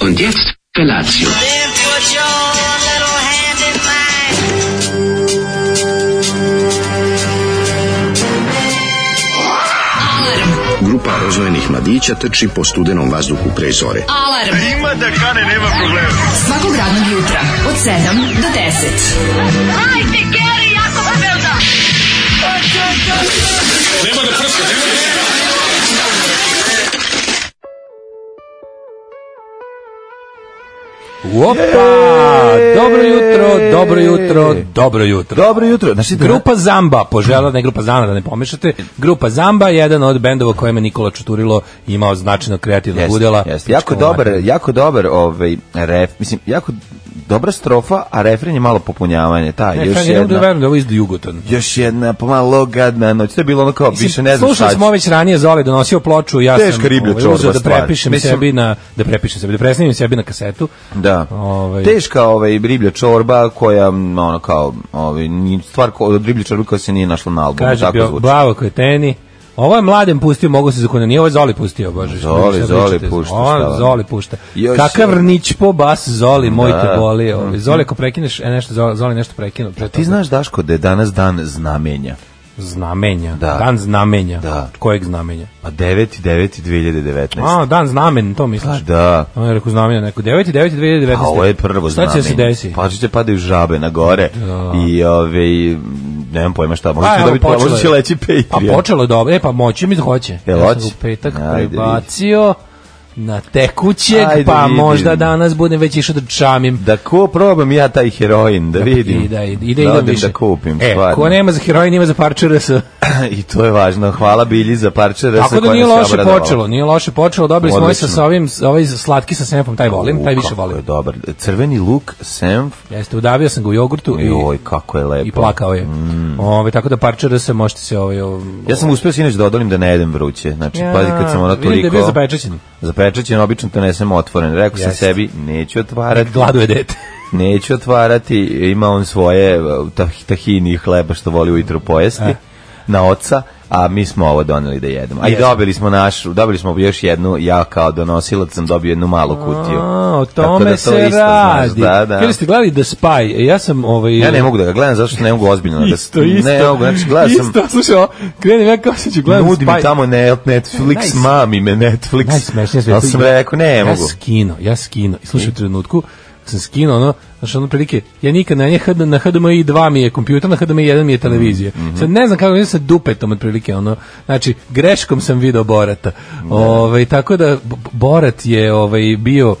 Und jetzt Felatio. Then put your little hand in mine. Grupa rozvojenih mladića trči po studenom vazduhu pre zore. Alarm. Ima da kane, nema problema. Svakog radnog jutra, od 7 do 10. Opa! Dobro jutro, dobro jutro, dobro jutro. Dobro jutro. Znači, da- Grupa Zamba, požela, ne Grupa Zamba, da ne pomešate. Grupa Zamba je jedan od bendova kojima je Nikola Čuturilo imao značajno kreativnog Jeste, udela. Znači, jeste. Jako Pička dobar, mater. jako dobar ovaj ref, mislim, jako dobra strofa, a refren je malo popunjavanje, ta Ne, još Franjo, ne mogu da jedna. verujem da je ovo iz Jugoton. Još jedna pomalo gadna noć. To je bilo ono kao Mislim, više ne znam šta. Slušali će. smo već ranije Zoli donosio ploču, ja sam ovaj, Teška riblja čorba uzeo da stvar. prepišem Mislim- sebi na da prepišem sebi, da presnimim sebi na kasetu. Da. Ovaj. Teška ovaj riblja čorba koja m, ono kao ovaj ni- stvar ko, od riblje čorbe koja se nije našla na albumu, Kaže tako bio, zvuči. bravo kreteni. Ovo je mladen pustio, mogu se zakona, nije ovo je Zoli pustio, bože. šta Zoli, pričate? Zoli pušta, šta Ovo vam? Zoli pušta. Još Kakav je- rnić po bas Zoli, moj Da. Mhm. Pa te boli. Ovi. Zoli, ako prekineš, e, nešto, Zoli, Zoli nešto prekinu. Pre Ti znaš Daško da je danas dan znamenja. Znamenja, Da. dan znamenja. Da. Kojeg znamenja? Pa 9.9.2019. A, dan znamen, to misliš? Pa Da. On je rekao znamenja neko. 9.9.2019. A ovo je prvo znamenje. Šta će se desiti? Pa će padaju žabe na gore i ove, nemam pojma šta, možda Pa, će evo, dobiti, možda počelo će je. leći Pa Patreon. počelo je dobro. E, pa moći mi da hoće. Jel ja sam hoće? ga u petak Ajde, prebacio na tekućeg, Ajde, pa vidim. možda danas budem već išao da čamim. Da ko probam ja taj heroin, da vidim. I da, i, i da, da idem odem više. da kupim, e, stvarno. ko nema za heroin, ima za parče RS. I to je važno. Hvala Bilji za parče resa Tako da koja nije nas je loše obradovala. počelo, nije loše počelo. Dobili smo ovaj sa, Odlično. sa ovim, ovaj slatki sa senfom, taj volim, taj U, više kako Je volim. dobar. Crveni luk, semf, Jeste, udavio sam ga u jogurtu i, joj, kako je lepo. Mm. i plakao je. Ove, tako da parče RS možete se ovaj... ovaj Ja sam uspeo sinoć da odolim da ne jedem vruće. Znači, pazi kad sam ono vidim da je toliko... bio zapečaćen. Zapečaćen, obično to nesem otvoren. Rekao sam Jeste. sebi, neću otvarati. Gladuje dete. Neću otvarati, ima on svoje uh, tah- tahini i hleba što voli ujutro pojesti Eh. na oca, a mi smo ovo doneli da jedemo. A i Jesmo. dobili smo našu, dobili smo još jednu, ja kao donosilac sam dobio jednu malu kutiju. A, o Tako tome da to se isto znaš, radi. da, da. Kada ste gledali The Spy, e, ja sam... Ovaj, Ja ne mogu da ga gledam zato što ne mogu ozbiljno. da ga- Isto, isto. Ne mogu, znači gledam sam, Isto, slušaj, ovo, krenem ja kao se ću gledam nudi mi Spy. tamo ne, Netflix, Najs- mami me Netflix. Najsmešnije sve. Ali sam rekao, ne ja mogu. skino, ja skino. I slušaj u trenutku, kad sam skino ono, znači ono prilike, ja nikad na nje HD, na HDMI 2 mi je kompjuter, na HDMI 1 mi je televizija. Mhm, Sad ne znam kako, ja sa dupetom otprilike ono, znači greškom sam video Borata. Ovaj tako da B- Borat je ovaj bio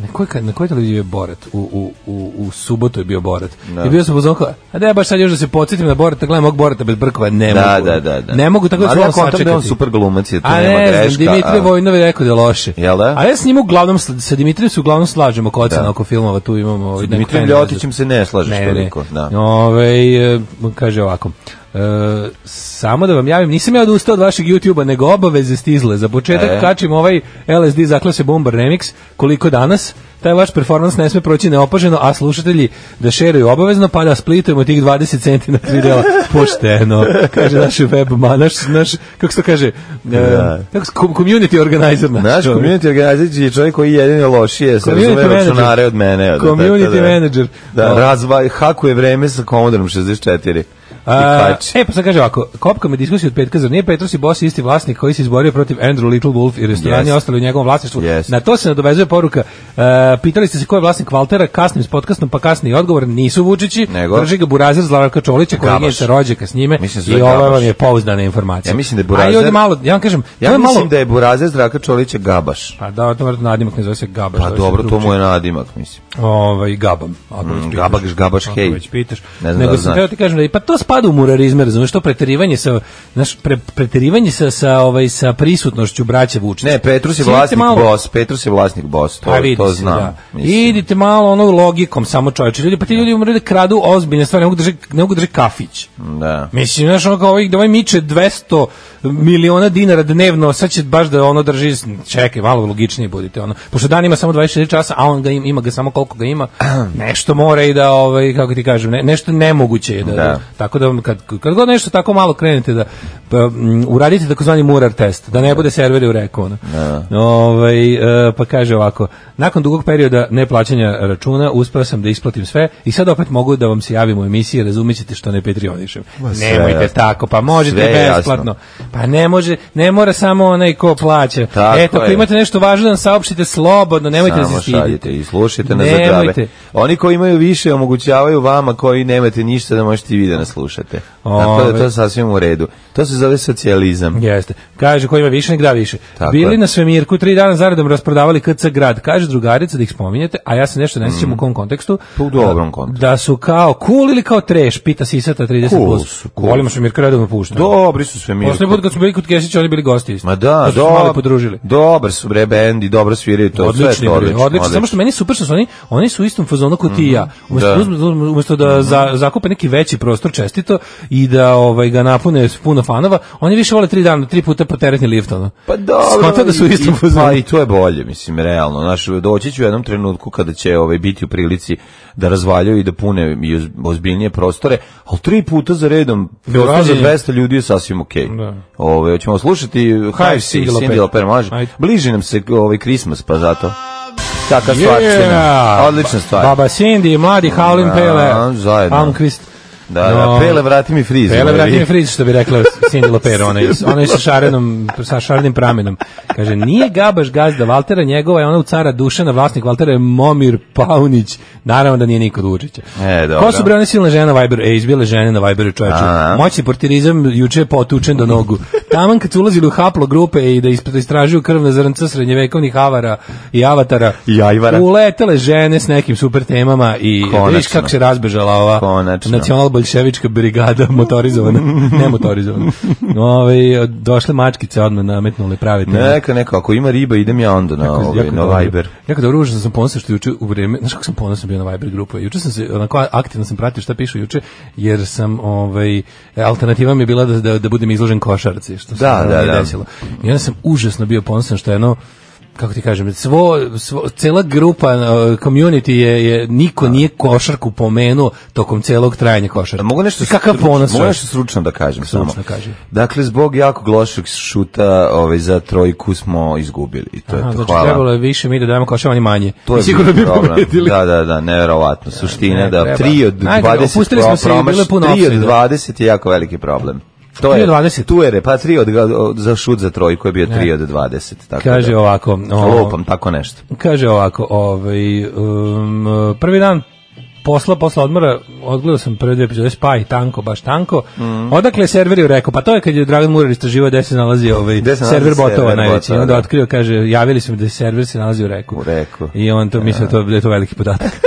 Na kojoj, ka- na kojoj televiziji je Borat? U, u, u, u subotu je bio Borat. I bio sam u zonku, a da ja baš sad još da se podsjetim na Borata, gledam mog Borata bez brkova, ne Da, mogu. da, da, da. Ne mogu tako da Ali ću ja malo kontam da je on sačekati. super glumac, je, tu A nema ne greška. znam, Dimitrije a- Vojnov je rekao da je loše. Jel da? A ja s njim uglavnom, sla- sa Dimitrijem se uglavnom slažemo oko ocena Da. oko filmova, tu imamo... ovaj, neku Dimitrijem krajnju Ljotićem vezu. se ne slažeš Ne, toliko, Ne, da. Ovaj, e, kaže ovako, e, samo da vam javim, nisam ja odustao od vašeg YouTube-a, nego obaveze stizle. Za početak E. kačim ovaj LSD zaklase Bomber Remix, koliko danas, taj vaš performans ne sme proći neopaženo, a slušatelji da šeraju obavezno, pa da splitujemo tih 20 centi na videla. Pošteno, kaže naš webman, naš, naš, kako se to kaže, e, Da. kako se- com- community organizer naš. Naš čovjek. community organizer je čovjek koji jedini lošije se Community razume manager. računare od mene. Da, Community tako da, manager. Da, Da. razva, hakuje vreme sa Commodorom 64. A, I kači. e, pa sad kaže ovako, kopka me diskusiju od petka, zar nije Petros i Boss isti vlasnik koji se izborio protiv Andrew Little Wolf i restorani Jest. ostali u njegovom vlasništvu? Jest. Na to se nadovezuje poruka. e, pitali ste se ko je vlasnik Valtera, kasnim s podcastom, pa kasni odgovor, nisu Vučići, Nego? drži ga Burazer Zlavarka Čolića, koji Gabaš. nije se rođaka s njime, Mislim da se i zove ova Gabaš. vam je pouzdana informacija. Ja mislim da je A i ovde Burazer- malo, ja vam kažem, to Ja je mislim malo... da je Buraze Zraka Čolića Gabaš. Pa da, to je nadimak, ne zove se Gabaš. Pa zove se dobro, to drugčije. mu je nadimak, mislim. Ovaj, Gabam. Ako već Mm, pitaš. Gabaš, Gabaš, Ako hej. već pitaš. Ne znam Nego da li sam znaš. teo ti kažem da i pa to spada u murarizme, razumeš, to preterivanje sa znaš, pre, preterivanje sa sa ovaj sa prisutnošću braće Vučića. Ne, Petrus je Sjedite vlasnik malo- boss, Petrus je vlasnik boss, to, Pa vidi to se, znam. da. mislim. Idite malo ono logikom, samo čoveče. Ljudi, pa ti ljudi umre da kradu ozbiljne stvari, ne mogu drži, ne mogu drži kafić. Da. Mislim, znaš, ono kao ovaj, da ovaj miče 200 miliona dinara dnevno, sad će baš da ono drži, čekaj, malo logičniji budite, ono, pošto dan ima samo 24 časa, a on ga ima, ima ga samo koliko ga ima, nešto mora i da, ovaj, kako ti kažem, ne, nešto nemoguće je da, Da. tako tako da vam kad, kad god nešto tako malo krenete da pa, m, uradite takozvani murar test, da ne bude serveri u reku. Ono. Ovaj, e, pa kaže ovako, nakon dugog perioda neplaćanja računa, uspeo sam da isplatim sve i sad opet mogu da vam se javim u emisiji, razumećete što ne petrionišem. sve Nemojte jasno. tako, pa možete Sve je besplatno. Pa ne može, ne mora samo onaj ko plaća. Tako Eto, ako je. imate nešto važno, da nam saopštite slobodno, nemojte da Samo se stidite. šaljite i slušajte nas za Nemojte. džabe. Oni koji imaju više omogućavaju vama koji nemate ništa da možete i vi da nas slušate. Tako da to je Ove. sasvim u redu. To se zove socijalizam. Jeste. Kaže ko ima više nek da više. Tako Bili je. na Svemirku tri dana zaredom rasprodavali KC grad. Kaže drugarica da ih spominjete, a ja se nešto ne sjećam u kom kontekstu. Pa u dobrom kontekstu. Da su kao cool ili kao treš, pita Sisata 30 Cool plus. su, cool Volimo su. Svemirku redovno puštamo. Dobri su sve mi. Poslednji put kad su bili kod Kesića, oni bili gosti isto. Ma Pa da, su se malo dobro. podružili. Dobar su bre bendi, dobro sviraju to, sve je Odlični, to bre, odlično. Mm, odlični. Samo što meni je super što su oni, oni su u istom fazonu kao ti i ja. Umesto Da. Mhm. da, uzmu- umesto da za, zakupe neki veći prostor čestito i da ovaj ga napune s puno fanova, oni više vole tri dana, tri puta po teretni lift ono. Pa dobro. Skonta da su u i- istom i- fazonu. Pa i to je bolje, mislim, realno. Znaš, doći ću u jednom trenutku kada će ovaj, biti u prilici da razvaljuju i da pune i uz- ozbiljnije prostore, ali tri puta za redom, prostor za Rađenje. 200 ljudi je sasvim okej. Da. Ove, ćemo slušati Hive Six, Cindy Lauper. Cindy Lauper, može. Ajde. Bliži nam se ovaj Christmas, pa zato. Taka stvar Yeah. Odlična stvar. Baba Cindy, mladi Howlin' Da, Pele, zajedno. Almqvist. Da, da, No. Pele, vrati mi frizu. ovaj. Pele vrati Ovi. mi friz, što bi rekla Cindy Loper, ona je, ona je sa, šarenom, sa šarenim pramenom. Kaže, nije Gabaš gazda Valtera, njegova je ona u cara Dušana, vlasnik Valtera je Momir Paunić. Naravno da nije niko od Vučića. E, dobro. Ko su bre one silne žene na Viberu? E, izbile žene na Viberu čoveče. Aha. Moćni portirizam juče je potučen do nogu. Taman kad su ulazili u haplo grupe i da isp- da istražuju krvna zrnca srednjevekovnih avara i avatara. I ajvara. Uletele žene s nekim super temama i Konačno. vidiš kako se razbežala ova Konačno. nacionalna nacional bolševička brigada motorizovana, ne motorizovana. Ove, došle mačkice odmah nametnule prave teme. Neka, neka, ako ima riba, idem ja onda na, Jako- ovaj, jako na dobro. Viber. Jako dobro, užasno sam ponosan što juče u vreme, znaš kako sam ponosan bio na Viber grupu, juče sam se, onako aktivno sam pratio šta pišu juče, jer sam, ovaj, alternativa mi je bila da, da, da budem izložen košarci, što se Da, naravno da, nije da. desilo. I onda sam užasno bio ponosan što je ono, kako ti kažem, svo, svo, cela grupa, uh, community je, je niko nije košarku pomenuo tokom celog trajanja košarka. Mogu nešto Kakav stru- ponos. Mogu nešto stručno da kažem Stručno samo. kaži. Dakle zbog jako lošeg šuta, ovaj za trojku smo izgubili i to je Aha, to. znači Hvala. trebalo je više mi da dajemo koševa, oni manje. To je I sigurno bio bi problem. pobedili. Da, da, da, neverovatno. Suština ne, da treba. 3 od Ajde, 20 opustili smo se i promaš, bilo je puno 3 od ofsajda. 20 je jako veliki problem. To Tri je od 20? Tu je, re- pa 3 od od- za šut za trojku je bio 3 od 20, tako Kaže da. ovako, o- Lopam tako nešto. Kaže ovako, ovaj, um, prvi dan posla, posla odmora, odgledao sam prve dve epizode Spy, tanko, baš tanko. Mhm. Odakle je server ju rekao? Pa to je kad je Dragan Murar istraživao gde se nalazi ovaj Gde se nalazi server botova server najveći. botova, I onda da. otkrio, kaže, javili su mi da se server se nalazi u reku. U reku. I on to mislio to, da je to veliki podatak.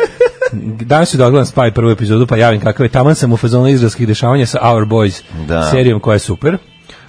Danas ću da odgledam Spy prvu epizodu, pa javim kakav je. Taman sam u fazonu izraelskih dešavanja sa Our Boys Da. serijom koja je super.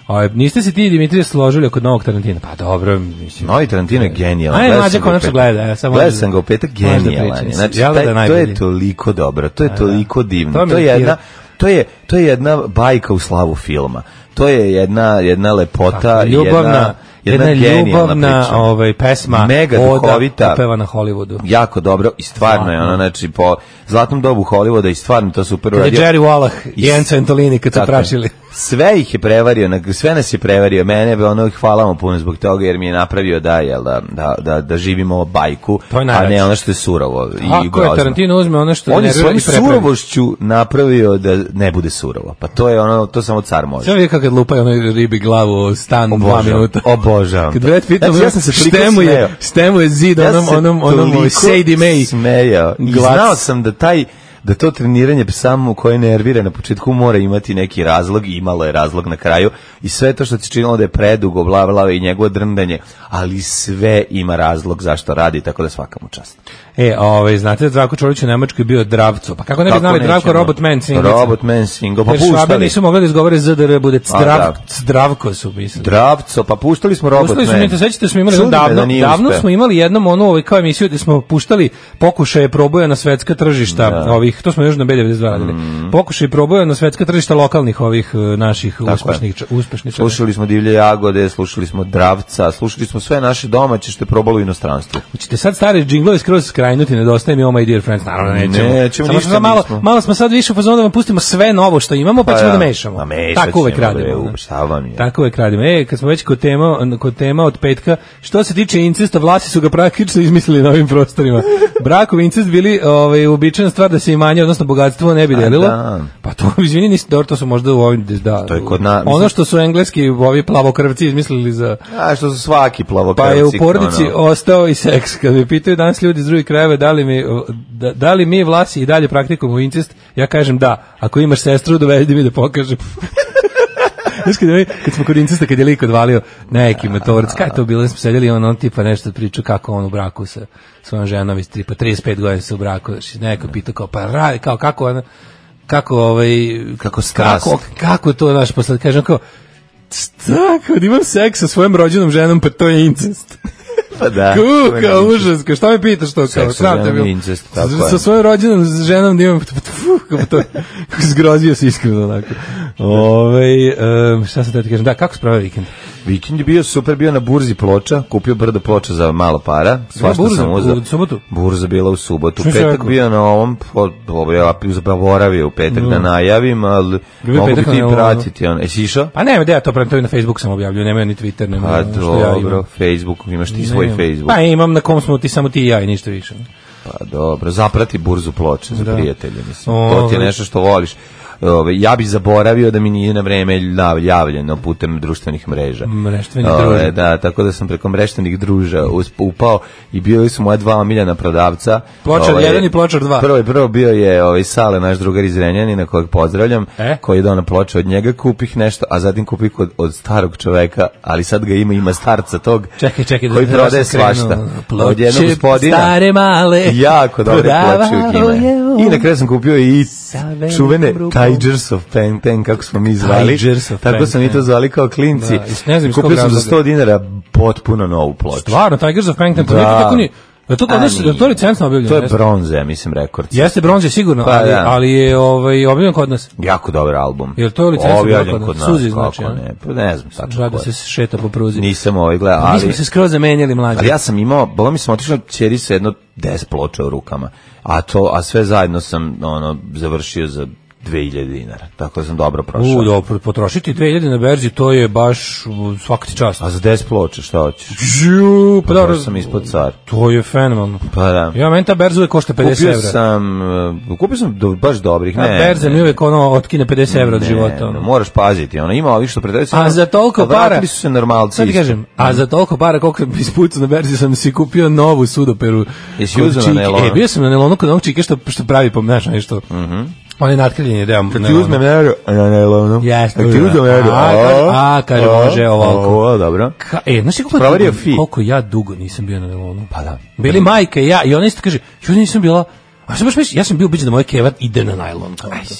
Ovaj, niste se ti i Dimitrije složili oko novog Tarantina? Pa dobro, mislim. Novi Tarantino je genijalan. Ajde, Gledao mlađe sam ga u konačno petak. gleda, evo, samo Gledao da- sam ga u petak, možda genijalan je. pričam. Znači, Jel da taj, je to je najbolji? toliko dobro, to je toliko divno. To me To je jedna, nervira. to je, to je jedna bajka u slavu filma. To je jedna, jedna lepota, Tako, ljubavna, jedna, jedna, genijalna ljubavna priča. ovaj, pesma Mega duhovita. Oda opevana Hollywoodu. Jako dobro i stvarno je ono, znači, po zlatnom dobu Hollywooda i stvarno to super Kad je uradio. Jerry Wallach I i Enzo Antolini kad su Tako je. prašili. Sve ih je prevario, na- sve nas je prevario. Mene bi ono hvala mu puno zbog toga jer mi je napravio da jel da da da, da živimo bajku, To je a najjače. ne ono što je surovo i Ako je grozno. Tarantino uzme ono što On je nervira i svojom prepravi. surovošću napravio da ne bude surovo. Pa to je ono, to samo car može. Sve vidi kako kad lupaju onoj ribi glavu o stan dva Obožavam, minuta. obožavam. Kad Brad Pitt Znači, znači, ja sam se toliko smejao. je, štemu je zid Ja onom, sam se onom, onom, toliko onom Sadie May. Smejao. I glac. znao sam da taj da to treniranje samo koje nervira na početku mora imati neki razlog i imalo je razlog na kraju i sve to što ti činilo da je predugo bla bla bla, i njegovo drndanje ali sve ima razlog zašto radi tako da svaka mu čast E, ovaj, znate da Zdravko Čolić u Nemačkoj bio Dravco. Pa kako ne bi Kako znali neće, Dravko no? Robot Man singlica? Robot Man single, pa Jer Švabe puštali nisu mogli da izgovore ZDR, bude da. Strav, Zdravko su mislili. Dravco, pa puštali smo Robot Puštali smo, Man mi to sećate, smo imali Čudi jednom me da davno, nije davno uspeo. smo imali jednom onu ovaj, kao emisiju gde smo puštali pokušaje proboja na svetska tržišta Da. Mm. ovih ovih, to smo još na B92 radili, pokušaj i proboja na svetska tržišta lokalnih ovih e, naših je. uspešnih, ča- uspešnih ča- Slušali smo divlje jagode, slušali smo dravca, slušali smo sve naše domaće što je probalo u inostranstvu. Hoćete sad stare džinglove skroz skrajnuti, nedostaje mi Oh My Dear Friends, naravno nećemo. Nećemo, Samo ništa što sad malo, nismo. malo smo sad više u fazonu da vam pustimo sve novo što imamo, pa, Pa ćemo ja, da mešamo. ma mešat Tako uvek ćemo, radimo. ono. bre, ne? u, šta vam je? Tako uvek radimo. E, kad smo već kod tema, kod tema od petka, što se tiče incesta, vlasi su ga praktično izmislili na ovim prostorima. Brakovi incest bili ovaj, uobičajena stvar da se imanje, odnosno bogatstvo ne bi delilo. da. Pa to, izvini, nisi dobro, to su možda u ovim... Da, To je kod nas, mislim- Ono što su engleski ovi plavokrvci izmislili za... A što su svaki plavokrvci. Pa je u porodici ono. ostao i seks. Kad me pitaju danas ljudi iz drugih krajeva da li mi, da, da li mi vlasi i dalje praktikujemo incest, ja kažem da. Ako imaš sestru, dovedi mi da pokažem. Znaš kad, je- kad smo kod incesta, kad je lik odvalio neki motorac, kaj je to bilo, smo sedjeli i on, on tipa nešto pričao kako on u braku sa svojom ženom iz tipa 35 godina se u braku, znači neko pitao kao pa radi, kao kako ona, kako ovaj, Kako strast. kako, kako to, znaš, posle kažem kao, šta, kad imam seks sa svojom rođenom ženom, pa to je incest. Pa da. to je Kuka, incest. užas, kao, šta me pitaš to? Kao, Seks sa sram te ženom bilo. je incest, tako Sa- je. Sa svojom rođenom s ženom da imam, tfu, kao to, zgrozio se iskreno onako. Ove, um, šta sam te kažem, da, kako spravio vikend? Vikend je bio super, bio na burzi ploča, kupio brdo ploča za malo para, svašta burza sam uzao. u subotu? Burza bila u subotu. Što si petak rekao? bio na ovom, po- ovo ja zaboravio u petak da najavim, ali Bio je mogu bi petak na ti ovom- pratiti. On. Jesi išao? Pa nema, da ja to pravim, to i na Facebook sam objavljio, nemaju ni Twitter, nemaju A ono što ja imam. Pa dobro, Facebook, imaš ti svoj Nemam. Facebook. Pa imam na kom smo ti, samo ti i ja i ništa više. Pa dobro, zaprati burzu ploče za Da. prijatelje, mislim. To ti je Ovaj. nešto što voliš. Ove, ja bi zaboravio da mi nije na vreme nav- javljeno putem društvenih mreža. Mreštvenih Ove, druža. Da, tako da sam preko mreštenih druža usp- upao i bili su moja dva omiljena prodavca. Pločar Ovaj, jedan i pločar dva. Prvo, prvo bio je ovaj Sale, naš drugar iz Renjanina, kojeg pozdravljam, E? koji je donao ploče od njega, kupih nešto, a zatim kupih od, od starog čoveka, ali sad ga ima, ima starca tog, Čekaj, čekaj. da- koji da prodaje sam krenuo. svašta. Od Ploče, jednog gospodina. stare male. Jako dobre prodavao ploče u Kine. je on. I na kraju sam kupio i velikom čuvene rukom. Tigers of Pen Ten, kako smo mi zvali. Tigers of Tako Pen sam i to Ten. zvali kao klinci. Da, iz- ne znam iz kupio kog sam za razloga. 100 dinara potpuno novu ploču. Stvarno, Tigers of Pankton, to nije Da. to tako ni... Da to kod nas, A, da to nije. recentno objavljeno. To je jeste? bronze, ja mislim, rekord. Jeste bronze sigurno, Pa, ali, da. ali je ovaj, objavljen kod nas. Jako dobar album. Jel to je licenca Objavljen bila kod kod nas, nas? Suzi kako znači, a? ne. Pa ne znam, tačno Rado ko se je. šeta po pruzi. Nisam ovaj gledao, Mi ali... smo se skroz zamenjali mlađe. Ali ja sam imao, bolo mi sam otišao čeri sa jedno 10 ploča u rukama. A to, a sve zajedno sam ono završio za 2000 dinara. Tako da sam dobro prošao. U, dobro, potrošiti 2000 na berzi, to je baš u, svaka ti čast. A za 10 ploča šta hoćeš? Žu, pa dobro, Baš sam ispod car. to je fenomenalno. Pa da. Ja, meni ta berza uvek košta 50 Kupio evra. sam, e, kupio sam do, baš dobrih, A ne. berza mi uvek ono otkine 50 evra od ne, života. ne, Ono. moraš paziti, ono, ima ovi što predaju A za toliko para... Vratili su se normalci. Sad ti isto. kažem, a za toliko para koliko bi ispucao na berzi sam si kupio novu sudoperu. Jesi kod uzeo na čike. nelonu? E, bio sam na nelonu kod onog čike što, što pravi, pom- znaš, nešto. Mm -hmm. On je natkriljen deo. Mhm. Kad ti nelona. uzmem euro, a ne, ne, ono. Jeste, Kad ti dobro. uzmem euro, A, kaže- a, kaže, može ovako. Ovo, dobro. Ka, e, znaš ti koliko, Proverio dugo, fi. koliko ja dugo nisam bio na Nelonu? Pa da. Bili majka i ja, i ona isto kaže, ja nisam bila, a što baš misliš, ja sam bio ubeđen da moja keva ide na najlon. Kao to.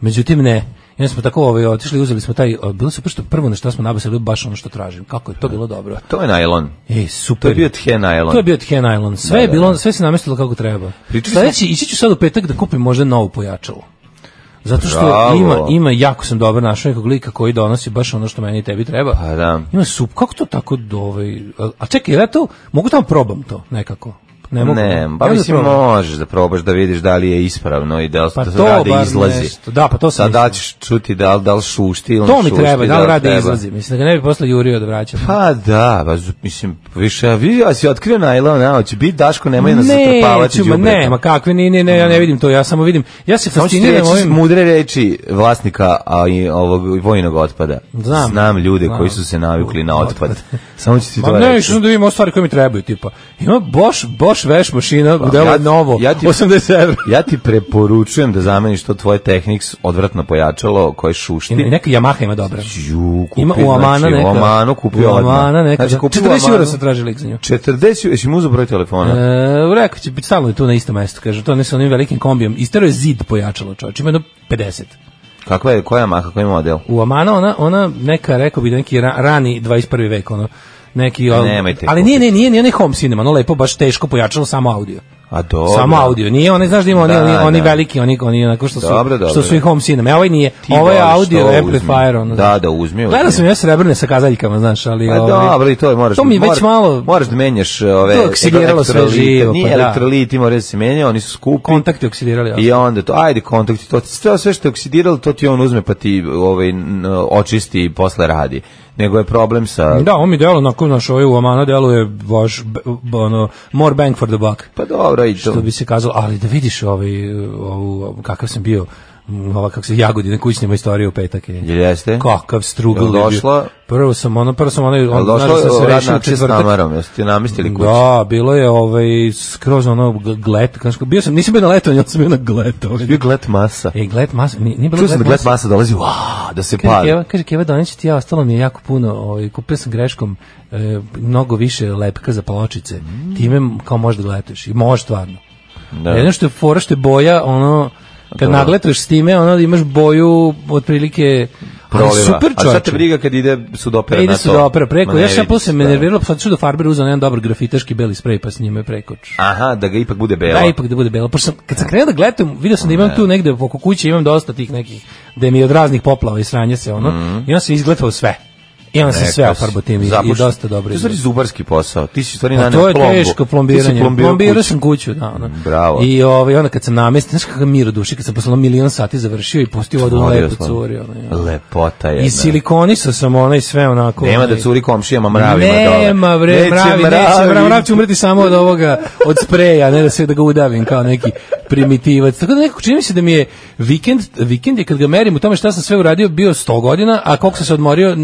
Međutim, ne. I onda smo tako ovaj, otišli, uzeli smo taj, o, bilo se što prvo na što smo nabasili, baš ono što tražim. Kako je to bilo dobro. To je najlon. E, To super. je bio The najlon. To je bio Then Island. Sve Da, je da, bilo, da. sve se namestilo kako treba. Pričali Sledeći, ići ću sad u petak da kupim možda novo pojačalo. Zato što Bravo. ima, ima, jako sam dobar našao nekog lika koji donosi baš ono što meni i tebi treba. Pa da. Ima sup, kako to tako do ovaj... a- A čekaj, ja to, mogu tamo probam to nekako? Ne mogu. Ne, Mogu pa da mislim probam? možeš da probaš da vidiš da li je ispravno i da li Pa da to rade bar izlazi. nešto. Da, pa to sam Sad da mislio. ćeš čuti da li, da li šušti ili ne To mi šušti, treba, da li rade treba. izlazi? Mislim da ga ne bi posle jurio da vraćam. Pa da, pa z- mislim, više, ja vidio, ja si otkrio najlon, a hoće biti Daško, nemoj nas zatrpavati neću, ma đubretom. ne, ma kakve, ne, ne, ne, ja ne vidim to, ja samo vidim, ja se Mm. Samo ću ti fasciniram reći ovim... mudre reči vlasnika a, i ovog vojnog otpada. Znam. ljude Znam. koji su se navikli na otpad. Samo ću ti to Ma ne, reći. išao sam da vidim ovo stvari koje mi trebaju, tipa. Ima Bosch, Bosch veš mašina, modela Pa, ja- je ovaj novo, ja ti- 80 evra. Ja ti preporučujem da zameniš to tvoje Technics odvratno pojačalo koje šušti. I neka Yamaha ima dobra. Ju, kupi, Ima u Amana znači, neka. U Amanu kupio U Amana odmah. neka. Znači, kupio 40 Amanu. eura se traži lik za nju. 40, jesi mu uzeo broj telefona? E, rekao će biti stalno je tu na istom mestu, kaže, to ne sa onim velikim kombijem. Istero je zid pojačalo, čovječ, ima jedno 50. Kakva je, koja je maha, koji je model? U Amana ona, ona neka, rekao bi, neki ra, rani 21. vek, ono, neki, al- Pa nemojte ali nije, nije, nije, nije onaj home cinema, ono lepo, baš teško pojačalo samo audio. A dobro. Samo audio. Nije onaj, znaš da ima oni, Da, oni, oni da. veliki, oni, oni onako što su, Dobro, dobro, što su i da. home cinema. E, Ovaj nije, Ti ovo je voliš audio to, uzmi. amplifier. Ono, Da, da, uzmi, uzmi. Gledao sam ja srebrne sa kazaljkama, znaš, ali... Pa ovaj, dobro, i to je moraš. To mi je već moraš- malo- Moraš da menjaš ove To je oksidiralo sve elektrolite. živo, Nije pa da. elektrolit, ima da se menja, oni su skupi. Kontakti oksidirali. I onda to, ajde kontakti, to sve, sve što je oksidiralo, to ti on uzme pa ti ovaj, n- očisti i posle radi. Nego je problem sa... Da, on mi delo onako, znaš, ovaj u Amana deluje baš, b- b- ono, more bang for the buck. Pa dobro, i to. što bi se kazalo, ali da vidiš ovaj, ovu, kakav sam bio, m, ova kako se Jagodina kućna moja istorija u petak je. Jel jeste? Kakav strugl Jel je bio. došla? Prvo sam ono, prvo sam onaj, Jel on, došlo znaš da sam se radna rešio u akcija s četvrtak. namarom? Jeste ti namestili kuću? Da, bilo je ovaj skroz ono g- glet, znaš, bio sam, nisam bio na letovanju, ali sam bio na glet. Ovaj. Bio glet masa. E, glet masa, nije, nije bilo Čuo sam da glet masa dolazi, uaa, da se Kaže pali. Keva, kaže Keva Donić, ti ja ostalo mi je jako puno, ovaj kupio sam greškom e, mnogo više lepka za pločice. Time kao možda gletuješ i možeš stvarno. Da. Jedno što je fora što je boja, ono kad Da. nagletaš s time, ono da imaš boju otprilike ali Proliva. super A sad te čovječe. briga kad ide sudopera E, na to. ide su dobro preko. Ma ne Ja sam vidi posle se, me da. nerviralo, pa sad ću do Farber uzeo jedan dobar grafitaški beli sprej pa s njime prekoč. Aha, da ga ipak bude bela. Da, ipak da bude belo. Pošto sam, kad sam krenuo da gledam, vidio sam da imam tu negde oko kuće, imam dosta tih nekih, da mi je od raznih poplava i sranje se ono, Mhm. i onda sam izgledao sve. I onda sam sve Rekao si. ofarbo tim i, i Zapuš- dosta dobro To je stvari izgledao. zubarski posao. Ti si u stvari Pa naneo to je plombu. teško Ti si plombiranje. plombirao Plombirao kuću. sam kuću, da, ono. Bravo. I ovaj onda kad sam namestio, znaš kakav mir u duši, kad sam posle ono milion sati završio i pustio vodu na Morio lepo sam. curi, ono. ja. Lepota je. I silikonisao sam ono i sve onako. Nema ono, da i- curi komšijama mravima dole. Nema bre, neće mravi, neće mravi, mravi će mravi. umreti samo od ovoga, od spreja, ne da se da ga udavim kao neki primitivac. Tako da nekako čini mi se da mi je vikend, vikend je kad ga merim u tome šta sam sve uradio bio 100 godina, a koliko sam se odmorio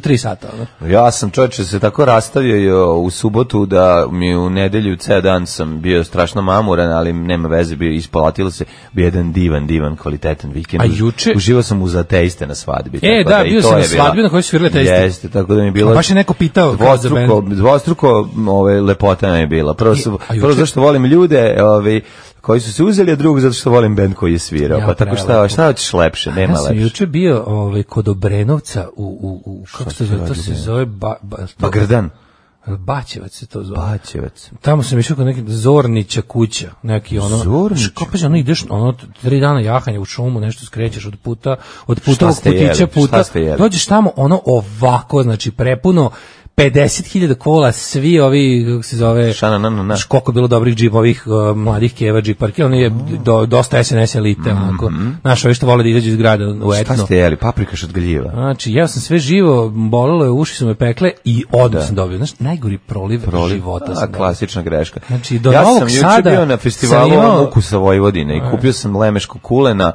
3 sata. Ono. Ja sam čovječe se tako rastavio jo, u subotu da mi u nedelju ceo dan sam bio strašno mamuran, ali nema veze, bio ispalatilo se, bio jedan divan, divan, kvalitetan vikend. A juče- Uživao sam uz ateiste na svadbi. E, tako da, i bio to sam je na bila- svadbi na kojoj su svirali Ateisti. Jeste, tako da mi je bilo... A baš je neko pitao kao za Dvostruko, dvostruko m, ovaj, lepota nam je bila. Prvo, I- su, a juče- prvo zašto volim ljude, ovaj, koji su se uzeli, a drugo zato što volim bend koji je svirao. Ja, pa tako šta, prelepo. šta hoćeš lepše, nema Ja sam lepše. juče bio ovaj, kod Obrenovca u, u, u kako se zove, to se zove ba, ba, to- Bagrdan. Baćevac se to zove. Pa Baćevac. Tamo sam išao kod neke Zornića kuća, neki ono. Zornić? Znaš, Kao pa ono ideš, ono tri dana jahanja u šumu, nešto skrećeš od puta, od puta Šta ovog ste putića jeli? puta. Šta ste jeli? Dođeš tamo ono ovako, znači prepuno 50.000 kola, svi ovi, kako se zove, Šana, na, na, na. znaš koliko je bilo dobrih džipovih, uh, mladih keva džiparki, on je Oh. do, dosta SNS elite, onako, znaš, ovi što vole da izađu iz grada u etno. Mhm. Šta ste jeli? Paprika šatgaljiva. Znači, ja sam sve živo, bolelo je, uši su me pekle i odmah sam dobio. Znaš, najgori proliv, života sam A, dobio. klasična greška. Znači, do ja Novog sam juče Sada bio na festivalu sam imao- E. Ukusa Vojvodine i kupio sam lemeško kulena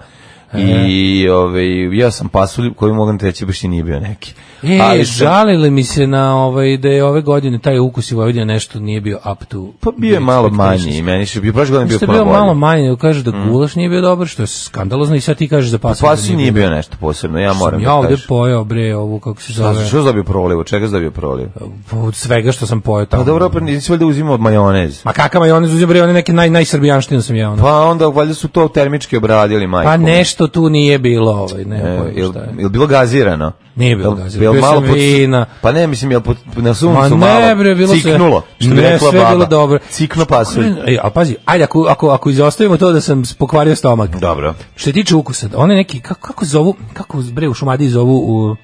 i ovaj, ja sam pasulj koji mogu ti reći baš i nije bio neki. E, Ali sam- žalili mi se na ovaj da je ove godine taj ukus i Vojvodina nešto nije bio up to. Pa bio je the malo expectations. manji i meni je bio, prošle godine bio Što Pa je puno bio bolji. Mm. malo manji, nego kažu da gulaš nije bio dobar, što je skandalozno i sad ti kažeš da pasulj Pasulj Pa nije bio nešto posebno, ja moram Ja da ovde kažem. pojeo bre ovu kako se Šta zove. si- Što si dobio proliv? Od čega si dobio proliv? Pa Od svega što sam pojeo tamo. Pa dobro, pa nisi valjda uzimao od majonez. Ma kakav majonez uzeo bre, one neke naj najsrbijanštine sam jeo. ono. Pa onda valjda su to termički obradili, majko. Pa nešto tu nije bilo, ovaj, ne, E, pojma jel, šta je. jel bilo gazirano? Nije bilo Jel- gazirano. Bio sam pod- vina. Pa ne, mislim, jel pod, na Ma suncu malo ne bre, bilo ciknulo? sve. Što bi Ne, rekla sve je baba. bilo dobro. Cikno pasulj. E, a pazi, ajde ako ako ako izostavimo to da sam pokvario stomak. Dobro. Što se tiče ukusa, one neki kako kako zovu, kako bre u Šumadiji zovu u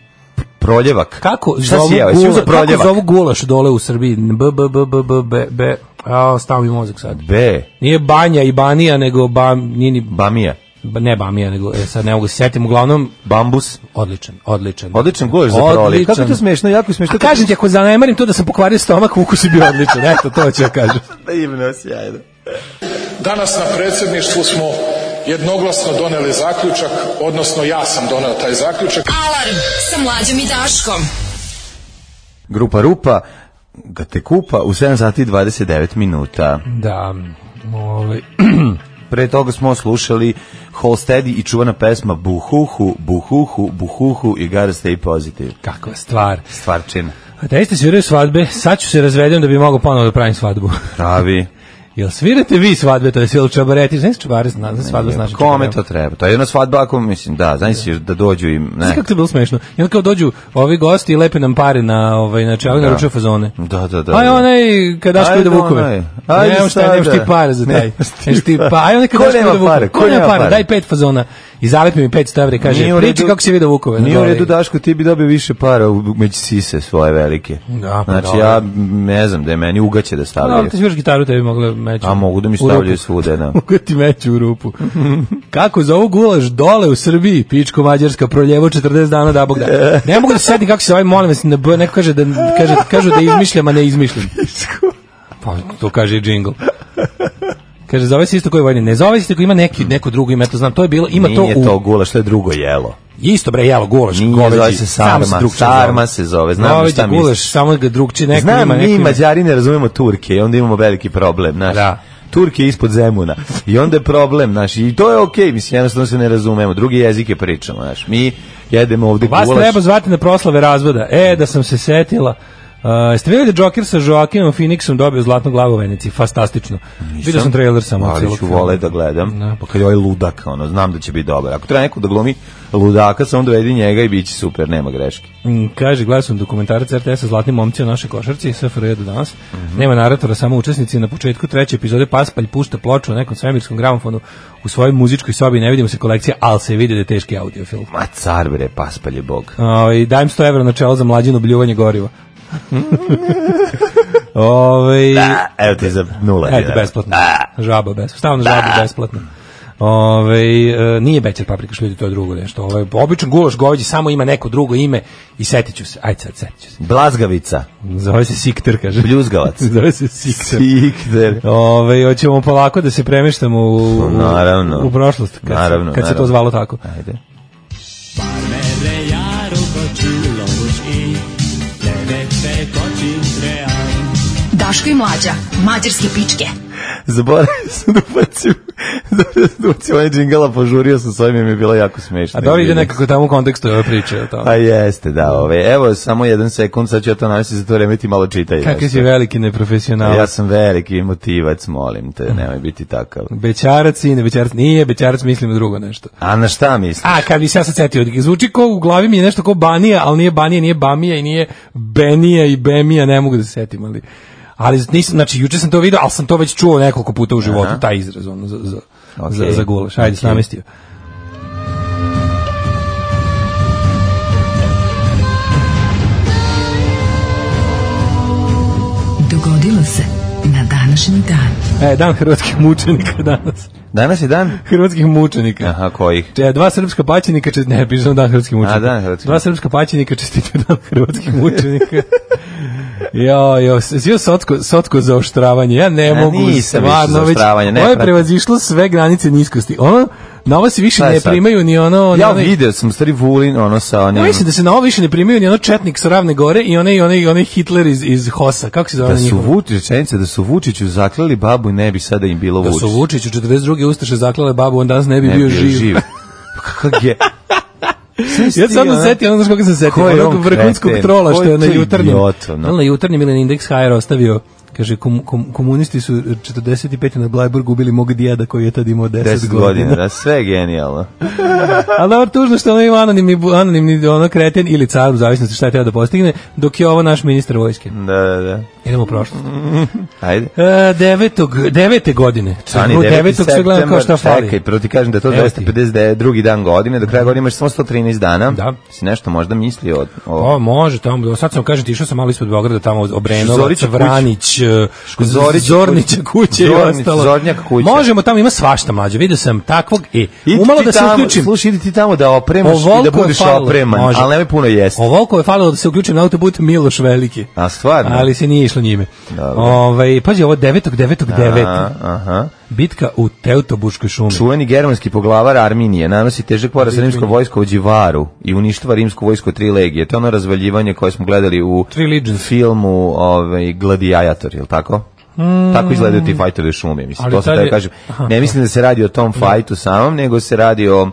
Proljevak. kako Šta zovu si jeo? Jesi uzeo gulaš, kako proljevak? zovu gulaš dole u Srbiji? B b b b b b b. A stao mi mozak sad. B. Nije banja i banija, nego bam, nije ni, Bamija. ba- ne bamija, nego, e, sad ne mogu se setim, uglavnom, Bambus. odličan, odličan. Odličan gulaš za proliv. Kako je to smešno? Jako je smešno. A kažem ti, ako zanemarim to da sam pokvario stomak, ukus je bio odličan, eto, to ću ja kažem. Divno, sjajno. Danas na predsjedništvu smo jednoglasno doneli zaključak, odnosno ja sam doneo taj zaključak. Alarm sa mlađom i Daškom. Grupa Rupa ga te kupa u 7 sati i 29 minuta. Da, ovaj, Pre toga smo slušali Holstedi i čuvana pesma Buhuhu, Buhuhu, Buhuhu i Gotta Stay Positive. kakva stvar. Stvarčina. Pa A te ste sviraju svadbe, sad ću se razvedem da bi mogao ponovo da pravim svadbu. Pravi. Jel svirate vi svadbe, to je jel čabareti, znaš čabare, znači znaš svadbe, znaš Kome to treba? To je jedna svadba ako mislim, da, znaš si da dođu im, Znaš ne. kako to je bilo smešno? I onda kao dođu ovi gosti i lepe nam pare na, ovaj, na čelu i naručuju fazone. Da, da, da. Aj da. onaj kada što Ajde ide onaj. vukove. Ajde Nemaš šta, sada. nemaš ti pare za taj. Nemaš ti Nemaš ti pare. pa, aj onaj Ko kada što nema ide vukove. pare? Ko nema para? Daj pet fazona i zalepi mi 500 evra i Nije kaže, u priči redu- kako si video vukove. Nije u Ovaj, redu, Daško, ti bi dobio više para u- među sise svoje velike. Da, pa Znači, da. ja ne znam da je meni ugaće da Da, stavljaju. ti sviraš gitaru, tebi mogla meću. A mogu da mi u rupu. stavljaju svude, da. Mogu ti meću u rupu. kako za ovu gulaš dole u Srbiji, pičko mađarska, proljevo 40 dana da bog da. Ne mogu da se setim kako se ovaj, molim vas, na B, neko kaže da, kaže, kažu da izmišljam, a ne izmišljam. Pa, to kaže i džingl. Kaže, zove se isto koji vojni. Ne zove se isto koji ima neki, neko drugo ime, ja to znam. To je bilo, ima Nije to u... to gulaš, to je drugo jelo. Isto bre, jelo, gulaš, Nije, goveđi. zove se sarma, sarma se zove, znam šta misliš. gulaš, samo ga drugči, neko Znam, ima, neko mi ima. Mađari ne razumemo Turke i onda imamo veliki problem, znaš. Da. Turke ispod Zemuna. I onda je problem, znaš, i to je okej, mislim, jednostavno se ne razumemo. Drugi jezike pričamo, znaš. Mi jedemo ovde Vas gulaš. treba zvati na proslave razvoda. E, da sam se setila. Uh, ste vidjeli da Joker sa Joaquinom Phoenixom dobio zlatnu glavu u Veneciji? Fantastično. Vidio sam trailer samo. ali celog ću filma. vole da gledam. Pa kad je ovaj ludak, ono, znam da će biti dobar. Ako treba neko da glumi ludaka, samo dovedi njega i bit će super, nema greške. Mm, Kaže, gledao sam dokumentarac RTS-a Zlatni momci o našoj košarci, SFRJ do danas. Mhm. Nema naratora, samo učesnici. Na početku treće epizode Paspalj pušta ploču na nekom svemirskom gramofonu u svojoj muzičkoj sobi. Ne vidimo se kolekcija, ali se vidi da je teški audiofilm. Ma car bre, paspalj je bog. Ovaj dajem 100 evra na čelo za mlađino bljuvanje goriva. Ovaj Da, evo ti za nula. Eto, dinara. besplatno. Žaba besplatno. Stavno žaba besplatno. Ove, e, nije bečer paprika šljuti, to je drugo nešto. Ove, običan gulaš goveđi samo ima neko drugo ime i setit ću se. Ajde sad, setit ću se. Blazgavica, Zove se Sikter, kaže. bljuzgavac. Zove se Sikter. Sikter. Ove, hoćemo polako da se premještamo u, u- Naravno. u prošlost, kad, se- Naravno, kad se to naravno. zvalo tako. Ajde. Daško i mlađa. Mađarske pičke. Zaboravio sam da ubacim, zaboravio sam da ubacim onaj džingala, požurio sam s ovim, jer mi je bilo jako smiješno. A dobro ide nekako tamo u kontekstu ove priče. je li To. Pa jeste, da, ove. Evo, samo jedan sekund, sad ću ja to navesti, za to vreme ti malo čitaj. Kakvi nešto. si veliki neprofesionalac. Ja sam veliki motivac, molim te, nemoj biti takav. Bećarac, sine, bećarac nije, bećarac mislimo drugo nešto. A na šta misliš? A, kad bi se ja sad setio, zvuči ko, u glavi mi je nešto ko Banija, ali nije Banija, nije Bamija i nije Benija i Bemija, ne mogu da se setim, ali... Ali nisam, znači, juče sam to vidio, ali sam to već čuo nekoliko puta u životu, taj izraz, ono, za, za, Okej. za, za gulaš. Ajde, Okej. namestio. Dogodilo se na današnji dan. E, dan hrvatskih mučenika danas. Danas je dan? Hrvatskih mučenika. Aha, kojih? Če, dva srpska paćenika čest... ne, pišem dan hrvatskih mučenika. A, dan hrvatskih. Dva srpska paćenika čestitaju dan hrvatskih mučenika. jo, jo, sve sotko, sotko za oštravanje. Ja ne A, mogu, nisam više za stvarno, već, oštravanje, ne ovo je pratim. prevazišlo sve granice niskosti. Ono, na ovo se više Šta je ne sad? primaju ni ono... ni Ja onaj- video sam stari Vulin, ono sa onim... Ja mislim da se na ovo više ne primaju ni ono četnik sa Ravne gore i onaj, onaj, onaj Hitler iz, iz Hosa. Kako se zove Da na su njihovo? Vučić, rečenica da su Vučiću zaklali babu i ne bi sada im bilo Da su Vučić. Vučić u 42. Ustaše zaklale babu, on danas ne bi bio, živ. Kakav je... Ja sam Ti, odmah ono- setio, ono znaš koga sam setio, Ko je onog on vrhunskog kreten? trola Ko što je je na to jutarnjem, idiot, ono? da li na jutarnjem ili na Index HR ostavio, kaže, kom, kom, komunisti su 45. na Blajburgu ubili mog dijada koji je tad imao 10, 10 godina, da, sve je genijalno. Ali dobro, tužno što ono ima anonimni, bu- anonimni ono kreten ili car, u zavisnosti šta je teo da postigne, dok je ovo naš ministar vojske. Da, da, da. Idemo u prošlost. Mhm. Ajde. E, devetog, devete godine. Ani, Čekaj, 9. devetog sve gledam kao šta septembar, fali. Čekaj, prvo ti kažem da je to Evo ti. 252. drugi dan godine, do kraja godine imaš samo 113 dana. Da. Si nešto možda mislio od... O, O, može, tamo, do- sad sam kažem, ti išao sam malo ispod Beograda, tamo Obrenovac, Zorića kuća. Vranić, e, Zorića Zornića kuće i Zornić- ostalo. Zornjak kuća. Možemo, tamo ima svašta mlađe, vidio sam takvog, e, Idi umalo ti da se tamo, uključim. Slušaj, idi ti tamo da opremaš i da Ovoliko je budeš falilo. opreman, Može. ali nemoj puno jesti. Ovoliko je falilo da se uključim na autobut Miloš Veliki. A stvarno? Ali se nije išlo njime. Dobro. Ovaj pazi, ovo 9. 9. 9. Aha, aha. Bitka u Teutobuškoj šumi. Čuveni germanski poglavar Arminije nanosi težak poraz rimsko vojsko u Đivaru i uništava rimsko vojsko tri legije. To je ono razvaljivanje koje smo gledali u Three Legions. filmu ovaj, Gladiator, je li tako? Tako izgledaju ti fajtovi u šumi, mislim. Hmm. Ali To sam tad da je- kažem. Aha, Ne mislim da se radi o tom fajtu samom, nego se radi o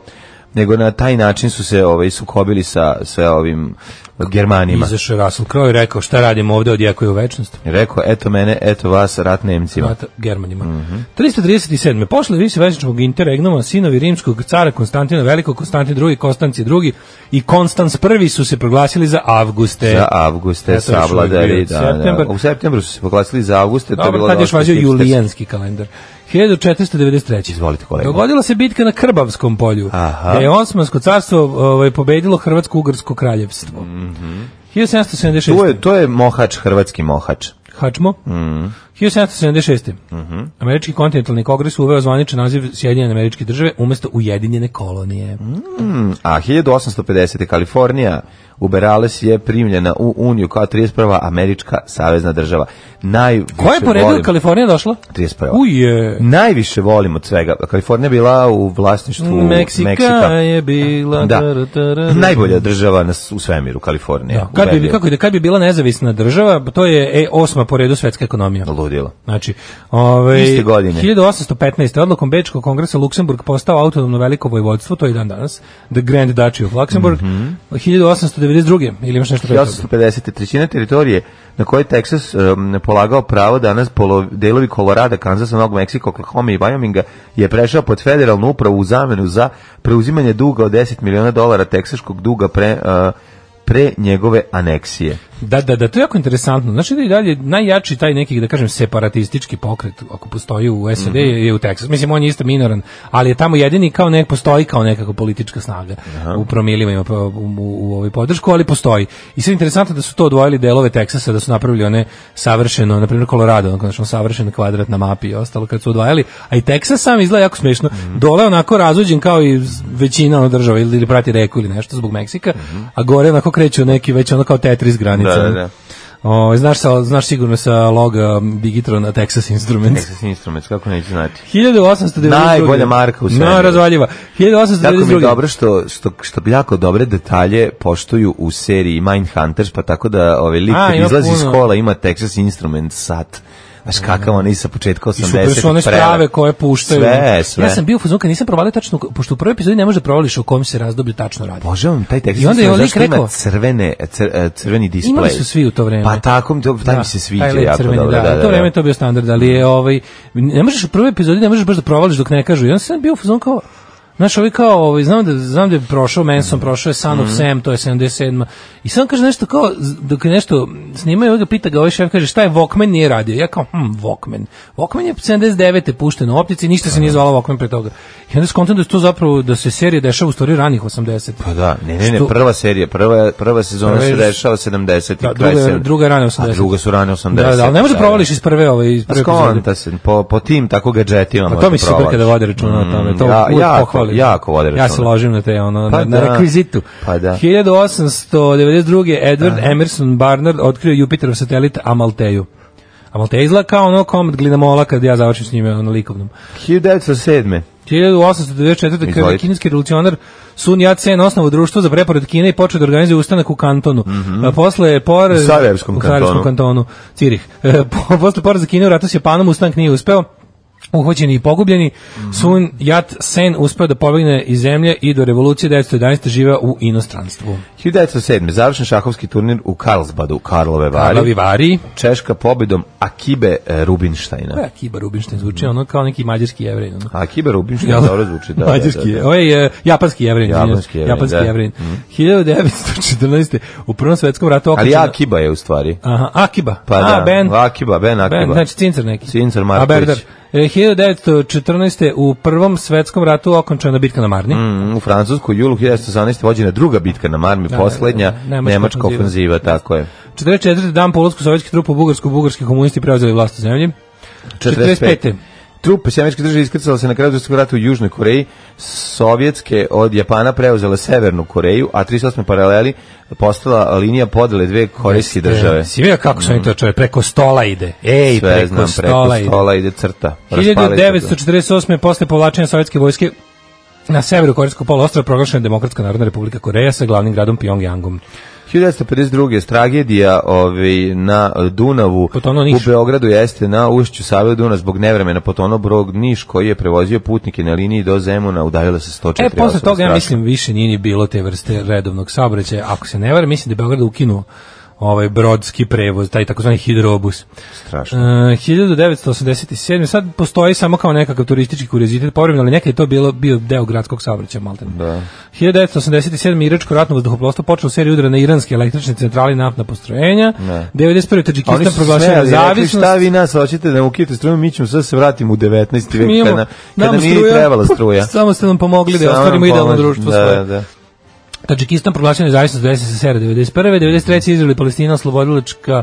nego na taj način su se ovaj sukobili sa sve ovim Germanima. Izašao je Russell Crowe i rekao šta radimo ovde odjekuje u večnost. I Rekao, eto mene, eto vas, rat Nemcima. Mata Germanima. Mhm. 337. Posle viševečničkog interregnuma sinovi rimskog cara Konstantina Velikog, Konstantin II, Konstanci II i Konstans I su se proglasili za Avguste. Za Eto, avguste, još uvek bio savladari. Da, da. septembar. U septembru su se poglasili za avguste. to je Dobro, bilo tad još dosta važio hipsterski. julijanski kalendar. 1493. Izvolite, kolega. Dogodila se bitka na Krbavskom polju, Aha. gde je Osmansko carstvo ovaj, pobedilo Hrvatsko-Ugrsko kraljevstvo. Mm -hmm. 1776. Mhm. To je, to je mohač, hrvatski mohač. Hačmo. Mhm. 1776. Američki kontinentalni kongres uveo zvaničan naziv Sjedinjene američke države umesto Ujedinjene kolonije. Mhm. A 1850. Kalifornija u Berales je primljena u Uniju kao 31. američka savezna država. Najviše Koja je po redu volim- Kalifornija došla? e, 31. Uje. Najviše volim od svega. Kalifornija je bila u vlasništvu Meksika, Meksika. je bila... Da. tara, tara, Najbolja država na, s- u svemiru, Kalifornija. Da. Kad bi, Ubedljivo. kako, ide, kad bi bila nezavisna država, to je e, osma po redu svetska ekonomija. Ludilo. Znači, ovaj, Iste godine. 1815. odlukom Bečkog kongresa Luksemburg postao autonomno veliko vojvodstvo, to je i dan danas, The Grand Duchy of Luxemburg, Mhm. 1892. ili imaš nešto pre toga? 1850. trećina teritorije na kojoj je Teksas um, polagao pravo danas polo, delovi Kolorada, Kanzasa, Novog Meksika, Oklahoma i Wyominga je prešao pod federalnu upravu u zamenu za preuzimanje duga od 10 miliona dolara teksaškog duga pre, uh, pre njegove aneksije. Da, da, da, to je jako interesantno. Znači da i dalje najjači taj neki, da kažem, separatistički pokret, ako postoji u SAD, je u Teksasu. Mislim, on je isto minoran, ali je tamo jedini kao nek, postoji kao nekako politička snaga. U promilima ima pa, u, u, u ovoj podršku, ali postoji. I sve je interesantno da su to odvojili delove Teksasa, da su napravili one savršeno, na primjer Colorado, ono konačno savršen kvadrat na mapi i ostalo kad su odvajali, a i Teksas sam izgleda jako smešno. Dole onako razuđen kao i z- većina ono država ili, ili prati reku ili nešto zbog Meksika, a gore onako kreću neki već ono kao Tetris granice Da, granica. da, da. Ovaj, O, znaš, sa, znaš sigurno sa loga Digitrona Texas Instruments. um, uh, Texas Instruments, kako neću znati. 1892. Najbolja marka u svemiru. No, razvaljiva. Tako mi je 1892. dobro što, što, što jako dobre detalje poštuju u seriji Mindhunters, pa tako da ovaj lik A, kad ima izlazi iz puno. Mm. kola ima Texas Instrument sat. Znaš kakav on i sa početka 80-ih. I super su one prelep. sprave koje puštaju. Sve, sve. Ja sam bio u fazonu kad nisam provalio tačno, pošto u prvoj epizodi ne možeš da provališ o kom se razdoblju tačno radi. Božavam taj Texas I onda je on Instruments, lik zašto rekao, ima crvene, cr, e, crveni display. Imali su svi u to vreme. Pa tako, mi to, taj mi se sviđa jako dobro. Da, da, u da, to vreme je to bio standard, ali je ovaj, ne možeš u prvoj epizodi, ne možeš baš da provališ dok ne kažu. I onda sam bio u fazonu kao, Znaš, ovi kao, ovaj, znam, da, znam da je prošao Manson, prošao je Son Mhm. of Sam, to je 77. I sam kaže nešto kao, z- dok je nešto snimaju, ovaj ga pita ga, ovaj šef kaže, šta je Walkman nije radio? Ja kao, hm, Walkman. Walkman je 79. pušten u optici, ništa se nije zvala Walkman pre toga. I onda skontam da je to zapravo, da se serija dešava u stvari ranih 80. Pa da, ne, ne, ne, Što- prva serija, prva, prva sezona Prva se je- dešava 70. Da, kraj druga je- 70. druga je rane 80. A druga su rane 80. Da, da, ali ne može da provališ iz prve, ovaj, iz Pa prve epizode. skonta se, po, po tim tako gadžetima Pa možda to mi se super provlači. kada vode računa o tome, to Mm, ja, jako, pohvalim. Jako vode računa. Ja se ložim na te, ono, Pa na, na da. rekvizitu. Pa da. 1892. Edward Emerson Barnard otkrio Jupiterov satelit Amalteju. Amalteja izgleda kao ono komad glinamola kad ja završim s njime, ono likovnom. 1907. 1894. kada je Izvolite. kineski revolucionar Sun Yat-sen osnovu društvo za preporod Kine i počeo da organizuje ustanak u kantonu. A Posle je por... Mhm. U Sarajevskom u Sarajevskom kantonu. kantonu. Cirih. E, po- Posle poraza Kine u ratu s Japanom ustanak nije uspeo uhvaćeni i pogubljeni, Mhm. Sun Yat-sen uspeo da pobegne iz zemlje i do revolucije 1911. živa u inostranstvu. 1907. Završen šahovski turnir u Karlsbadu, u Karlove Karlovi Vari. Vari. Češka pobedom Akibe e, To je Rubinštajna. Akiba Rubinštajn zvuči, ono kao neki mađarski jevrej. Ono. Akibe Rubinštajna dobro zvuči. Da, Mađarski, da, da, je, da. ovaj je japanski jevrin, japanski Japanski jevrin, jevrin, japanski da. Mhm. jevrin. 1914. u Prvom svetskom ratu Ali okućena. Akiba je u stvari. Aha, Akiba. Pa A, da, Ben. Akiba, Ben Akiba. Ben, znači Cincer neki. Cincer Marković. A, Berdar. E, 1914. u Prvom svetskom ratu okončana bitka na Marni. Mm, u Francusku, u julu 1918. vođena je druga bitka na Marmi, poslednja da, da. Nemačka nemačka, ofenziva. ofenziva, tako je. 44. dan po ulazku sovjetskih trupa u Bugarsku, bugarski komunisti preuzeli vlast u zemlji. 45. Trupe sjemeničke države iskrcala se na kraju drugog rata u Južnoj Koreji, sovjetske od Japana preuzela Severnu Koreju, a 38. paraleli postala linija podele dve korejske države. E, Mhm. Si vidio kako su oni to čove, preko stola ide. Ej, Sve preko, znam, stola preko ide. stola ide crta. Raspali se to. 1948. posle povlačenja sovjetske vojske Na severu Korejskog poluostrva proglašena je Demokratska narodna republika Koreja sa glavnim gradom Pyongyangom. 1952. tragedija ovaj, na eh, Dunavu Potonuo u ono Niš. Beogradu jeste na ušću Save Duna zbog nevremena potonuo brod Niš koji je prevozio putnike na liniji do Zemuna udaljila se 104 E, posle osobe, toga, ja strašno. mislim, više nije ni bilo te vrste redovnog saobraćaja. Ako se ne varam, mislim da je Beograd ukinuo ovaj brodski prevoz, taj takozvani hidrobus. Strašno. E, 1987. Sad postoji samo kao nekakav turistički kuriozitet povremeno, ali nekad je to bilo, bio deo gradskog saobraćaja Maltene. Da. 1987. Iračko ratno vazduhoplovstvo počelo seriju udara na iranske električne centrale i naftna postrojenja. Da. 91. Oni Tadžikistan su sve, proglasio ali rekli nezavisnost. šta vi nas hoćete da ukijete struju, mi ćemo sad se vratimo u 19. Mi vek imamo- kada, kada nama nije ni struja, trebala struja. Samo ste nam pomogli da Samo nam ostvarimo idealno pomaže. društvo da, svoje. Da. Tadžikistan proglasio nezavisnost od SSSR 91. 93. Izrael i Palestina oslobodilačka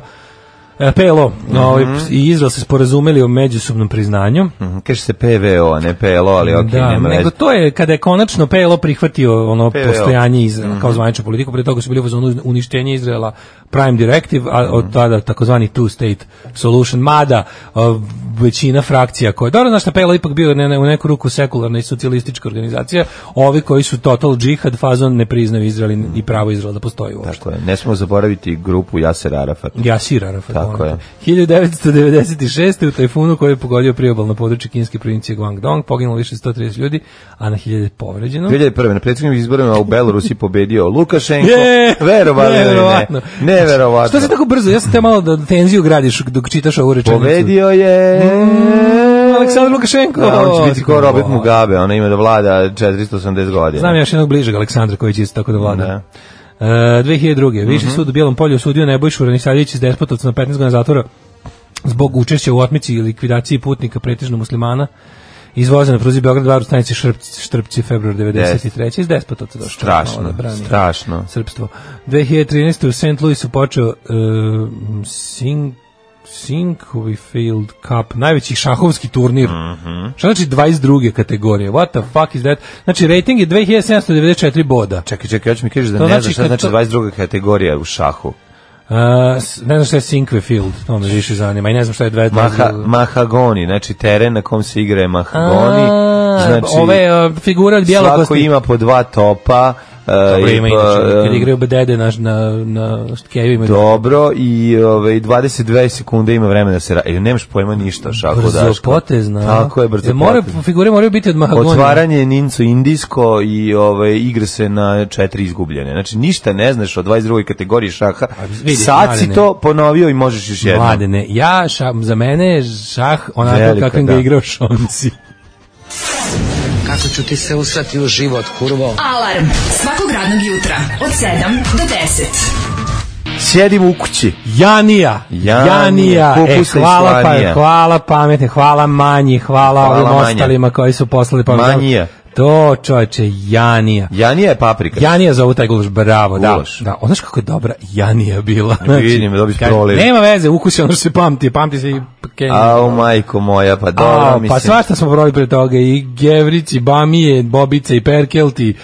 e, PLO ovaj, i Izrael se sporazumeli o međusobnom priznanju. Mhm, Kaže se PVO, a ne PLO, ali ok, da, nema veze. nego to je kada je konačno PLO prihvatio ono PLO. postojanje Mhm. Izraela kao zvaničnu politiku, pre toga su bili uz ono uništenje Izraela Prime Directive, a od Mhm. tada takozvani two state solution, mada a, većina frakcija koja, dobro znaš šta PLO ipak bio ne, ne, u neku ruku sekularna i socijalistička organizacija, ovi koji su total džihad fazon ne priznaju Izrael i- i pravo Izraela da postoji uopšte. Tako je. Ne smemo zaboraviti grupu Jaser Arafat. Jasir Arafat. Tako ono. 1996. u tajfunu koji je pogodio priobalno područje kinske provincije Guangdong, poginulo više od 130 ljudi, a na hiljade je povređeno. 2001. na predsjednjim izborima u Belorusiji pobedio Lukašenko. Je, verovatno. neverovatno. Ne, neverovatno. Što si tako brzo? Ja sam te malo da tenziju gradiš dok čitaš ovu rečenicu. Pobedio je... Mm, Aleksandar Lukašenko. Da, on će biti kao Robert Mugabe, ona ima da vlada 480 godina. Znam još jednog bližeg Aleksandra koji će isto tako da vlada. Da. Mhm. E, 2002. Viši sud u Bijelom polju osudio Nebojšu Ranisavljević iz Despotovca na 15 godina zatvora zbog učešća u otmici i likvidaciji putnika pretežno muslimana izvoza na pruzi Beograd Varu stanici Šrpci, Štrpci februar 93. iz Despotovca došao. Malo Strašno, da brani. strašno. srpstvo. 2013. u St. Louisu počeo uh, Sing Sinkovi Field Cup, najveći šahovski turnir. Mhm. Šta znači 22. kategorije? What the fuck is that? Znači, rating je 2794 boda. E, Čekaj, čekaj, ja ću mi kažeš da To ne znači znaš šta kad znači to- 22. kategorija u šahu. Uh, s- ne znam šta je Sinkve Field, to me više zanima. I ne znam šta je 22. Maha, mahagoni, znači teren na kom se igra je mahagoni. A, Znači, ove uh, figure od svako bjelokosti. ima po dva topa. e, Dobro i ima po, inače, kad e, igraju bedede na, na, na Keju imaju Dobro, i ovaj 22 sekunde ima vremena da se radi. Nemaš pojma ništa o šahu brzo Daško. potezna. Tako je, brzo E, mora, potezna. figure moraju biti od Mahagonija. Otvaranje Nincu Indijsko i ovaj igra se na četiri izgubljene. Znači ništa ne znaš o 22. kategoriji šaha. vidi, Sad si Mladene. to ponovio i možeš još jednom. Mladene, ja ša, za mene je šah onako Velika, kakvim ga da. je igrao Šonci. Kako ću ti se usrati u život, kurvo? Alarm svakog radnog jutra od 7 do 10. Sjedim u kući. Janija, Janija, Janija, e, kupusa i hvala, slanija. pa, hvala pametne, hvala manji, hvala, Hvala ovim manja. ostalima koji su poslali pametne. Manjija. To čovječe, Janija. Janija je paprika. Janija za taj gulaš, bravo, Gulaš. da. Da, ono kako je dobra Janija bila. vidim, dobiš kaže, prolev. Nema veze, ukusi ono što se pamti, pamti se i kenja. Au, majko moja, pa dobro, A, mislim. pa svašta smo probali pre toga i Gevrić i Bamije, Bobice i Perkelti.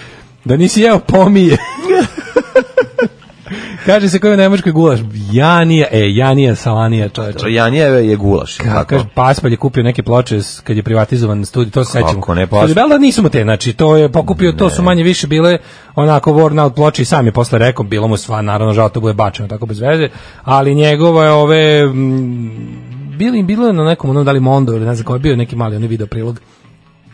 Da nisi jeo pomije. Kaže se koji je nemačkoj gulaš. Janija, e, Janija Salanija čoveče. Janija je, je gulaš. Ka- tako? Kaže, Paspalj je kupio neke ploče s- kad je privatizovan studij, to se Kako sećamo. ne, Paspalj? Studij Belda nisu mu te, znači, to je pokupio, to su manje više bile onako worn out ploče i sam je posle rekao, bilo mu sva, naravno, žao to bude bačeno, tako bez veze, ali njegove ove, mm, bili, bilo je na nekom, ono, da li Mondo ili ne znam ko je bio neki mali, onaj video prilog,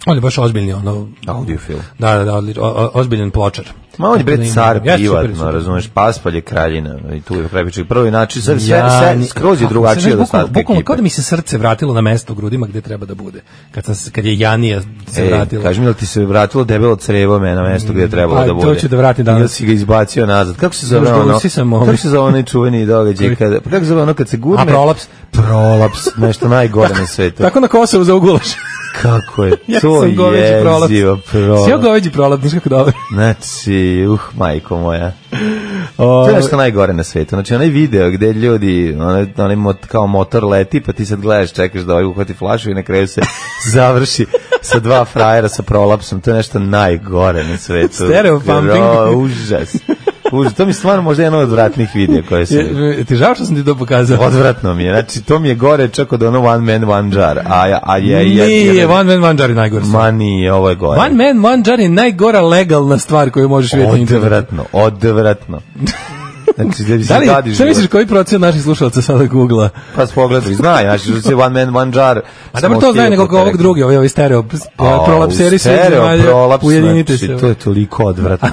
on je baš ozbiljni, ono, Audiofil. da, da, da, odli- o- o- ozbiljan pločar. Ma on je Tako da bre ima- car Ja, super, privatno, super. ono, razumeš, paspalj je kraljina i tu je prepičak. Prvi način, sve, sve, Ja, sve, ni- skroz je kako, znaš, drugačije od bukvalno- ostatka Bukvalno kao da ekipe. mi se srce vratilo na mesto u grudima gde treba da bude. Kad, sam, se- kad je Janija se Ej, vratila. kaži mi da ti se vratilo debelo crevo me na mesto gdje je trebalo Pa, da to bude. ću da vratim danas. Ili si ga izbacio nazad. Kako se zove Još da ono? usisam ovaj. Kako se zove onaj čuveni događaj? Kada, pa kako se zove ono kad se gurne? A prolaps? Prolaps, nešto najgore na svetu. Tako na Kosovu za ugulaš. Kako je ja to sam goveđi prolap. jezivo Si joj prolaps. goveđi prolap, znaš kako dobro. Znači, uh, majko moja. To je nešto najgore na svetu. Znači, onaj video gde ljudi, onaj, onaj mot, kao motor leti, pa ti sad gledaš, čekaš da ovaj uhvati flašu i na kraju se završi sa dva frajera sa prolapsom. To je nešto najgore na svetu. Stereo pumping. Gro, užas. Užas, to mi je stvarno možda jedan od odvratnih videa koje sam... Je- Ti žao što sam ti to pokazao? Odvratno mi je, znači to mi je gore čak od ono one man, one jar. A, ja- a je, je, Nije, je- One Man One Jar je najgore. stvar. Ma nije, ovo je gore. One Man One Jar je najgora legalna stvar koju možeš vidjeti na internetu. Odvratno, odvratno. Znači, da bi se Da li, gadiš šta misliš život. koji procent naših slušalaca sada googla? Pa spogledaj, znaju, znači, da se one man, one jar. A dobro to znaju nego ovog drugi, ovaj, ovaj stereo, A, prolapseri Pa, sve u stereo zemalja, prolaps, ujedinite znači, se. To je toliko odvratno.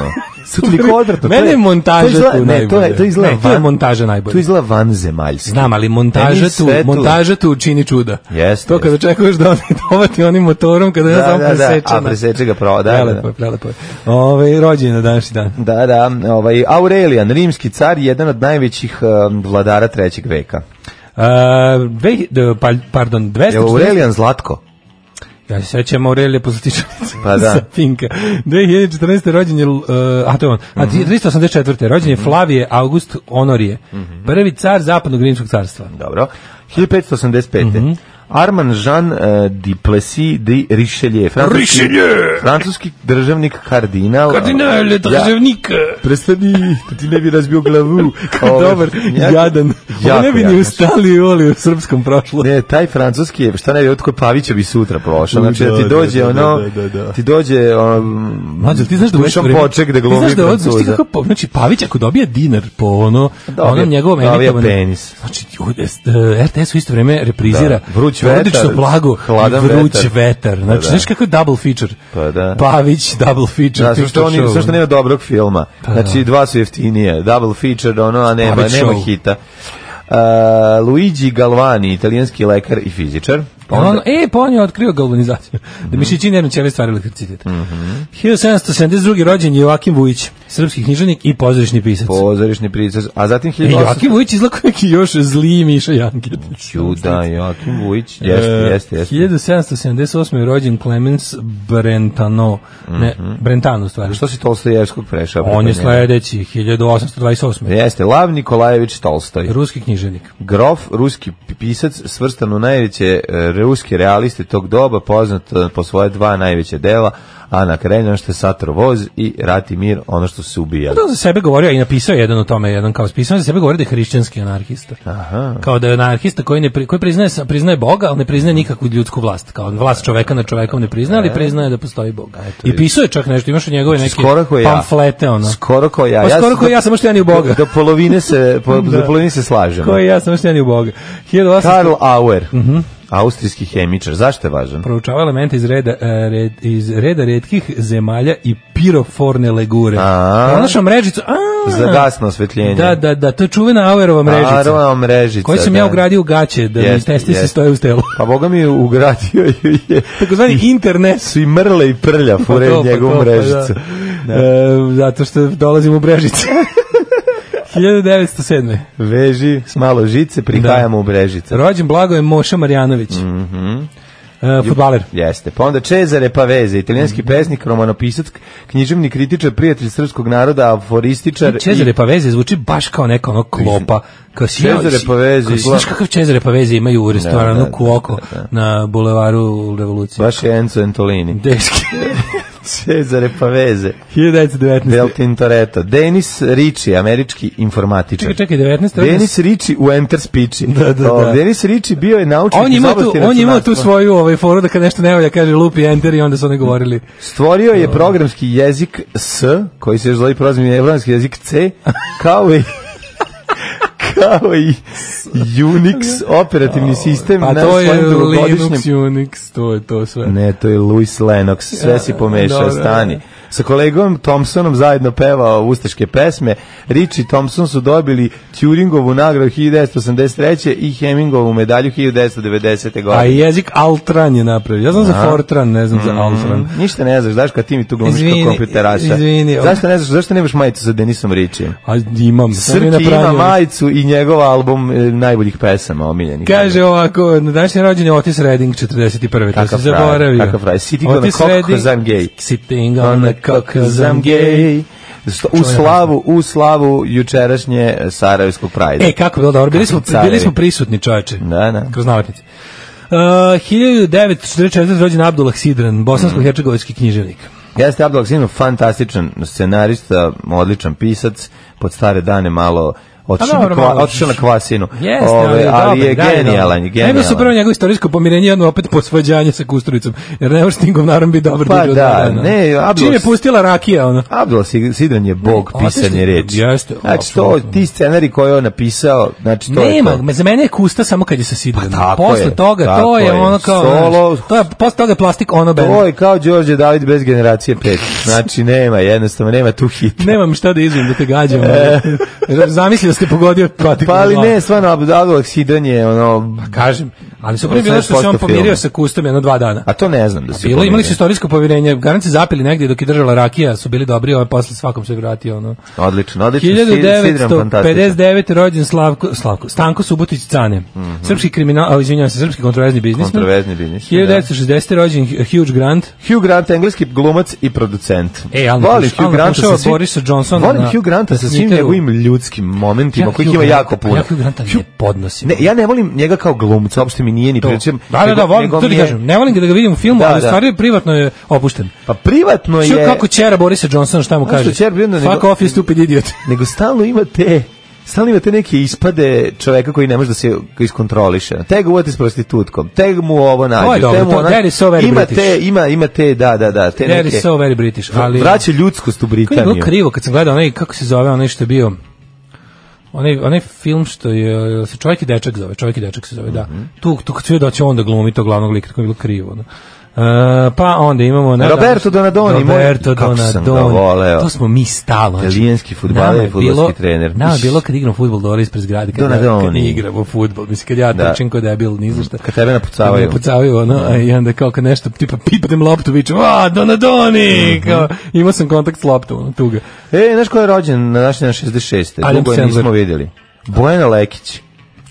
toliko odvratno. to Mene je montaža to izgleda- tu ne, to je, to najbolje. izgleda Ne, to je van- montaža najbolje. To izgleda vanzemaljski. Znam, ali montaža Meni tu, sve tu- montaža tu čini čuda. Jeste, To kada jeste. čekuješ da oni dovati onim motorom, kada je Da, samo da, da, presečena. a preseče ga pravo, da, da, da. Prelepo je, prelepo je. Ove, rođen na današnji dan. Da, da, ovaj, Aurelijan, rimski car, jedan od najvećih um, vladara trećeg veka. Uh, dve, d- pa, pardon, Je 240... Aurelijan Zlatko? Ja se sećam Aurelije Pozlatičanice Pa da. sa Pinka. 2014. rođen je, uh, a to je on, a Mhm. 384. rođen je Flavije August Honorije, Mhm. prvi car zapadnog rimskog carstva. Dobro. 1585. Arman Jean uh, Duplessis de Richelieu. Francuski, Richelieu! Francuski državnik kardinal. Kardinale, državnik! Prestani, da ti ne bi razbio glavu. Ovaj, Dobar, jako- jadan. Ovo ne jako bi ni jadan. ustali i oli u srpskom prošlu. Ne, taj francuski je, šta ne bi, otko Pavića bi sutra prošao. Znači, da ti Da, dođe da, da, ono, da, da, da. ti dođe ono... Mlađo, ti znaš da u Dušan neko vreme- Poček da ti glumi znaš da ovo- znaš ti Francuza. kako, po- znači, Pavić ako dobija dinar po ono, Dobije- onom njegovom dobije emitovanom- penis. Znači, u- es- e, RTS u isto vreme reprizira Da. Vruć porodično vetar, blago hladan i vruć vetar. Pa vetar. Znači, da. znaš kako je double feature? Pa da. Pavić, double feature. Da, sve što, TikTok oni, show. sve što nema dobrog filma. Pa Znači, dva su jeftinije. Double feature, ono, a nema, Pavić nema show. hita. Uh, Luigi Galvani, italijanski lekar i fizičar. Pa Onda... onda, Ono, e, pa on je otkrio galvanizaciju. Mhm. Da mišići nervne ćelije stvaraju elektricitet. 1772. rođen je Joakim Vujić, srpski književnik i pozorišni pisac. pozorišni pricaz. A zatim E, 1800... Joakim Vujić izlako neki još zli Miša Jankit. Čuda, Joakim Vujić. Jeste, E, jeste, jeste. 1778. je rođen Clemens Brentano. Ne, Brentano u stvari. Mhm. Što si Tolstojevskog prešao? On je preko njega? E. sledeći, 1828. Jeste, Lav Nikolajević Tolstoj. Ruski književnik. Grof, ruski pisac, svrstan u najveće e, ruske realiste tog doba, poznat e, po svoje dva najveća dela, Ana Karenina, što je Satro Voz i Rat i mir, ono što se ubija. Da on za sebe govorio i napisao je jedan o tome, jedan kao pisao za sebe govori da je hrišćanski anarhista. Aha. Kao da je anarhista koji ne pri- koji priznaje sa- priznaje Boga, ali ne priznaje nikakvu ljudsku vlast. Kao vlast čoveka nad čovekom ne priznaje, E. ali priznaje da postoji Bog. I pisao je čak nešto, imaš od njegove neke skoro ko ja. pamflete ono. Skoro ko ja. Pa skoro sam- ko ja, samo što ja ni u Boga. Do, do polovine se, po, do polovine se slažemo. Koji Mhm. ja sam šteni u Boga. 1800 Karl Auer, austrijski hemičar. Zašto je važan? proučava elemente iz reda, e, red, iz reda redkih zemalja i piroforne legure. A. Pronašao mrežicu. A, Za gasno osvetljenje. Da, da, da, to je čuvena Auerova mrežica. Arova mrežica, Koju sam ja da. ugradio u gaće, da mi Jeste, testi se jeste. stoje uz telo. Pa Boga mi je ugradio ju je. Takozvani internet. Su i mrle i prlja fure Pa to, pa njegovu to, pa da. mrežicu. E, zato što dolazim u mrežice. 1907. Veži s malo žice, prihajamo u mrežice. Rođen blago je Moša Marjanović. Mm Mhm. futbaler. Jeste. Pa onda Cezare Paveze, italijanski Mm. pesnik, romanopisac, književni kritičar, prijatelj srpskog naroda, aforističar. Cezare i- Paveze zvuči baš kao neka ono klopa. Kao si, Cezare Pavezi kao si- Znaš izgleda- kakav Cezare Paveze imaju u restoranu da, da, Kuoko da, da. na bulevaru Revolucije? Baš je Enzo Antolini. Deški. Cezare Paveze. 1919. Del Tintoretto. Denis Ricci, američki informatičar. Čekaj, čekaj, 19. rođen Denis Ricci u Enter Speechi. Da, da, O, da. Denis Ricci bio je naučnik On je iz imao tu, oblasti on je imao tu računarstva. svoju ovaj foru da kad nešto ne valja kaže lupi enter i onda su oni govorili. Stvorio je programski jezik S, koji se još zove prozivni evropski jezik C, kao i kao i Unix operativni sistem Pa na to je svojem Linux, dugogodišnjem... Unix, to je to sve. Ne, to je Louis Lennox, sve si pomešao, Dobro. stani. Sa kolegom Thompsonom zajedno pevao ustaške pesme. Rich i Thompson su dobili Turingovu nagradu 1983. i Hemingovu medalju 1990. A godine. jezik Altran je napravio. Ja znam za Fortran, ne znam Mhm. za Altran. Ništa ne znaš, znaš kad ti mi tu glumiš kao Mhm. Izvini, kompjuteraša. izvini. Zašto ne znaš, zašto nemaš majicu sa Denisom Ričijem? A imam, sam je Srki ima napravio. majicu i njegov album e, najboljih pesama omiljenih. Kaže ovako, na današnji rođen je Otis Redding 41. To Kakav se frajer, zaboravio. kakav frajer. Sitting on a cock 'cause I'm gay. Sitting Ono, on a cock 'cause I'm gay. gay. U slavu, u slavu jučerašnje Sarajevskog prajda. E, kako je bilo dobro, bili smo, carevi. bili smo prisutni čoveče. Da, da. Kroz E, nalepnice. Uh, 1944. rođen Abdullah Sidran, bosansko-hercegovački književnik. Jeste Abdul Haksimov fantastičan scenarista, odličan pisac, pod stare dane malo otišao na, Pa dobro, kva, malo- otišao na kvasinu. Jeste, Ove, ali, je ali dobar, je da, je genijalan, je dobar. Najbolje su prvo genijalan. njegovo istorijsko pomirenje, jedno opet posvađanje sa Kusturicom, jer ne može s tim govnarom biti dobar Pa duže od dva da, dana. ne, Abdul- Čim je pustila rakija, ono. Abdul Sig- Sidran je bog Ne, pisanje otišli- reči. Jeste, znači, to, apsolutno. ti scenari koje je on napisao, znači, to Nema, je to. me- za mene je Kusta samo kad je sa Sidrom. Pa tako posle je, toga tako to je, je. ono kao Solo- znaš, to je posle toga je plastik ono band. Ovo je kao Đorđe David bez generacije 5. Znači, nema, jednostavno, nema tu hita. Nemam šta da izvijem da te gađam. Zamislio da ste pogodio patik. E. Pa na ali glavu. ne, stvarno, Abdul Abdul Sidran je ono... kažem, ali su prije bilo što se 18% on filma. pomirio sa Kustom jedno dva dana. A to ne znam da si Bilo, imali pomenuo. su istorijsko povjerenje, garanti zapili negdje dok je držala rakija, su bili dobri, ovaj posle svakom se vratio ono. Odlično, odlično. Sidran fantastičan. 1959. rođen Slavko, Slavko Stanko Subotić Cane. Srpski kriminal, a, izvinjavam se, srpski kontroverzni biznis. Mhm. Kontroverzni biznismen, 1960. rođen Hugh Grant. Hugh Grant, engleski glumac i producent. E, Alan volim Tuš- Hugh Alan Granta sa Tuševa, svim, Borisa Johnsona Volim na- Hugh Granta sa na svim Twitteru. njegovim ljudskim momentima, Ja kojih Hugh ima Granta- jako puno. Ja Hugh Granta ne podnosim. Ne, ja ne volim njega kao glumca, uopšte mi nije ni pričam. Da, da, da, volim, to ti kažem. Ne volim ga da ga vidim u filmu, Da, ali u da. stvari privatno je opušten. Pa privatno Što je... kako čera Borisa Johnsona šta mu Znaš što kaže? ćer Brenda, nego- Fuck off, you stupid idiot. Nego stalno ima te... Stalno ima te neke ispade čoveka koji ne može da se iskontroliše. Te ga uvati s prostitutkom, te mu ovo nađe. dobro, te mu to- ona- that is so very ima British. te, ima, ima te, da, da, da, te That neke... is so very British, ali... Vraća ljudskost u Kako je bilo Britaniju. krivo kad sam gledao onaj, kako se zove, onaj što je bio... Onaj, onaj film što je, jel se čovjek i dečak zove, čovjek i dečak se zove, da. Mhm. Tu, tu kad se vidi da će on da glumi to glavnog lika, tako je bilo krivo. ono. E, pa onda imamo... na- Roberto Donadoni, moj- Roberto kako sam ga Donadoni. voleo. To smo mi stalo. znači. Italijanski fudbaler Nama i je fudbalski bilo- trener. Nama je Iš. bilo kad igram fudbal dole ispred zgrade, kad, ja, kad Donadoni. mi igramo fudbal, mislim kad ja Da. trčim ko debil, ni za šta. Kad tebe napucavaju. Kad me napucavaju, ono, a i onda kao kad nešto, tipa pipnem loptu, vičem, a, Donadoni! Mhm. Kao, imao sam kontakt s loptom, ono, tuga. E, znaš ko je rođen na naš dan 66. Adam Dugo je nismo Sandler. vidjeli. Bojana Lekić.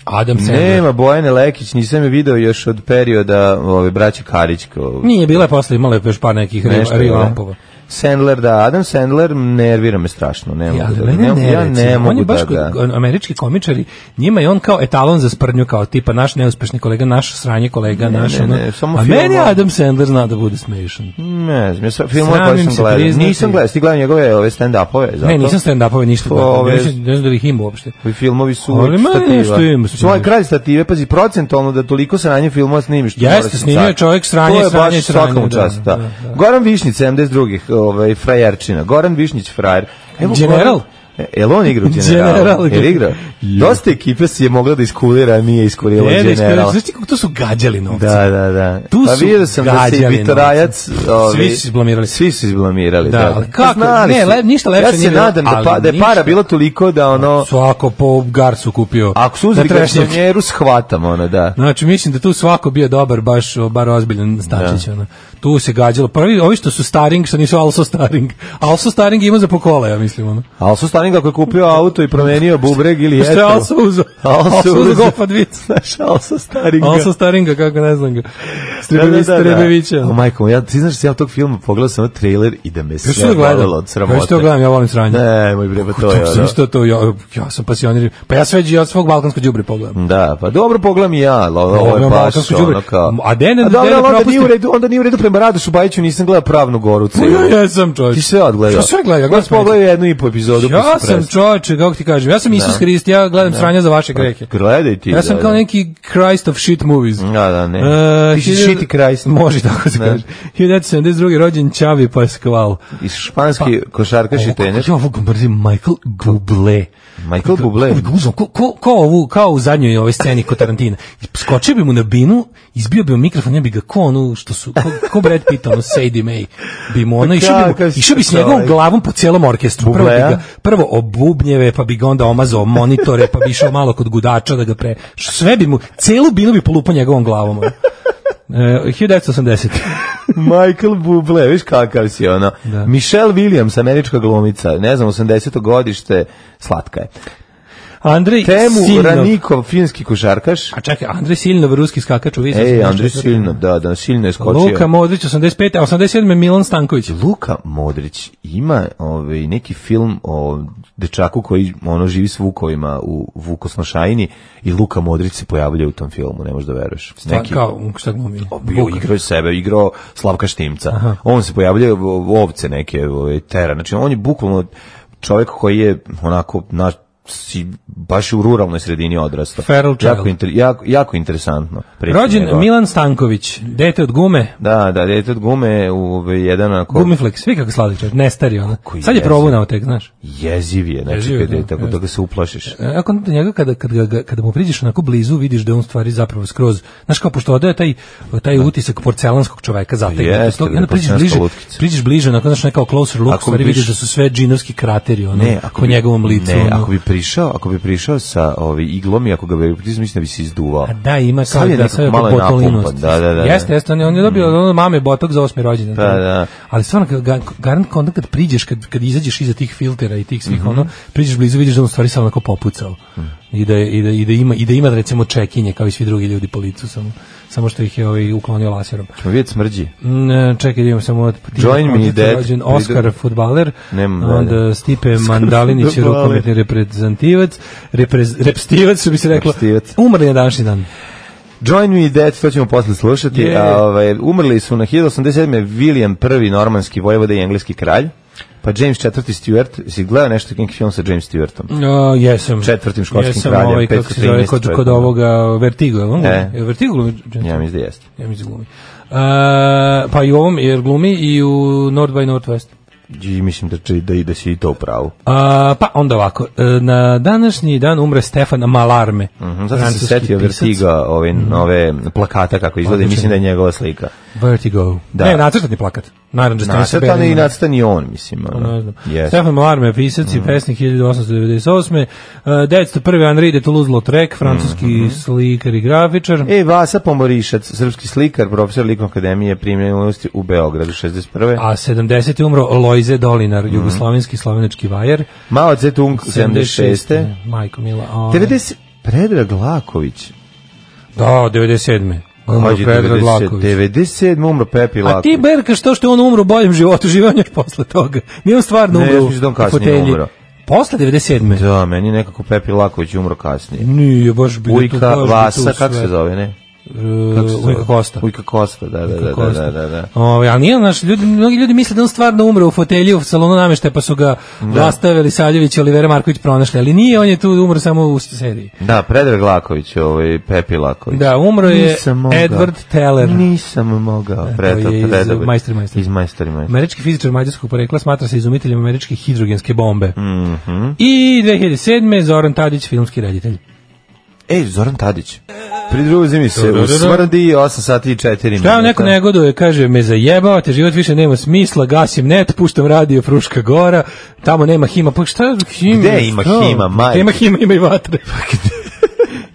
Adam Sandler. Nema Bojane Lekić, nisam je video još od perioda ove, braće Karić. Ko, Nije bila je posle, imala je još par nekih re- nešto, da. revampova. Sandler, da, Adam Sandler nervira me strašno. Ne mogu Ja, da, mene ne, ne, mogu- ja recimo. ne on je mogu baš da kod ga... američki komičari, njima je on kao etalon za sprnju, kao tipa naš neuspešni kolega, naš sranje kolega, naš ne, ono. ne, samo a film, meni ono. Adam Sandler zna da bude smešan. Ne znam, ja sam film Sramim koji sam se gledao. priznati. Nisam gledao, ti gledao njegove ove stand-upove. zato? Ne, nisam stand-upove ništa. To, gledao, ove- Ne znam ne znam da li ih ima uopšte. Ovi filmovi su Ali od meni nešto ima, stativa. Moj kralj stative, pazi, procentualno da toliko sranje filmova snimiš. Jeste, moraš snimio je sad. čovjek sranje, To je sranje, baš sranje, svakom da, čast, da. da, da. Goran Višnić, 72. Ovaj, frajerčina. Goran Višnić, frajer. Evo, General? Goran- E, Jel on igra u generalu? General. Jel igra? Dosta ekipe si je mogla da iskulira, a nije iskulila Ne, ne, general. znaš ti kako to su gađali novce? Da, da, da. Tu pa su vidio sam da se i gađali Bitorajac... novcem. ovi- Svi su izblamirali. Svi su izblamirali, da. Pa Da, ali kako? Znali Ne, su. le- ništa lepše Ja se nije bilo, nadam da, ali pa, da je para ništa. Pa, bilo toliko da ono... Svako po garcu kupio. Ako su na uzeli trešnjak. garsonjeru, shvatam ono, da. Znači, mislim da tu svako bio dobar, baš bar ozbiljan stančić. Ono. Tu se gađalo. Prvi, ovi što su staring, što nisu also staring. Also staring ima za pokola, ja mislim. Ono. Ali su stanim kako je kupio auto i promenio bubreg ili Što je jetru. also uzo? Also Also uzo uzo. gofa dvica. Znaš, Also staringa. Also staringa, kako ne znam ga. Strebević, Strebevića. ono. O, majko, ja, ti znaš da sam ja od tog filma pogledao sam trailer i da me Još sve što bolelo gledam? od Još sramote. što gledam, ja volim sranje. Ne, moj bre, pa to je Kako sam ono. isto to, ja, ja sam pasionir. Pa ja sve đe- od svog balkanskog đubre pogledam. Da, pa dobro pogledam i ja, ali ovo, ovo je Dobro, baš balkansko ono đubre. kao... A Dene- A dobro, Dene ali onda nije u propusti- redu, onda nije u redu prema Radošu Bajiću, nisam gledao Pravnu Goru. Pa celu. Ja, ja sam čovječ. Ti sve odgledao. Ja sve gledam, ja gledam Ja sam pogledao jednu i po epizodu. pa Ja sam sam prestao. čovječe, kako ti kažem. Ja sam Isus Hrist, ja gledam sranja za Pa, vaše greke. Gledaj ti. Ja sam da, kao da. neki Christ of shit movies. Da, da, ne. E, Ti si hiljadu- shitty Christ. Može tako se Ne. kaže. 1972. rođen Čavi Pascual. Iz španski Pa- košarkaš i trener. Ja ovog mrzim Michael Bublé. Michael Bublé. Uzmem, ko, ko, ko ovu, kao u zadnjoj ovoj sceni kod Tarantina. Skočio bi mu na binu, izbio bi mu mikrofon, ja bi ga ko onu, što su, ko, ko Brad Pitt, ono, Sadie May, bi mu ono, išao bi, mu, Pa kakav si išao bi s njegovom čovek. glavom po cijelom orkestru. Prvo bi Bublea? ga, prvo o bubnjeve, pa bi ga onda omazao monitore, pa bi išao malo kod gudača da ga pre... Sve bi mu, celu binu bi polupao njegovom glavom. ono. E, 1980. Michael Bublé, viš kakav si ono. Da. Michelle Williams, američka glumica, ne znam, 80. godište, slatka je. Andrej Temu Siljnov. Ranikov, finski košarkaš. A čekaj, Andrej Siljnov, ruski skakač u Vizu. Ej, Andrej Siljnov, da, da, Siljno je skočio. Luka Modrić, 85, a 87 je Milan Stanković. Luka Modrić ima ovaj neki film o dečaku koji ono živi s vukovima u Vukosnošajini i Luka Modrić se pojavlja u tom filmu, ne možeš da veruješ. Neki. Kao, šta glumi? O, bio Vuk. igrao je sebe, igrao Slavka Štimca. On se pojavlja u- u ovce neke, ovaj, tera. Znači, on je bukvalno čovjek koji je onako na, si, baš u ruralnoj sredini odrastao. Feral child. jako, inter, jako, jako interesantno. priča Rođen njegova. Milan Stanković, dete od gume, Da, da, dete od gume, u, ovaj, jedan onako... Gumiflex, svi kako sladak čovjek, ne stari ona. Koji Sad je jeziv. probunao tek, znaš. Jeziv je, znači, Jeziv jeziv, je, kada je da, tako da ga se uplašiš. E, Ako do njega kada kad ga- ga- kada mu priđeš onako blizu vidiš da je on stvari zapravo skroz znaš kao pošto odaje taj taj utisak porcelanskog čoveka zategnut Pa Jeste, to bre, onda priđeš porcelanska bliže lutkica. priđeš bliže onako znaš kao closer look Ako stvari biš- vidiš da su sve džinovski krateri ono po njegovom licu Ne, ono. ako bi prišao, ako bi prišao sa ovaj iglom i ako ga bi pritisnuo, mislim da bi se izduvao. A da, ima Sad kao je da nekako sve malo malo je botulinost. napumpan, da, da, da, da. Jeste, jeste, on je, on je dobio od ono mame botok za osmi rođendan. Da, da. Ali stvarno, kad ga- garant kao onda kad priđeš, kad, kad izađeš iza tih filtera i tih svih, Mhm. ono, priđeš blizu, vidiš da on u stvari samo onako popucao. Mm. I, da, je- i, da, i, da ima, I da ima, recimo, čekinje, kao i svi drugi ljudi po licu, samo, samo što ih je ovaj, uklonio laserom. Ćemo vidjeti smrđi. Mm, čekaj, idemo samo od Join me dead. Rođen Oskar Vidim. futbaler, Nemam dalje. onda Stipe Mandalinić, fudbaler. rukometni reprezentativac, reprez, repstivac, što bi se reklo. Repstivac. Umrli je današnji dan. Join Me Dead, to ćemo posle slušati. Je. A, ovaj, umrli su na 1087. William I, normanski vojvoda i engleski kralj. Pa James IV. Stuart, si gledao nešto neki film sa James Stuartom? O, jesam. Četvrtim škotskim jesam, kraljem, Ovaj, kako se zove, 513 kod, kod čovjeka. ovoga Vertigo, je li on? E. E. Vertigo glumi? Ja mislim da jeste. Ja mi glumi. Uh, pa i u ovom, jer glumi i u North by Northwest. E, I mislim da, će- da, i- da si i to u pravu. A, pa onda ovako, e, na današnji dan umre Stefan Malarme. Mhm, Zato sam se setio Vertigo. Vertiga, ove Mhm. nove plakata kako izgleda, i mislim da je njegova slika. Vertigo. Da. Ne, nacrtani plakat. Naranđast. Nacrtan je i nacrtan i on, mislim. Pa ono. Ne znam. Yes. Stefan Malarme, pisac i Mhm. pesnik 1898. Uh, 901. Henri de Toulouse-Lautrec, francuski Mhm, slikar i grafičar. E, Vasa Pomorišac, srpski slikar, profesor Likovne akademije, primljen u umirovljenosti u Beogradu 61. A 70. je umro Lojze Dolinar, Mhm. jugoslovenski slovenački vajer. Mao Cetung 76. Ne, Majko Mila. a- 90 Predrag Laković. Da, 97. Umro Mlađe, Predrag 90, Laković. 97 umro Pepi Laković. A ti berkaš to što je on umro u boljem životu, živao je još posle toga. Nije on stvarno Ne, umro ja u sam mislio da on kasnije fotelji. umro. Posle 97. Da, meni je nekako Pepi Laković umro kasnije. Nije, baš bilo tu, Ujka baš bi tu Vasa, kako sve. se zove, ne? E, Kako se zove? Ujka Kosta. Ujka Kosta, da, da, da, Kako da, ste. da, da, da. Ovaj, ali nije, znaš, ljudi, mnogi ljudi misle da on stvarno umre u fotelji u salonu namještaja, pa su ga Vlasta Velisaljević i Olivera Marković pronašli, ali nije, on je tu umro samo u seriji. Da, Predrag Laković, ovaj Pepi Laković. Da, umro je Nisam mogao. Edward Teller. E, Nisam mogao. Preto, je iz, predobar. Majstori, majstori. Iz majstori, majstori. Američki fizičar mađarskog porekla smatra se izumiteljem američke hidrogenske bombe. Mhm. I 2007. Zoran Tadić, filmski reditelj. Ej, Zoran Tadić. Pridruzi mi se u smrdi 8 sati i 4 minuta. Šta vam neko negoduje, kaže, me zajebao, te život više nema smisla, gasim net, puštam radio Fruška Gora, tamo nema hima, pa šta hima? Gde ima Šta? hima, Pa majko? Gde ima hima, ima i vatre.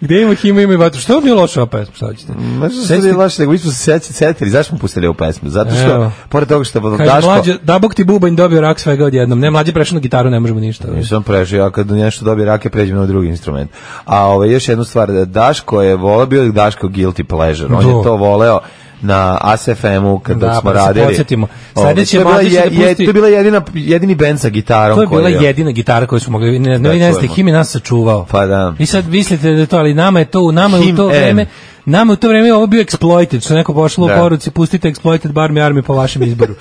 Gde ima hima, ima i vatre. Što vam je loša ova pesma, šta hoćete? Ma što se laže, nego mi smo se sjeti- setili, zašto smo pustili ovu pesmu? Zato što, Evo. pored toga što Kaže, Daško... mlađe, da bog ti bubanj dobio rak svega odjednom. Ne, mlađe prešao na gitaru, ne možemo ništa. Nisam prešao, ja kad nešto dobije rake, pređem na drugi instrument. A ovaj, još jednu stvar, Daško je voleo, bio je Daško guilty pleasure, on Do. je to voleo na ASFM-u kada Da, smo pa da se radili. podsjetimo. Ovaj, Sledeće to je bila mlađe će je- da je- pusti- To je bila jedina, jedini band sa gitarom. To je bila koji jedina gitara koju smo mogli, ne, Da, ne, vi ne znate, čujemo. Him je nas sačuvao. Pa da. Vi sad mislite da je to, ali nama je to, u- nama je u Him to M. vreme, nama je u to vreme ovo bio Exploited, što je neko pošlo Da. u poruci, pustite Exploited, bar mi armi po vašem izboru.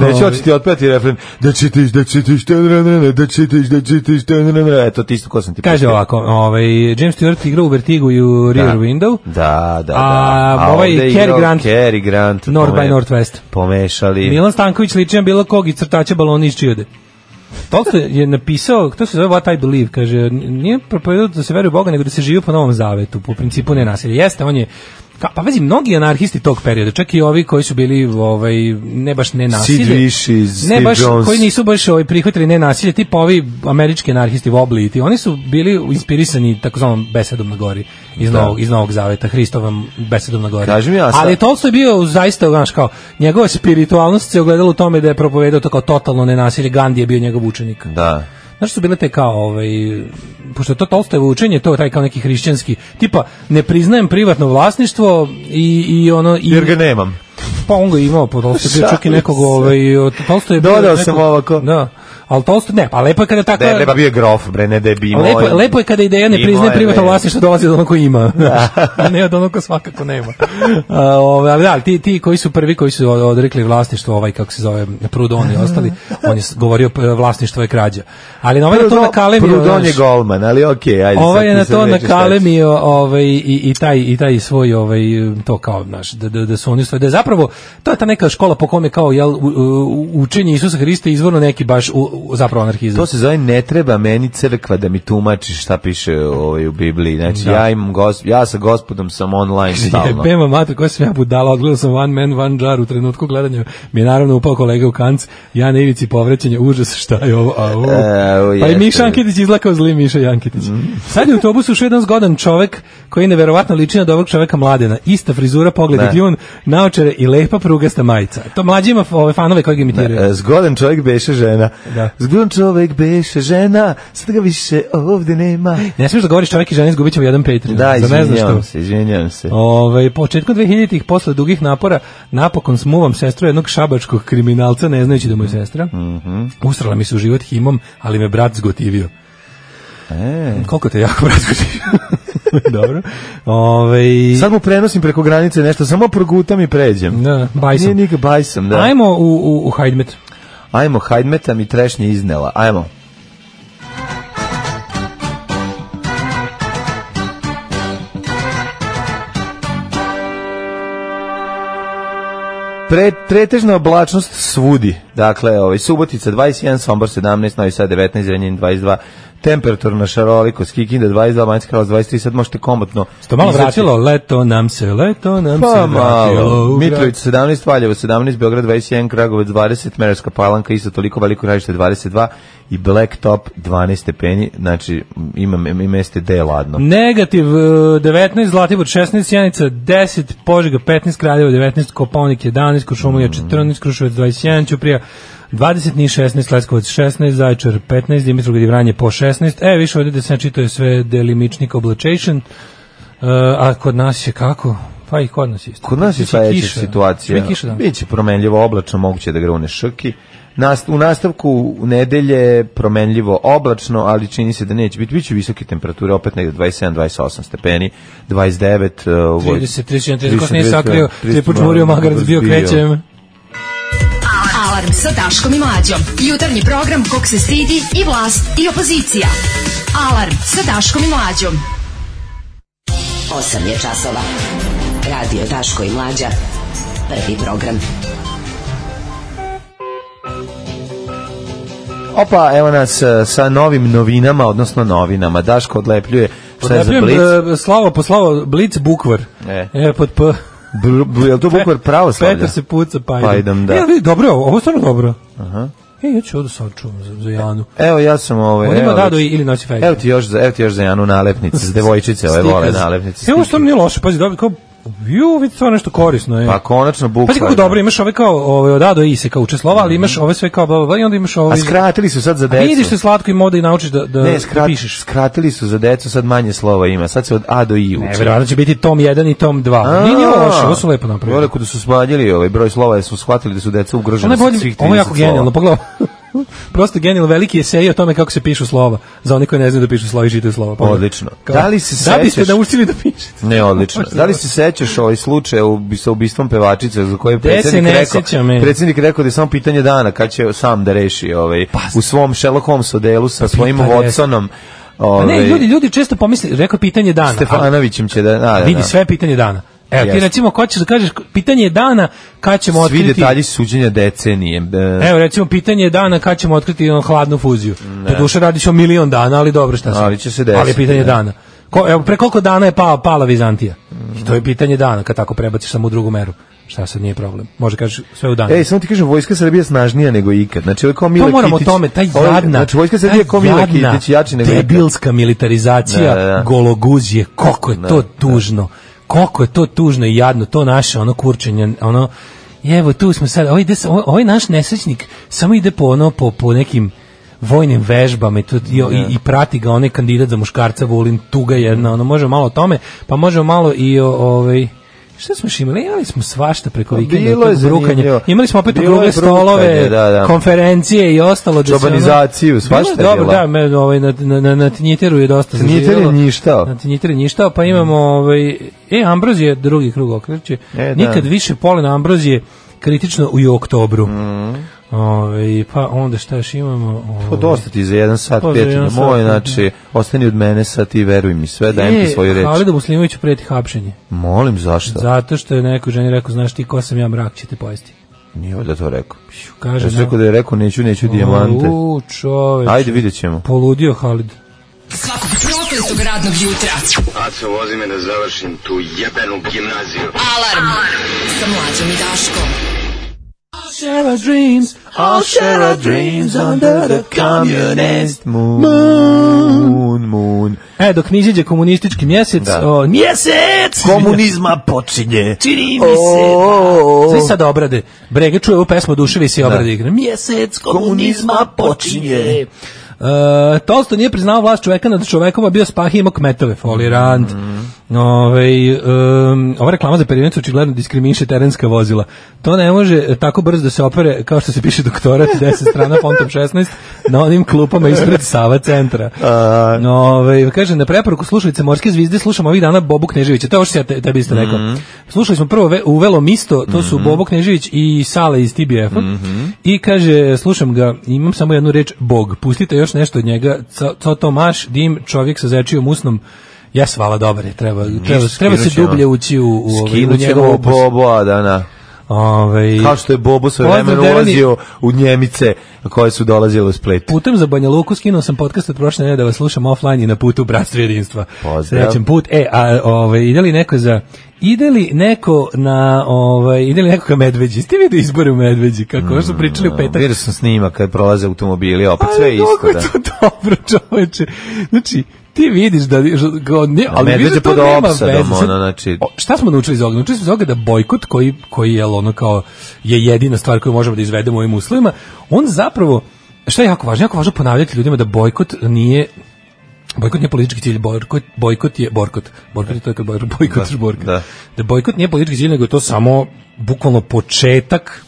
Neću očiti otpevati refren. Da čitiš, da čitiš, da čitiš, da čitiš, da čitiš, da čitiš. Eto, ti isto ko sam ti Kaže pustio. ovako, ovaj, James Stewart igra u Vertigu i u Rear Window, Da, da, da. A, ovaj ovde je Cary igrao Grant. Cary Grant. North by pome- Northwest. Pomešali. Milan Stanković liči na bilo kog i crtača balona iz čijode. Toliko je napisao, to se zove What I Believe, kaže, n- nije propovedao da se veruje u Boga, nego da se živi po novom zavetu, po principu nenasilja. Jeste, on je, ka, pa vezi, mnogi anarhisti tog perioda, čak i ovi koji su bili, ovaj, ne baš nenasilje, Sid Vicious, ne Steve baš, Jones. koji nisu baš ovaj, prihvatili nenasilje, tipa ovi američki anarhisti Wobbly, i ti, oni su bili inspirisani takozvanom besedom na gori iz, novog, iz novog zaveta, Hristovom besedom na gori. Kaži mi, a sad- Ali Tolstoj je bio zaista, znaš, kao, njegova spiritualnost se ogledala u tome da je propovedao to kao totalno nenasilje, Gandhi je bio njegov učenik. Da. znaš su bile te kao, ovaj, pošto je to Tolstojevo učenje, to je taj kao neki hrišćanski, tipa, ne priznajem privatno vlasništvo i, i ono... I, Jer ga nemam. pa on ga je imao, po Tolstoj je bio čak i Šalim nekog, se. ovaj, od- Tolstoj je bio... Dodao nekog- sam ovako. Da, ali Tolstoj, ne, pa lepo je kada tako... Da, leba bio je grof, bre, ne da je bimo. Lepo, je- lepo je kada ideja ne Imao priznaje je, privatno ne. vlasništvo dolazi od onog ko ima, znaš, a ne od onog ko svakako nema. A, ove, ali da, ali ti, ti koji su prvi koji su od- odrekli vlasništvo, ovaj kako se zove, Prudon i ostali, on je s- govorio e, vlasništvo je krađa. Ali na ovaj na to Prudon- na kalemio, Prudon je golman, ali okej, ajde. Ovaj sad je ti na sad to reći šta ćeš. nakalemio ovaj, i, i, taj, i taj svoj ovaj, to kao, znaš, da, da, da su oni svoje, da je zapravo, to je ta neka škola po kome kao, jel, u- u- učenje Isusa Hrista je izvorno neki baš u, u- zapravo anarhizam. To se zove ne treba meni crkva da mi tumači šta piše ovaj u Bibliji. Znači ja imam gos, ja sa gospodom sam online stalno. Jebema mater, koja sam ja budala, odgledao sam One Man, One Jar u trenutku gledanja. Mi je naravno upao kolega u kanc, ja na ivici povrećenja, užas, šta je ovo, a ovo. E, pa i jeste. Mhm. Miša Anketić izlakao zli Miša Janketić. Sad je u autobusu ušao jedan zgodan čovek koji je neverovatno liči na dobrog čoveka mladena. Ista frizura, pogled i Da. kljun, naočare i lepa prugasta majica. To mlađima ove fanove koji ga imitiraju. E, Zgodan čovjek beše žena. Da. Zgodan čovjek beše žena, sad ga više ovde nema. Ne smiješ da govoriš čovek i žena, izgubit ćemo jedan Patreon. Da, Za ne Ovaj- znam što. izvinjavam se, izvinjavam se. Ove, početkom 2000-ih, posle dugih napora, napokon smuvam sestru jednog šabačkog kriminalca, ne znajući da mu je sestra. Mhm. Usrala mi se u život himom, ali me brat zgotivio. E. Koliko te jako brat zgotivio? Dobro. Ove, Sad mu prenosim preko granice nešto, samo progutam i pređem. da, Nije bajsam. nik bajsam, da. Ajmo u, u, u Hajdmet. Ajmo, hajdmeta mi trešnje iznela. Ajmo. Pre, pretežna oblačnost svudi. Dakle, ovaj, Subotica 21, Sombor 17, Novi Sad 19, Zrenjanin 22, temperaturna šarolikost, Kikinda 22, Manjska Kralac 23, sad možete komotno... To malo izaći. vratilo, leto nam se, leto nam Pa se vratilo. u malo. grad. Mitrovica 17, Valjevo 17, Beograd 21, Kragovac 20, Merarska palanka isto toliko, Veliko gradište 22 i Blacktop 12 stepeni, znači ima, ima meste gde je ladno. Negativ e, 19, Zlatibor 16, Sjenica 10, Požega 15, Kraljevo 19, Koponik 11, Košumlija 14, Kruševac 21, Ćuprija 20, Niš 16, Leskovac 16, Zaječar 15, Dimitrovgrad i Vranje po 16. E, više ovdje da se čito je sve delimičnik oblačation, e, a kod nas je kako? Pa i kod nas je isto. Kod nas je Biće sledeća kiša. situacija. Biće kiša, da. Biće promenljivo oblačno, moguće da grune šrki. Nas, u nastavku u nedelje promenljivo oblačno, ali čini se da neće biti. Biće visoke temperature, opet negde 27-28 stepeni, 29... Uh, 30, 31, 30, ko se nije sakrio, tri put žmurio magarac, bio krećem. Alarm sa Daškom i Mlađom. Jutarnji program kog se stidi i vlast i opozicija. Alarm sa Daškom i Mlađom. 8 je časova. Radio Daško i Mlađa. Prvi program. Opa, evo nas e, sa novim novinama, odnosno novinama. Daško odlepljuje šta je za Odlepljujem, blic. e, Slavo po slavo, Blic Bukvar. E. e pod P. Bl- bl- je li to bukvar pravoslavlja? Petar se puca, pa idem. Pa idem, da. E, vidi, dobro, je ovo ovo je stvarno dobro. Aha. E, ja ću ovo da sačuvam za, za Janu. Evo ja sam ovaj... On ima evo, dado već- i- ili nosi fejka. Evo ti još za, evo ti još za Janu nalepnice, za devojčice ove Stikaz. vole nalepnice. E, ovo stikaz. što nije loše, pazi, dobro, kao, ju, vidi, stvarno nešto korisno je. Pa konačno bukvar. Pazi kako dobro, imaš ove kao, ove, od A do I se kao uče slova, ali imaš ove sve kao, bla, bla, bla, i onda imaš ove... Mhm. A skratili su sad za A decu. vidiš što je slatko i moda i naučiš da, da, Ne, skrat, da pišeš. skratili su za decu, sad manje slova ima. Sad se od A do I uče. Ne, verovatno će biti tom 1 i tom 2. Nije nije ovo loše, ovo su lepo napravili. Veliko da su smanjili ovaj broj slova, jer su shvatili da su deca Ono ugrožena je sa bolje, svih 30 slova. ovo je jako genijalno, pogledaj. Prosto genijalno, veliki esej o tome kako se pišu slova. Za one koji ne znaju da pišu slova i čitaju slova. Pogledaj. Odlično. Da li se Da biste sećaš- naučili da pišete. Ne, odlično. Da li se sećaš ovaj slučaj u, sa ubistvom pevačice za koje je Gde se predsjednik ne rekao? sećam, e. Predsjednik rekao da je samo pitanje dana kad će sam da reši ovaj, Pa u svom Sherlock Holmes odelu sa svojim pitanje- Watsonom. Pa Ovaj, ne, ljudi, ljudi često pomisle, rekao je pitanje dana. ali Stefanovićem će da... da, da, vidi da. sve je pitanje dana. Evo, ti Jeste. recimo, ko ćeš da kažeš, pitanje je dana kad ćemo Svi otkriti... detalji suđenja decenije. E, Evo, recimo, pitanje je dana kad ćemo otkriti ono hladnu fuziju. Ne. Doduše, radi se o milion dana, ali dobro, šta se... Ali će se desiti, Ali je pitanje ne. dana. Ko, evo, pre koliko dana je pala, pala Vizantija? I to je pitanje dana, kad tako prebaciš samo u drugu meru. Šta sad nije problem. Može kažeš sve u danu. Ej, E, samo ti kažem, vojska Srbije je snažnija nego ikad. Znači, ovo je kao Mile to E, Pa moramo Kitić. tome, taj Ovo je- jadna, Znači, vojska taj Srbije je kao Mile jadna Kitić, jači nego ikad. debilska militarizacija Da, da, da. gologuzije, koliko je to tužno, koliko je to tužno i jadno, to naše ono kurčenje, ono, i evo tu smo sad, ovaj, des, ovaj, ovaj naš nesrećnik samo ide po ono, po, po nekim vojnim vežbama i, to, i, i, i prati ga onaj kandidat za muškarca Vulin tuga jedna, ono može malo o tome, pa može malo i o, ovaj Šta smo još imali? Imali smo svašta preko vikenda. Pa bilo je tog brukanja. zanimljivo. Imali smo opet Bilo je okrugle brukanje, stolove, da, da. konferencije i ostalo. da se ono- Čobanizaciju, Bilo je svašta je dobro, bila. Da, me, ovaj, na, na, na, na Tinjiteru je dosta Tinjiter je zaživjelo. njištao. Na Tinjiteru je njištao, pa imamo... Ovaj, e, Ambrozije, drugi krug okreće. E, da. Nikad više polen Ambrozije kritično u i oktobru. Ovaj, pa onda šta još imamo? Mhm. Pa Ovaj, dosta ti za jedan sat, Pa za prijatelju jedan sat, moj, da. znači, ostani od mene sad ti veruj mi sve, dajem ti svoju reč. Halidu Muslimoviću e, preti hapšenje. Molim, zašto? Zato što je neko ženi rekao, znaš ti ko sam ja, mrak će te pojesti. Nije valjda to rekao. Ću, Kaže, Ja sam rekao da je rekao, neću, neću dijamante. U, čoveč. Ajde, vidjet ćemo. Poludio Halid. Svakog prokletog radnog jutra. Aco, vozi me da završim tu jebenu gimnaziju. Alarm, sa mlađom i Daškom. Share our dreams, I'll share our dreams under the communist moon, moon. E, dok ne izađe komunistički mjesec, Da. o, mjesec! Komunizma počinje. Čini mi se. O, Svi sad obrade. Brega čuje ovu pesmu, duševi se i obrade Oh. Da. igra. Mjesec Komunizma komunizma počinje. počinje. Uh, Tolsto nije priznao vlast čoveka nad čovekova, bio spah i imao kmetove, folirant. Ovaj, um, ova reklama za periodu očigledno diskriminiše terenska vozila. To ne može eh, tako brzo da se opere, kao što se piše doktorat, 10 strana, fontom 16, na onim klupama ispred Sava centra. Ove, kaže, na preporuku slušalice Morske zvizde slušamo ovih dana Bobu Kneževića. To je ovo što ja te, tebi isto rekao. Mhm. Slušali smo prvo ve, u Velo Misto, to su Bobo Knežević i Sale iz TBF-a. Mhm. I kaže, slušam ga, imam samo jednu reč, Bog. Pustite još nešto od njega. Co, co to maš, dim, čovjek sa zečijom usnom. Ja svala dobar je, treba, Mhm. treba, treba se skinućemo. dublje ući u, u, ovaj, u Skinut ćemo njegov ovo opus. Bobo, a da, na. Ovaj, Kao što je Bobo sve Pozdrav, vremena Derani. ulazio u njemice koje su dolazile u splet. putem za Banja Luku skinuo sam podcast od prošle nedelje da vas slušam offline i na putu bratstva i jedinstva. Pozdrav. Srećan put. E, a ovaj ide li neko za Ide li neko na ovaj ide li neko ka Medveđi? Ste vidio izbore u Medveđi kako mm, su pričali u petak? Vidio sam snima kad prolaze automobili, opet sve je Ali isto. kako Da. je to dobro, čoveče. Znači, ti vidiš da... Go, ne, ali vidiš Medveđe da to pod nema opsadom, veze. Sad, ono, znači- o, šta smo naučili iz ovoga? Naučili smo iz ovoga da bojkot koji, koji je, ono, kao, je jedina stvar koju možemo da izvedemo u ovim uslovima, on zapravo, šta je jako važno? Jako važno ponavljati ljudima da bojkot nije Bojkot nije politički cilj, bojkot, bojkot je borkot. Borkot je to kad bojkot, bojkot Da, da, borkot. da. Da. da bojkot nije politički cilj, nego je to samo bukvalno početak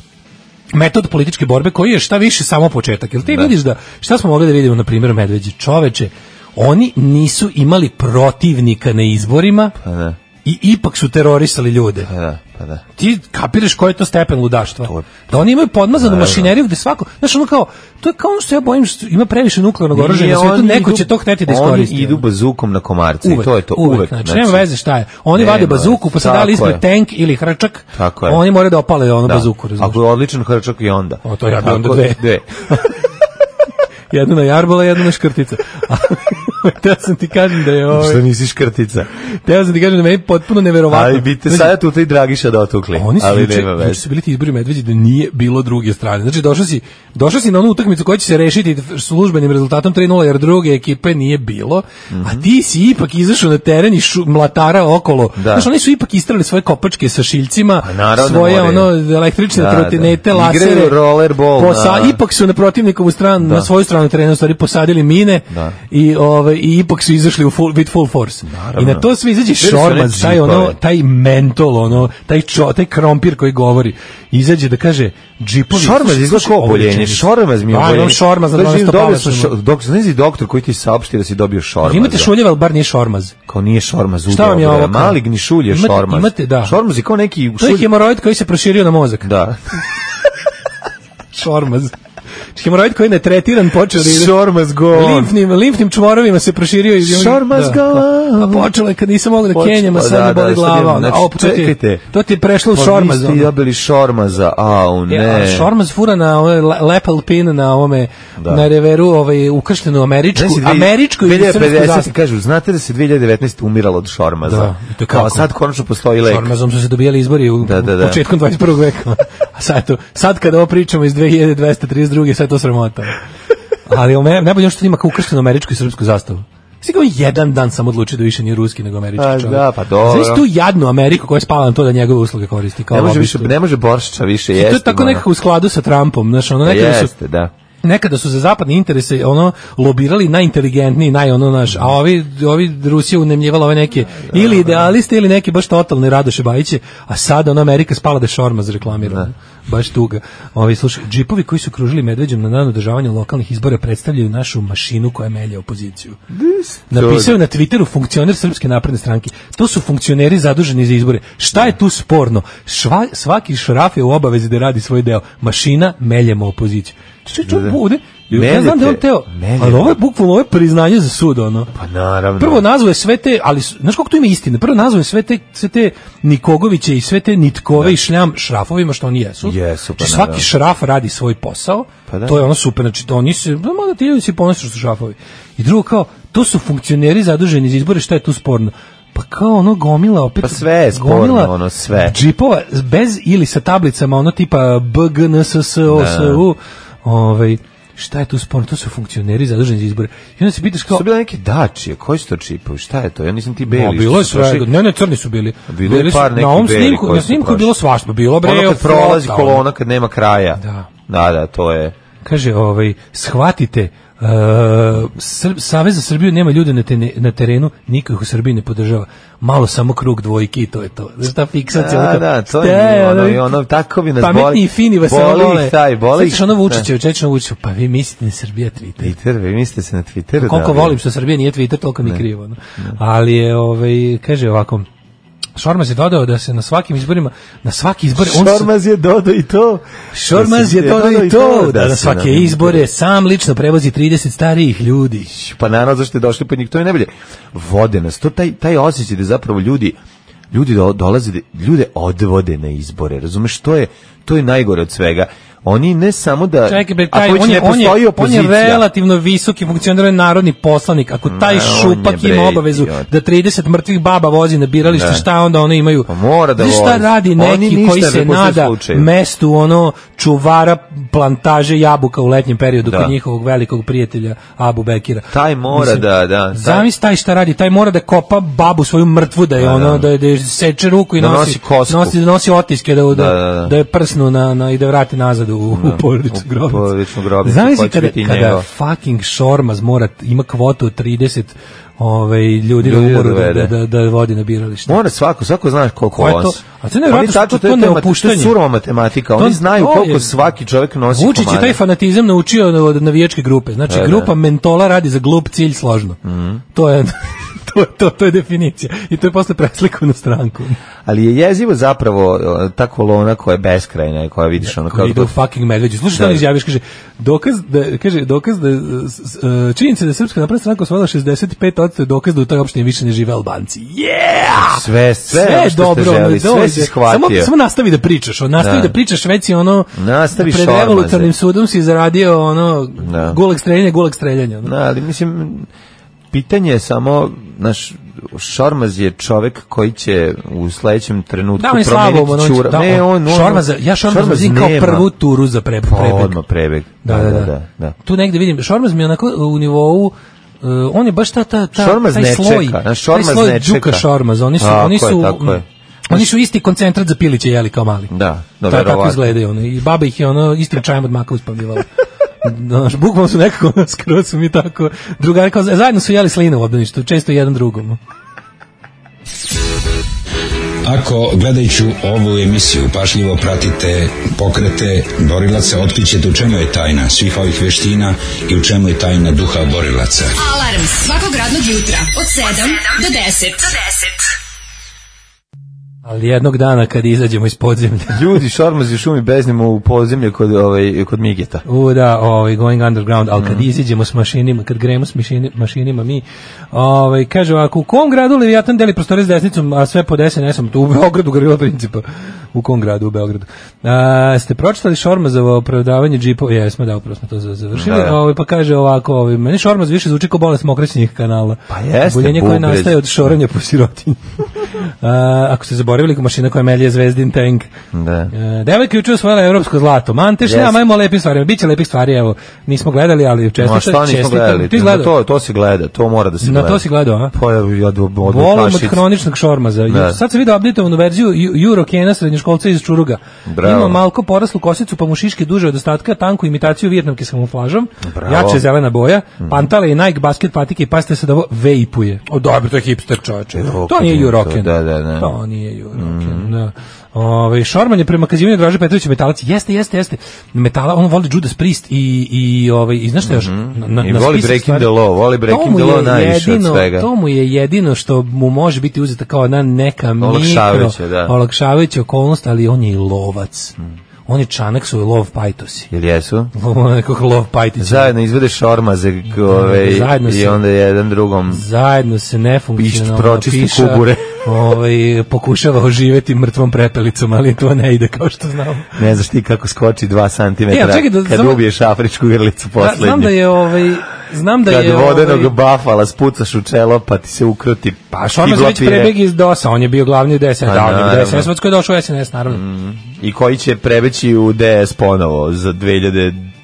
metod političke borbe koji je šta više samo početak. Jel ti vidiš da šta smo mogli da vidimo na primjer Medveđi čoveče, oni nisu imali protivnika na izborima. Pa da. I ipak su terorisali ljude. Pa da, pa da. Ti kapiraš koji je to stepen ludaštva. je- Da oni imaju podmazanu mašineriju gde svako, znaš ono kao, to je kao ono što ja bojim što ima previše nuklearnog oružja Nije, na svijetu, oni neko idu- će to hteti da Oni iskoristi. ono. idu bazukom na komarce i to je to. uvek, znači, nema veze šta je. Oni Nema vade bazuku, pa sad da li veze, tako ispred tank ili hrčak, Tako je. oni moraju da opale ono Da. bazuku, razumiješ? Ako je odličan hrčak i onda. O, to ja bi Ako- onda dve. Jednu na jarbola, jednu na škrtica. Teo sam ti kažem da je ovo... Što nisi škrtica. Teo sam ti kažem da je meni potpuno neverovatno. Ali bi te Znači, sada tu i Dragiša dotukli. Oni su ali juče, nema juče veze. su bili ti izbori medveđi da nije bilo druge strane. Znači došao si, došao si na onu utakmicu koja će se rešiti službenim rezultatom 3:0 jer druge ekipe nije bilo, a ti si ipak izašao na teren i šu, mlatara okolo. Mhm. Da. Znači oni su ipak istrali svoje kopačke sa šiljcima, Pa naravno, svoje moraju. ono električne Da, da. trotinete, Igraju lasere, rollerball, posa- da. ipak su na protivnikovu stranu, na svoju stranu terena u stvari posadili mine Da. i ovaj i ipak su izašli u full with full force. I na to sve izađe Bili su one Šormaz, taj ono, džipove. taj mentol, ono, taj, čo, taj krompir koji govori, izađe da kaže džipovi... Šormaz izgleda kao oboljenje. Šormaz mi oboljenje. je oboljenje. imam šormaz na Znači, 12 dobio sam palačinu. šo- Dok znaš doktor koji ti saopšti da si dobio šormaz. Imate šuljeve, ali bar nije šormaz. Kao nije šormaz udeo. Šta vam je bre, ovo kao? Maligni šulj je Imate- šormaz. imate, da. Šormaz je kao neki To je šulj. hemoroid koji se proširio na mozak. Da. Šormaz. Znači, Hemoroid koji je netretiran počeo da ide... Šormaz go on. Limfnim, limfnim čvorovima se proširio i Šormaz da. go A počelo je kad nisam mogao da Počelo, kenjam, a sad da, mi boli da, sad glava. imam, ono. znači, Au, pa to ti je- čekajte. To ti je prešlo u Pa vi šormaz. ste i ono. dobili šormaza, au ne. E, a Šormaz fura na ovaj le- lepel pin na ovome Da. na reveru ovaj ukrštenu američku, Znaš, dvi- američku i srpsku 2050 zastavu. kažu, znate da se 2019 umiralo od šormaza. Da, i to Kao kako? sad konačno postoji lek. Šormazom su se dobijali izbori u Da, da, da. početkom 21. veka. A sad, to, sad kada ovo pričamo iz 2232. sve to sramota. Ali ome, najbolje je ono što ima kao ukrštenu američku i srpsku zastavu. Sigurno jedan dan sam odlučio da više nije ruski nego američki A, čovjek. da, pa dobro. Znaš tu jadnu Ameriku koja spava na to da njegove usluge koristi. Kao Ne može, lobistu. više, ne može boršča više I jesti. to je tako ono. nekako u skladu sa Trumpom. Znaš, ono nekada su Jeste, da. nekada su za zapadne interese ono lobirali najinteligentniji, naj ono naš, a ovi ovi Rusija unemljivala ove neke ili idealiste ili neke baš totalne Radoše Bajiće, a sada ona Amerika spala da je šorma za reklamiranje. Baš tuga. Ovi slušaj, džipovi koji su kružili medveđem na dan održavanja lokalnih izbora predstavljaju našu mašinu koja melje opoziciju. Napisao je na Twitteru funkcioner Srpske napredne stranke. To su funkcioneri zaduženi za izbore. Šta je tu sporno? Šva, svaki šraf je u obavezi da radi svoj deo. Mašina meljemo opoziciju. Što je Da, čovjek da. bude? Ja Meljete, znam da je on teo, meljete. ali ovo je bukvalno ovo je priznanje za sud, ono. Pa naravno. Prvo nazvao je sve te, ali s- znaš kako tu ima istine, prvo nazvao je sve te, sve te Nikogoviće i sve te Nitkove i Šljam šrafovima što oni jesu. Jesu, pa Znači, naravno. svaki šraf radi svoj posao, Pa da. to je ono super, znači to oni se, no, mada ti ljudi se ponose što su šrafovi. I drugo kao, to su funkcioneri zaduženi za izbore, šta je tu sporno? Pa kao ono gomila opet Pa sve je sporno, ono, sve. džipova bez ili sa tablicama ono tipa BGNSS OSU ovaj šta je tu sporno to su funkcioneri zaduženi za izbore i onda se pitaš kao Su bile neke dačije, koji su to čipovi, šta je to? Ja nisam ti beli. Ma, bilo je svega. Ne, ne, crni su bili. Bilo je Bili su- par nekih na ovom belih snimku, koji na su snimku je prošli. bilo svašta, bilo bre. Ono kad flota, prolazi ono. kolona, kad nema kraja. Da. Da, da, to je. Kaže, ovaj, shvatite, Uh, Sr Savez za Srbiju nema ljude na, te, na terenu, niko ih u Srbiji ne podržava. Malo samo krug dvojki i to je to. Znaš, ta fiksacija. ono Da, kao, da, to je "Ste, ono, i ono, tako bi nas boli- Pametni i fini vas boli ono ih vole. taj, boli ih- Sećaš ono Vučićevo, čečno Vučićevo, pa vi mislite na Srbija Twitter. Twitter, vi mislite se na Twitter? Pa Koliko da, volim što Srbija nije Twitter, toliko mi krivo. ono. Ali je, ovaj, kaže ovako, Šormaz je dodao da se na svakim izborima, na svaki izbor, on se- Šormaz je dodo i to. Šormaz je dodao i to, da na se nam- svake izbore sam lično prevozi 30 starijih ljudi. pa naravno zašto je došli po njih, to je najbolje. Vode nas, to taj, taj osjećaj da zapravo ljudi, ljudi do, dolaze, da- ljude odvode na izbore, razumeš, to je, to je najgore od svega. Oni ne samo da... Čekaj, bre, ako taj, već on, je, ne on, je, postoji on je opozicija, relativno visoki funkcioner, on je narodni poslanik. Ako taj Ma, on je, šupak bre, ima obavezu idiot. da 30 mrtvih baba vozi na biralište, Da. šta onda one imaju? Pa mora da Znaš šta vozi. radi Oni neki ništa koji ne se puste nada slučaju. mestu ono čuvara plantaže jabuka u letnjem periodu Da. kod njihovog velikog prijatelja Abu Bekira. Taj mora da- da, taj- Zamisli taj šta radi, taj mora da kopa babu svoju mrtvu da je ono da je, da je seče ruku i Da nosi, nosi kosku. nosi da nosi otiske da da, Da, da, da. da je prsnu na, na i da je vrati nazad u, u porodičnu u grobnicu. porodičnu grobnicu, Zamisli hoće kada, biti i kada njegov. fucking Šormaz mora, ima kvotu od 30 ovaj, ljudi, Ljudi na da umoru da, dovede. da, da, da vodi na biralište. Mora svako, svako znaš koliko Ko je to? vas. A to je nevjerojatno Oni što tačno, to- to je- je mat- neopuštanje. To je surova matematika, To- oni znaju to koliko je- svaki čovjek nosi Vučić je komada. taj fanatizam naučio od- od navijačke grupe. Znači, grupa mentola radi za glup cilj složno. Mhm. To je... To, je- to, to je definicija. I to je posle presliku na stranku. Ali je jezivo zapravo e, ta kolona koja je beskrajna i koja vidiš ono kao... Koji ide u fucking medveđu. Slušaj šta Da. on izjaviš, kaže, dokaz da, kaže, dokaz da, s- s- e, činjenica da je Srpska napredna stranka osvojila 65% je dokaz da u toj opštini više ne žive Albanci. Yeah! Sve, sve, ono što ste želi, sve si shvatio. Samo, samo nastavi da pričaš, on nastavi da, Da. pričaš, već si ono, Nastavi pred šormaze. revolucionarnim sudom si zaradio ono, Da. gulag streljanje, gulag streljanje. Ono. Da, ali mislim, pitanje je samo, naš Šormaz je čovek koji će u sledećem trenutku Da, on je slabo, promeniti ono, čura. da, ne, on, on, Šormaza, ja Šormaz vidim kao nema. prvu turu za pre, Pa, prebeg. Odmah prebeg. Da, da, da, Tu negde vidim, Šormaz mi je onako u nivou e, on je baš ta, ta, ta, Šormaz taj ne sloj, čeka, znaš, taj Šormaz sloj ne Đuka čeka. Šormaz, oni su, Tako oni je, su, tako je. mm, oni su isti koncentrat za piliće jeli kao mali. Da, da, Ta, tako verovatno. izgledaju ono, i baba ih je ono istim čajem od maka uspavljivala. Znaš, bukvalno su nekako ono, skroz su mi tako drugari kao zajedno su jeli slinu u obdaništu često jedan drugom Ako gledajući ovu emisiju pašljivo pratite pokrete borilaca, otkrićete u čemu je tajna svih ovih veština i u čemu je tajna duha borilaca. Alarm svakog radnog jutra od 7 do 10. ali jednog dana kad izađemo iz podzemlja Ljudi, Šormaz je šumi beznimo u podzemlje kod, ovaj, kod Migeta. U da, ovaj going underground, al Mm. kad iziđemo s mašinima, kad gremo s mašini- mašinima mi, ovaj kaže ovako, u kom gradu Leviatan deli prostore s desnicom, a sve pod SNS-om, tu u Beogradu gorila principa. U kom gradu u Beogradu? A, ste pročitali Šormazovo opravdavanje džipova? Jesmo, da, upravo smo to za- završili. Da. Ovaj, pa kaže ovako, ovaj, meni Šormaz više zvuči kao bolest mokrećenih kanala. Pa jeste, Boljenje koje bubrez. nastaje od šoranja po sirotinji. A, ako ste zaboravili, mašina koja melje Zvezdin tank. Da. E, devojka je juče osvojila evropsko zlato. Mantešnja, Jeste. yes. majmo lepih stvari. Biće lepih stvari, evo. Nismo gledali, ali čestitam. Ma šta nismo čestitam. gledali? Ti Na gledao? to, to se gleda, to mora da se Na gleda. to si gledao, a? Pa ja, ja od, od, od Volim od kašic. hroničnog šormaza. Da. Da. Sad se vidio updateovanu verziju Ju- Eurokena srednjoškolca iz Čuruga. Bravo. Ima malko poraslu kosicu, pa mu šiške duže od ostatka, tanku imitaciju vijetnamke s kamuflažom, Bravo. Mhm. jače zelena boja, pantale i Nike basket patike i pazite se da ovo vejpuje. O, dobro, to je hipster čoveče. To nije Euroken, Euroken. to, da, da, da. Mhm. To nije Euroken, da. Ove, Šorman je prema kazivanju Draže Petrovića metalac. Jeste, jeste, jeste. Metala, on voli Judas Priest i, i, ovaj, i znaš šta još? Na, na, Mhm. I voli spisak Breaking stvari- the Law, voli Breaking to mu the Law je najviše od jedino, svega. To mu je jedino što mu može biti uzeta kao jedna neka Olakšavajuća, mikro, da. Hmm. olakšavajuća okolnost, ali on je i lovac. On je čanak su i lov pajtosi. Jel jesu? Nekog lov pajtića. Zajedno izvede šormaze ove, zajedno i se- onda jedan drugom zajedno se nefunkcionalno Pišt- pročisti kubure. ovaj, pokušava oživeti mrtvom prepelicom, ali to ne ide kao što znamo. ne znaš ti kako skoči 2 E, cm a čekaj da- kad samo- ubiješ afričku grlicu Da, znam da poslednju. je ovaj znam da kad je vodenog ovaj, bafala spucaš u čelo pa ti se ukruti Pa Šormaz je već tiblapire. prebeg iz DOS-a, on je bio glavni u DSS, Pa, da, on je bio naravno. DSS, vodsko je došao u SNS, naravno. i koji će prebeći u DS ponovo za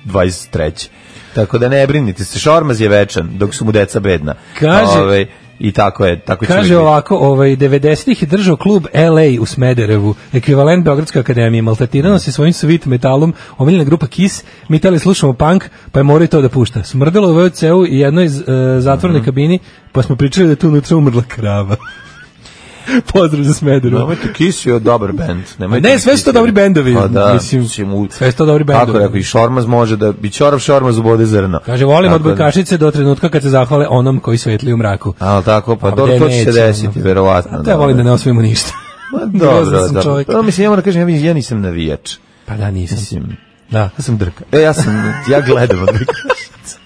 2023. Tako da ne brinite se, Šormaz je večan dok su mu deca bedna. Kaže- Ovaj, I tako je, tako će Kaže uvijek ovako, ovaj 90-ih je držao klub LA u Smederevu, ekvivalent Beogradske akademije. Maltretirano se svojim sweet metalom, omiljena grupa Kiss, mi tali slušamo punk, pa je morao i to da pušta. Smrdelo u VOC-u i jednoj iz, e, zatvorene kabini, pa smo pričali da je tu unutra umrla krava. Pozdrav za biti. Smederevu. Nemojte Kiss je dobar bend. Nemojte Ne, sve su to Kiss je- dobri bendovi, Pa da, mislim, u- sve su to dobri bendovi. Tako rekao, i Šormaz može da, i Ćorav Šormaz ubode zrno. Kaže, volim Tako odbojkašice do trenutka kad se zahvale onom koji svetli u mraku. da- Al tako, pa A dobro, gde to će se neće, desiti, ono. verovatno. Zato ja volim da ne osvojimo ništa. Ma Grozan Dobro, sam dobro. čovjek. Pa, mislim, ja moram da kažem, ja, ja nisam navijač. Pa da, nisam. Mislim, Da. ja sam drka. E, ja sam, ja gledam odbojkašice.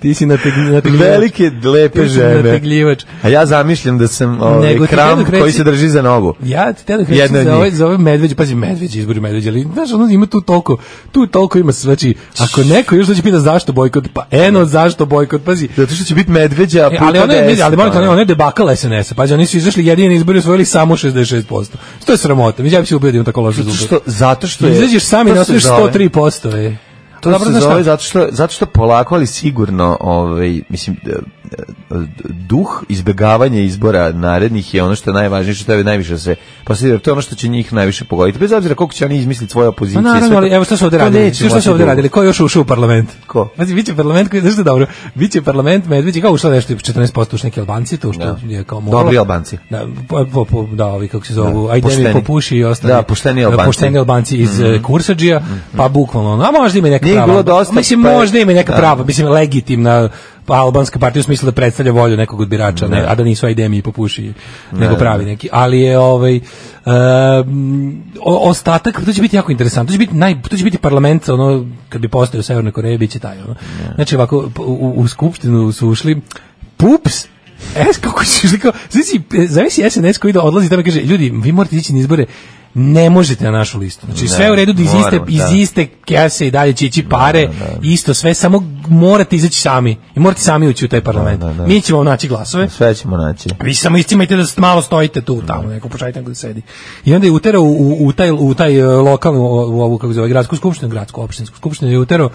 Ti si nateg- nategljivač. Velike, lepe Ti si žene. nategljivač. A ja zamišljam da sam ovaj, Nego ti kram jednog reći- koji se drži za nogu. Ja ti te Jedna kažem od za njih. ovaj, za ovaj medveđ, pazi medveđ, izbori medveđa, ali znaš, ono ima tu toliko, tu toliko ima, znači, ako neko još dođe pita zašto bojkot, pa eno zašto bojkot, pazi, Zato što će biti medveđa, a E, puta ali ono je, deset, ali moram ono. ono je debakala SNS-a, pazi, oni su izašli jedini na izbori i osvojili samo 66%, što je sramota, mislim, ja bi se ubedio tako loš Zato rezultat. što, zato što je... Izađeš sami to na se osvojiš zove- 103%, je. To Dobro, se znaš šta? zove zato što, zato što polako, ali sigurno, ovaj, mislim, e, e, duh izbegavanja izbora narednih je ono što je najvažnije, što tebe najviše sve poslije, jer to je ono što će njih najviše pogoditi. Bez obzira koliko će oni izmisliti svoje Ma opozicije. Pa naravno, sve to- ali evo šta su ovde to radili? neće Svi šta moći su ovde dugo. radili? Ko je još ušao u parlament? Ko? Znači, biće parlament koji, znaš što je dobro, biće parlament Medveđ je kao ušlo nešto, 14% još neki Albanci, to što Da. je kao moralo. Dobri Albanci. Da, po, po, po, da ovi kako se zovu, Da, da. ajde pošteni. mi popuši i ostali. Da, pošteni Albanci. Pošteni Albanci iz mm. Kursadžija, pa bukvalno, ono, a možda ima i neka Njih prava. bilo dosta, mislim, pa je- možda ima i neka da. prava, mislim, legitimna pa, albanska partija u smislu da predstavlja volju nekog od birača, ne, a da nisu ajde mi popuši, nego pravi neki. Ali je ovaj em, o- ostatak to će biti jako interesantno. To će biti naj to će biti parlament ono kad bi postao u Severnoj Koreji biće taj ono. Znači ovako po- u, u skupštinu su ušli pups Es kako si išli kao, zavisi, zavisi SNS koji da odlazi tamo i kaže, ljudi, vi morate ići na izbore, ne možete na našu listu. Znači sve u redu da iz iste, moramo, iz da. iste kese i dalje će ići pare, isto sve, samo morate izaći sami. I morate sami ući u taj parlament. da, da. Mi ćemo vam naći glasove. Pa Sve ćemo naći. Vi samo istimajte da malo stojite tu tamo, neko pokušajte neko da sedi. I onda je uterao u, u, u taj, u taj e, lokalnu, o- u ovu, kako se zove, gradsku skupštinu, gradsku, opštinsku skupštinu, je uterao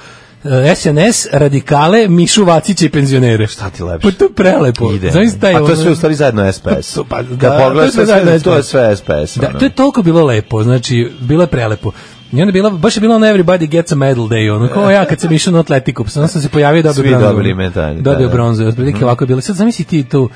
e, SNS, radikale, Mišu Vacića i penzionere. Šta ti lepše. Pa to je prelepo. Ide. Znaš taj A to je ono- sve u stvari zajedno SPS. To- pa, Kad da, pogledaš, to je sve zajedno to je SPS. sve SPS. Da, ono. to je toliko bilo lepo, znači, bilo je prelepo. I onda je bila, baš je bilo ono everybody gets a medal day, ono, kao ja kad sam išao na atletiku, onda sam se pojavio i dobio Svi bronzu. dobili medalje, da, Dobio da. Mhm. bronzu, otprilike ovako je bilo. Sad zamisli ti tu,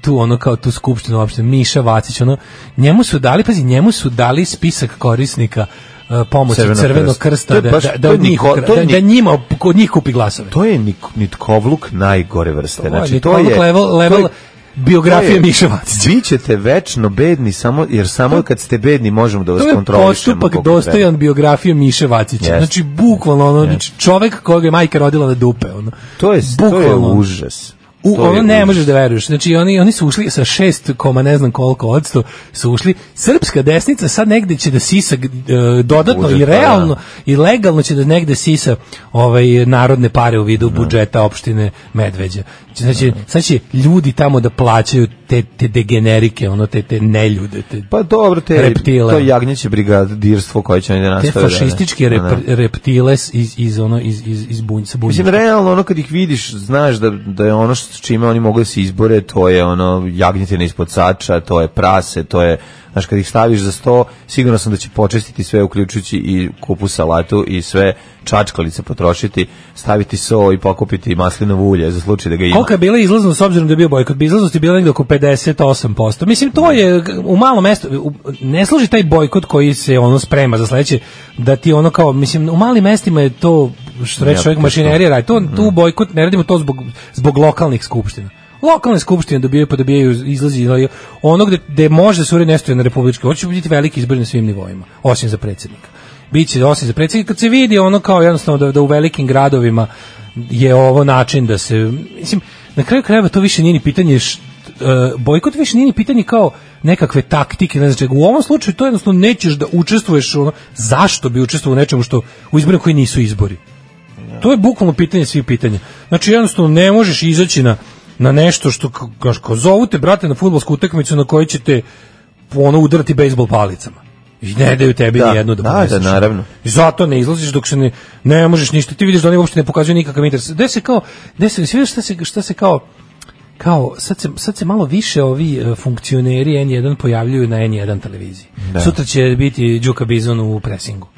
tu ono kao tu skupštinu uopšte, Miša Vacić, ono, njemu su dali, pazi, njemu su dali spisak korisnika e, pomoći Crvenog Crvenog, crvenog krsta. krsta, To je da, baš- da, to da, je od njih, Niko- ukra- to je da, da Nik- njima, kod njih kupi glasove. To je nik, nitkovluk najgore vrste. Znači, to Nikolaj je... level, level to je- biografije to je- Miše Vacića. Vi ćete večno bedni, samo, jer samo kad ste bedni možemo da vas To je kontrolišemo. postupak koliko treba. dostojan biografije Miše Vacića. Jeste. Znači, bukvalno, ono, znači, čovek koga je majka rodila na dupe. Ono. To je, to je Bukvalno. užas. U, To ono je ne užas. možeš da veruješ. Znači, oni, oni su ušli sa šest koma ne znam koliko odsto, su ušli. Srpska desnica sad negde će da sisa e, dodatno Budžet, i pa da. realno i legalno će da negde sisa ovaj, narodne pare u vidu budžeta opštine Medveđa. Sad će, sad će ljudi tamo da plaćaju te, te degenerike, ono, te, te neljude, te, Pa dobro, te, Reptile. to jagnjeće brigadirstvo koje će oni da te nastave. da- fašističke da, da. rep, reptiles iz, iz, ono, iz, iz, iz bunj, sa Mislim, bunjevke. realno, ono kad ih vidiš, znaš da, da je ono što, s čime oni mogu da se izbore, to je ono jagnjetina ispod sača, to je prase, to je, znaš, kad ih staviš za sto, sigurno sam da će počestiti sve, uključujući i kupu salatu i sve čačkalice potrošiti, staviti so i pokupiti maslinovo ulje za slučaj da ga ima. Kolika je bila izlaznost s obzirom da je bio bojkot? Bi izlaznost je bila negde oko 58%. Mislim, to je g- u malom mestu, u- ne služi taj bojkot koji se ono sprema za sledeće, da ti ono kao, mislim, u malim mestima je to, što reče Ja, čovjek, teško. mašinerija radi. To, tu bojkot ne radimo to zbog, zbog lokalnih skupština. Lokalne skupštine dobijaju pa dobijaju izlazi ali ono gde, gde može se uredi nešto je na republički. Hoće biti veliki izbor na svim nivoima, osim za predsjednika. Biće osim za predsjednika. Kad se vidi ono kao jednostavno da, da u velikim gradovima je ovo način da se... Mislim, na kraju krajeva to više nije ni pitanje št, e, bojkot više nije ni pitanje kao nekakve taktike, ne znam čega. U ovom slučaju to jednostavno nećeš da učestvuješ u ono, zašto bi učestvovao u nečemu što u izborima koji nisu izbori. To je bukvalno pitanje svih pitanja. Znači jednostavno ne možeš izaći na na nešto što k- kaš kao zovu te brate na fudbalsku utakmicu na kojoj ćete ono udarati bejsbol palicama. I ne daju tebi Da, ni jednu da da, poneseš. da, naravno. I zato ne izlaziš dok se ne, ne možeš ništa. Ti vidiš da oni uopšte ne pokazuju nikakav interes. Gde se kao, gde se, svi šta se, šta se kao, kao, sad se, sad se malo više ovi e, funkcioneri N1 pojavljuju na N1 televiziji. Sutra će biti Đuka Bizon u presingu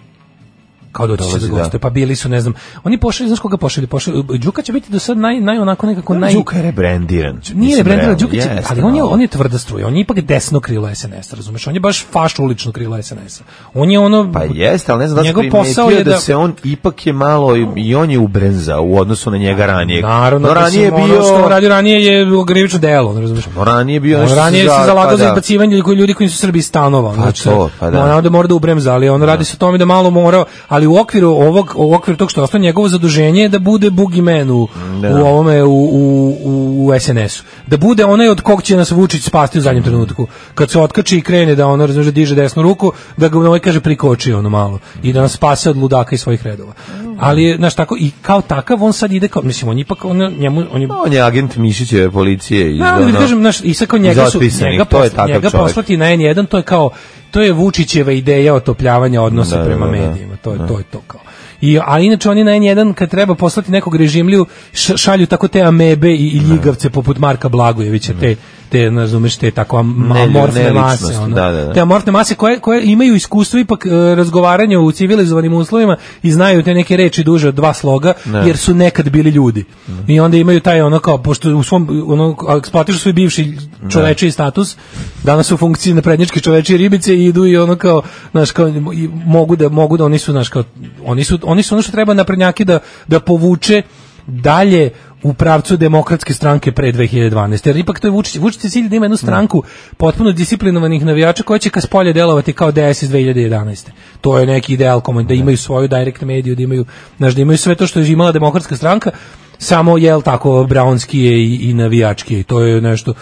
kao doći će Dolazi, za da. goste, pa bili su, ne znam, oni pošalju, znaš koga pošalju, pošalju, Đuka će biti do sad naj, naj onako nekako, naj, Đuka je rebrandiran. nije Brendan Đukić, Jeste, ali on je malo. on je tvrda struja. On je ipak desno krilo SNS, razumeš? On je baš faš ulično krilo SNS. On je ono Pa jeste, ali ne znam da njegov sam posao primetio je da, da se on ipak je malo i- i on je ubrenzao u odnosu na njega ranije. Naravno, no, ranije je mislim, ono bio što on radio ranije je krivično delo, ono, razumeš? no, ranije je bio On nešto ranije se za- zalagao pa za da. izbacivanje ljudi, ljudi koji su Srbi iz stanova. Pa znači, to, pa da. Naravno da mora da ubremza, ali on radi se o tome da malo morao, ali u okviru ovog, u okviru tog što je ostao njegovo zaduženje je da bude boogeyman u, Da. u ovome, u, u, u, u SNS-u. Da bude onaj od kog će nas Vučić spasti u zadnjem trenutku. Kad se otkači i krene da ono, razumiješ, da diže desnu ruku, da ga ovaj kaže prikoči ono malo i da nas spase od ludaka iz svojih redova. Ali, je, znaš, tako, i kao takav on sad ide kao, mislim, on je ipak, on, njemu, on je No, on je agent Mišićeve policije iz da, ali ono- da kažem, znaš, i sad kao iz njega su, otpisanih, njega, to je posla, takav njega čovjek. poslati na N1, to je kao, to je Vučićeva ideja otopljavanja odnosa Da, da, prema da, da. medijima, to je, to je to kao. I, a inače oni na N1 kad treba poslati nekog režimliju š- šalju tako te amebe i, i ljigavce poput Marka Blagojevića, te, te ne razumeš, te tako am, Ne, amorfne neličnost, mase. Ono. da, da, da. Te amorfne mase koje, koje imaju iskustvo ipak e, razgovaranja u civilizovanim uslovima i znaju te neke reči duže od dva sloga, jer su nekad bili ljudi. Mhm. I onda imaju taj ono kao, pošto u svom, ono, eksploatišu svoj bivši čoveči status, danas su u funkciji naprednjačke čoveči i ribice i idu i ono kao, znaš, kao, i mogu da, mogu da oni su, znaš, kao, oni su, oni su ono što treba naprednjaki da, da povuče dalje u pravcu demokratske stranke pre 2012. Jer ipak to je Vučić, Vučić je cilj da ima jednu stranku potpuno disciplinovanih navijača koja će ka spolje delovati kao DS iz 2011. To je neki ideal komun, da imaju svoju direct mediju, da imaju, znaš, da imaju sve to što je imala demokratska stranka, samo jel tako braunskije i, i navijačkije i to je nešto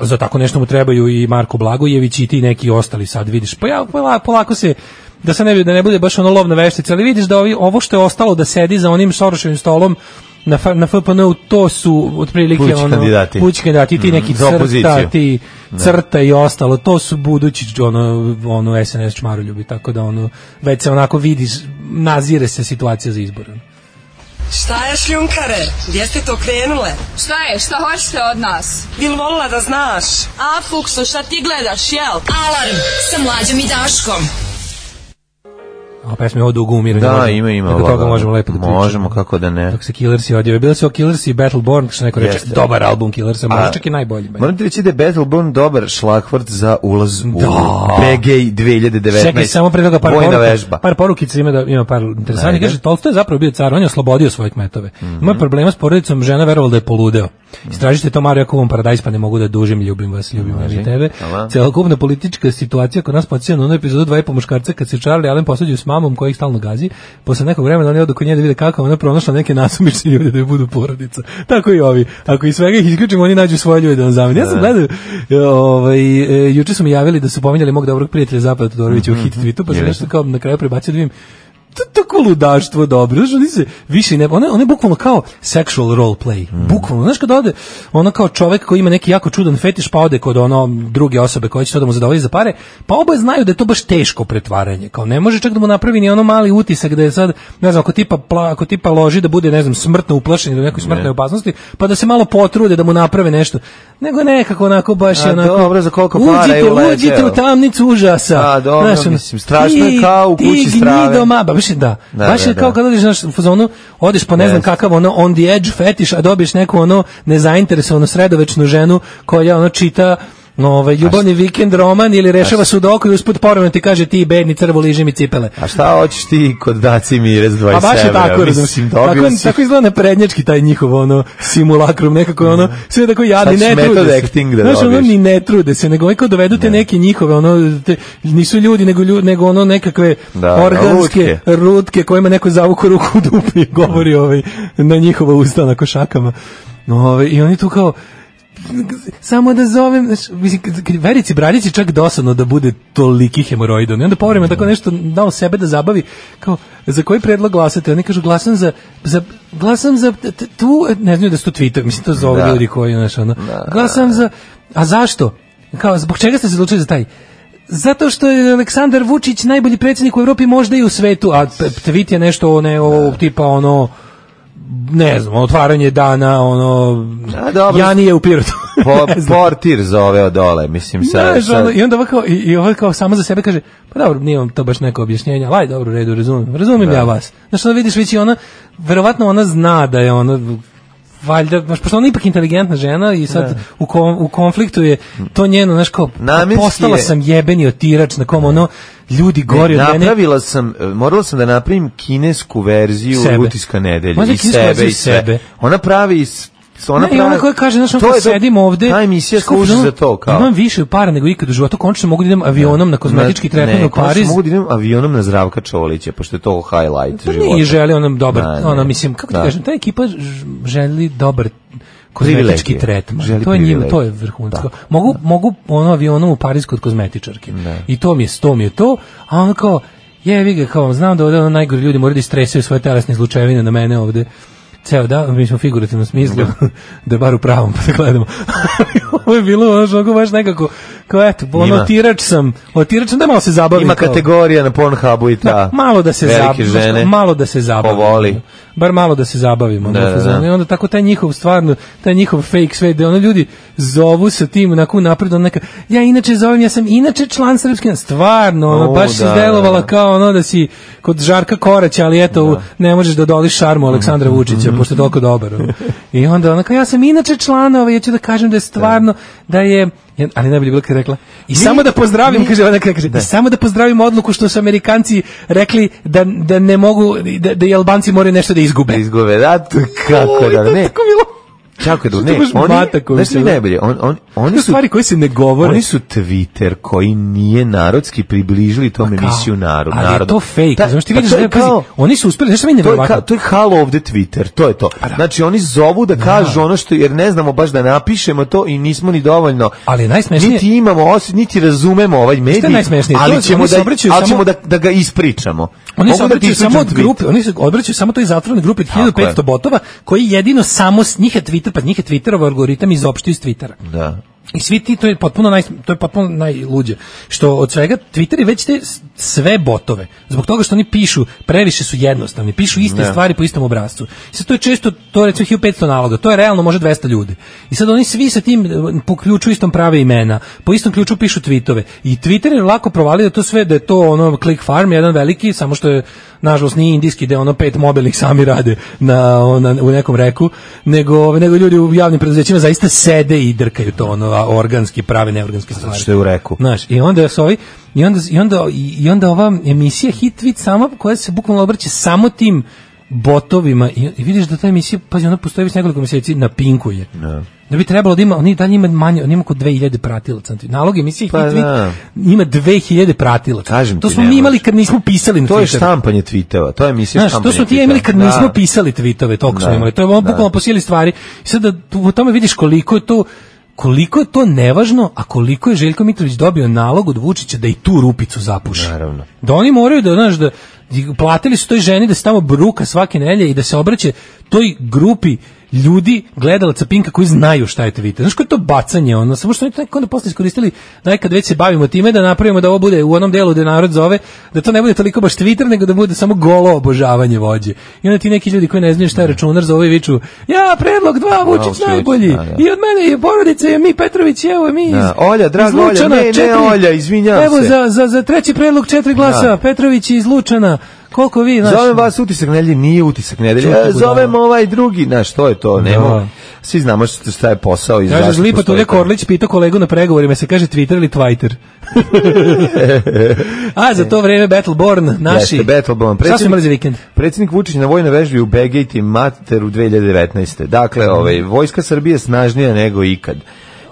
za tako nešto mu trebaju i Marko Blagojević i ti neki ostali sad vidiš pa ja pola- polako se da se ne bi da ne bude baš ono lovna veštica ali vidiš da ovi, ovo što je ostalo da sedi za onim soroševim stolom na, F- na FPN-u to su otprilike Pući ono, kandidati. pući kandidati, ti Mm, neki za crta, opoziciju. ti crta i ostalo, to su budući ono, ono SNS čmaroljubi, tako da ono, već se onako vidi, nazire se situacija za izbor. Šta je šljunkare? Gdje ste to krenule? Šta je? Šta hoćete od nas? Bil volila da znaš? A, Fuksu, šta ti gledaš, jel? Alarm sa mlađom i Daškom. A pesma je ovo dugo umiranje. Da, možda- ima, ima. Oko ovoga. toga možemo lepo da pričamo. Možemo, kako da ne. Dok se Killers je odio. Bili su o Killers i Battleborn, što neko reče, Jeste. dobar album Killersa, možda A- čak i najbolji. band. Moram ti reći da je Battleborn dobar šlagvort za ulaz u Da. BG 2019. Čekaj, samo pre toga par Vojna poruka, Pa- vežba. par porukica ima da ima par interesantnih. Ajde. Kaže Tolstoj je zapravo bio car, on je oslobodio svoje kmetove. Ima problema s porodicom, žena verovala da je poludeo. Istražite to Marijakovom paradajz, pa ne mogu da dužim, ljubim vas, ljubim vas i tebe. Hvala. Celokupna politička situacija kod nas podsjeća na onu epizodu dva i po muškarca kad se Charlie Allen posuđuju s mamom koja ih stalno gazi. Posle nekog vremena oni odu kod nje da vide kako je ona pronašla neke nasumične ljude da joj budu porodica. Tako i ovi. Ako iz svega ih isključimo, oni nađu svoje ljude da vam zamene. Ja sam gledao, e, ovaj, e, juče su mi javili da su pominjali mog dobrog prijatelja Zapad Todorovića u hit tweetu, pa sam nešto kao na kraju prebacio da vidim to je tako ludaštvo dobro. Znaš, oni se više ne... Ona, ona je bukvalno kao sexual roleplay. Mhm. Bukvalno. Znaš, kad ode ono kao čovek koji ima neki jako čudan fetiš, pa ode kod ono druge osobe koja će to da mu zadovolji za pare, pa oboje znaju da je to baš teško pretvaranje. Kao ne može čak da mu napravi ni ono mali utisak da je sad, ne znam, ako tipa, pla, ako tipa loži da bude, ne znam, smrtno uplašen ili u nekoj smrtnoj opasnosti, pa da se malo potrude da mu naprave nešto. Nego nekako onako baš A, je onako... dobro, za koliko para je Uđite, uleteo? uđite u tamnicu užasa. A, dobro, ono, mislim, strašno je ti- kao u kući ti strave. gnido ma, ba, baš je da. Da, baš je da, kao da. kad odeš znaš, u fazonu, odeš pa ne znam Yes. kakav ono on the edge fetiš, a dobiješ neku ono nezainteresovanu sredovečnu ženu koja ono čita ovaj ljubavni vikend roman ili rešava sudoku i usput povremeno ti kaže ti bedni crvo liži mi cipele. A šta hoćeš ti kod Daci Mirez 27? Pa baš je tako, mislim, razumiješ. Tako, dobio si. tako izgleda naprednjački taj njihov ono simulakrum, nekako je ono, sve tako jadni, Mhm. Sad ćeš ne method trude se. acting da Znaš, ono, dobiješ. ni ne trude se, nego uvijek dovedu te neke njihove, ono, te, nisu ljudi, nego, lju- nego ono nekakve Da, organske lutke. rutke kojima neko zavuku ruku u dupu i govori ovaj, na njihova usta na košakama. Ovaj, I oni tu kao, samo da zovem, znaš, mislim, kad- kad Verici Bradić je čak dosadno da bude toliki hemoroidan. I onda povremeno tako nešto dao sebe da zabavi, kao, za koji predlog glasate? Oni kažu, glasam za, za glasam za t- t- tu, ne znam da su to Twitter, mislim, to zove Da. ljudi koji, znaš, ono, glasam za, a zašto? Kao, zbog čega ste se odlučili za taj? Zato što je Aleksandar Vučić najbolji predsjednik u Europi, možda i u svetu, a p- tweet je nešto, ne, o, tipa, ono, ne znam, otvaranje dana, ono, A, dobro. ja nije u Pirotu. Po, portir zove od dole, mislim, sad. Znaš, ono, sad I onda ovako, i, i ovako kao samo za sebe kaže, pa dobro, nije vam to baš neko objašnjenje, ali aj, dobro, u redu, razumim, razumim ja vas. Znaš, onda vidiš, već i ona, verovatno ona zna da je ona, valjda, baš, pošto ona je ipak inteligentna žena i sad u, kon- u konfliktu je to njeno, znaš, kao, Namenski postala je. sam jebeni otirač na kom ono, ljudi gori od mene, napravila sam, e, morala sam da napravim kinesku verziju Sebe. utiska nedelje. Možda I kinesku sebe, verziju i sve. sebe. Ona pravi iz ona ne, i ona koja kaže, znaš, To ono kao je to- sedim ovde... Ta emisija znaš, kao služi ono, za to, kao. Imam više para nego ikad u životu, končno mogu da idem avionom na kozmetički tretman u Pariz. mogu da idem avionom na Zdravka Čolića, pošto je to highlight Pa života. nije želeo nam dobar, Da, ne. ono, mislim, kako ti Da. kažem, ta ekipa ž- želi dobar kozmetički Privilegije. tretman. Želi to je njima, privilegije. to je vrhunsko. Mogu, mogu ono avionom u Pariz kod kozmetičarke. I to mi je, to mi je to, a ono kao, jevi ga, kao, znam da ovde ono najgori ljudi moraju da istresaju svoje telesne izlučevine na mene ovde ceo dan, mi smo u figurativnom smislu, da je bar u pravom, pa da gledamo. Ovo je bilo ono što baš nekako, kao eto, ono, Ima. otirač sam, otirač sam, da malo se zabavim. Ima kao. kategorija na Pornhubu i ta. Da, malo da se velike zabavimo, žene. malo da se zabavimo. Povoli. Bar malo da se zabavimo. ono, Da, da, fazon. da. I onda tako taj njihov stvarno, taj njihov fake sve, da ono ljudi zovu sa tim onako napred, on neka, ja inače zovem, ja sam inače član srpske, na-" stvarno, ono, O, baš si da, da, delovala da. kao ono da si kod Žarka Koraća, ali eto, u- ne možeš da doliš šarmu Aleksandra Mhm. Vučića, pošto je toliko dobar. ono. I onda ona kao, ja sam inače član, ovaj, ja ću da kažem da je stvarno, da je, ja- ali najbolje je bilo kad je rekla, i samo da pozdravim, kaže ona, kaže, "I samo da pozdravim odluku što su Amerikanci rekli da, da ne mogu, da, da i Albanci moraju nešto da izgube. Da izgove, da, to kako Oj, da, to je ne. tako bilo. Čako da, Što ne, to baš oni, Mataković, znaš što je ono? najbolje, on, on, oni Te su, stvari koje se ne govore. oni su Twitter koji nije narodski približili tom Kao, emisiju narod. Ali je narodu. to fake. Ta- znaš, ti pa vidiš to da je je, pazi, kao- oni su uspeli, znaš što meni je To je, ka, nevjerovatno? Pa to je halo ovde Twitter, to je to. Znači oni zovu da kažu ono što, jer ne znamo baš da napišemo to i nismo ni dovoljno. Ali je najsmešnije- Niti imamo osjećaj, niti razumemo ovaj medij, najsmešnije? To je- ali ćemo, oni se da, obraćaju ali samo- ćemo da, da ga ispričamo. Oni Mogu se da ti obraćaju ispričam samo od tweet. grupe, oni se obraćaju samo toj zatvorenoj grupi od Tako je. 1500 botova koji jedino samo s njih je Twitter, pa njih je Twitterov algoritam izopštio iz Twittera. Da. I svi ti, to je potpuno, naj, to je potpuno najluđe. Što od svega, Twitter je već te s- sve botove. Zbog toga što oni pišu, previše su jednostavni. Pišu iste stvari po istom obrazcu. I sad to je često, to je recimo 1500 naloga. To je realno može 200 ljudi. I sad oni svi sa tim, e, po ključu istom prave imena. Po istom ključu pišu tweetove. I Twitter je lako provalio to sve, da je to ono click farm, jedan veliki, samo što je nažalost nije indijski da ono pet mobilnih sami rade na, na u nekom reku nego nego ljudi u javnim preduzećima zaista sede i drkaju to ono a organski prave neorganske stvari što je u reku. znaš i onda su ovi i onda i onda i onda ova emisija Hit Tweet sama koja se bukvalno obraća samo tim botovima i, i vidiš da ta emisija pazi ona postoji već nekoliko mjeseci na Pinku je da bi trebalo da ima oni dalje ima manje on ima oko 2000 pratilaca znači, nalog emisije Pa Hit Tweet da. ima 2000 pratilaca Kažem to ti, smo ne mi imali može. kad nismo pisali na To je Twitteru. štampanje tviteva, to je emisija Znaš, štampanje to smo ti ja imali kad tviteva. nismo Da. pisali tvitove, toliko smo Da, imali. To je ono da. bukvalno po sili stvari. I sad da tu- u tome vidiš koliko je to koliko je to nevažno, a koliko je Željko Mitrović dobio nalog od Vučića da i tu rupicu zapuši. Naravno. Da oni moraju da, znaš, da, I platili su toj ženi da se tamo bruka svake nelje i da se obraće toj grupi ljudi, gledalaca Pinka koji znaju šta je Twitter. Znaš koje je to bacanje, ono, samo što oni to nekako onda posle iskoristili, najkad već se bavimo time da napravimo da ovo bude u onom delu gde narod zove, da to ne bude toliko baš Twitter, nego da bude samo golo obožavanje vođe. I onda ti neki ljudi koji ne znaju šta je računar zove i viču, ja, predlog dva, Vučić Vučić, najbolji, da, da. i od mene je porodica, je mi Petrović, evo mi iz, Da, Olja, draga iz Lučana, Olja, ne, ne, četiri- Olja, izvinjavam evo se. za, za, za treći predlog četiri glasa, Da. Petrović je iz Lučana, koliko vi, znaš, Zovem vas utisak nedelje, nije utisak nedelje. Čuti E, budala. Zovem ovaj drugi, znaš, to je to, nema. Da. Svi znamo šta šta je posao i Kaže, zašto Žlipa postoji Tulja to. Korlić pitao kolegu na pregovorima, se kaže Twitter ili Twitter? A, za to vreme Battleborn, naši. Jeste, Battleborn. Šta smo Predsjednik- imali za vikend? Predsjednik Vučić na vojnoj vežbi u Begejti Materu 2019. Dakle, ovaj, vojska Srbije je snažnija nego ikad.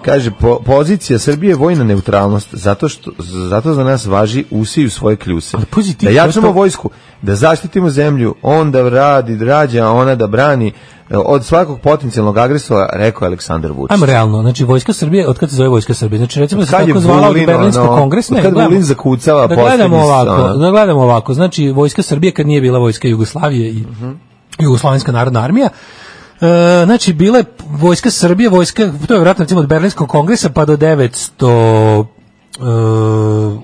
Kaže, po- pozicija Srbije je vojna neutralnost, zato, što, zato za nas važi usiju svoje kljuse. Ali pazi ti, da jačamo prosto- vojsku, da zaštitimo zemlju, on da radi, rađa, a ona da brani e, od svakog potencijalnog agresora, rekao je Aleksandar Vučić. Ajmo realno, znači Vojska Srbije, od kad se zove Vojska Srbije? Znači recimo da se Kad je tako zvala od Vulin, Berlinskog ono, kongresa, ne, kad gledamo- Vulin zakucava da gledamo posljednji, ovako, ono. da gledamo ovako, znači Vojska Srbije kad nije bila Vojska Jugoslavije i Jugoslovenska narodna armija, E, znači, bila je vojska Srbije, vojska, to je vjerojatno recimo od Berlinskog kongresa pa do 900 e,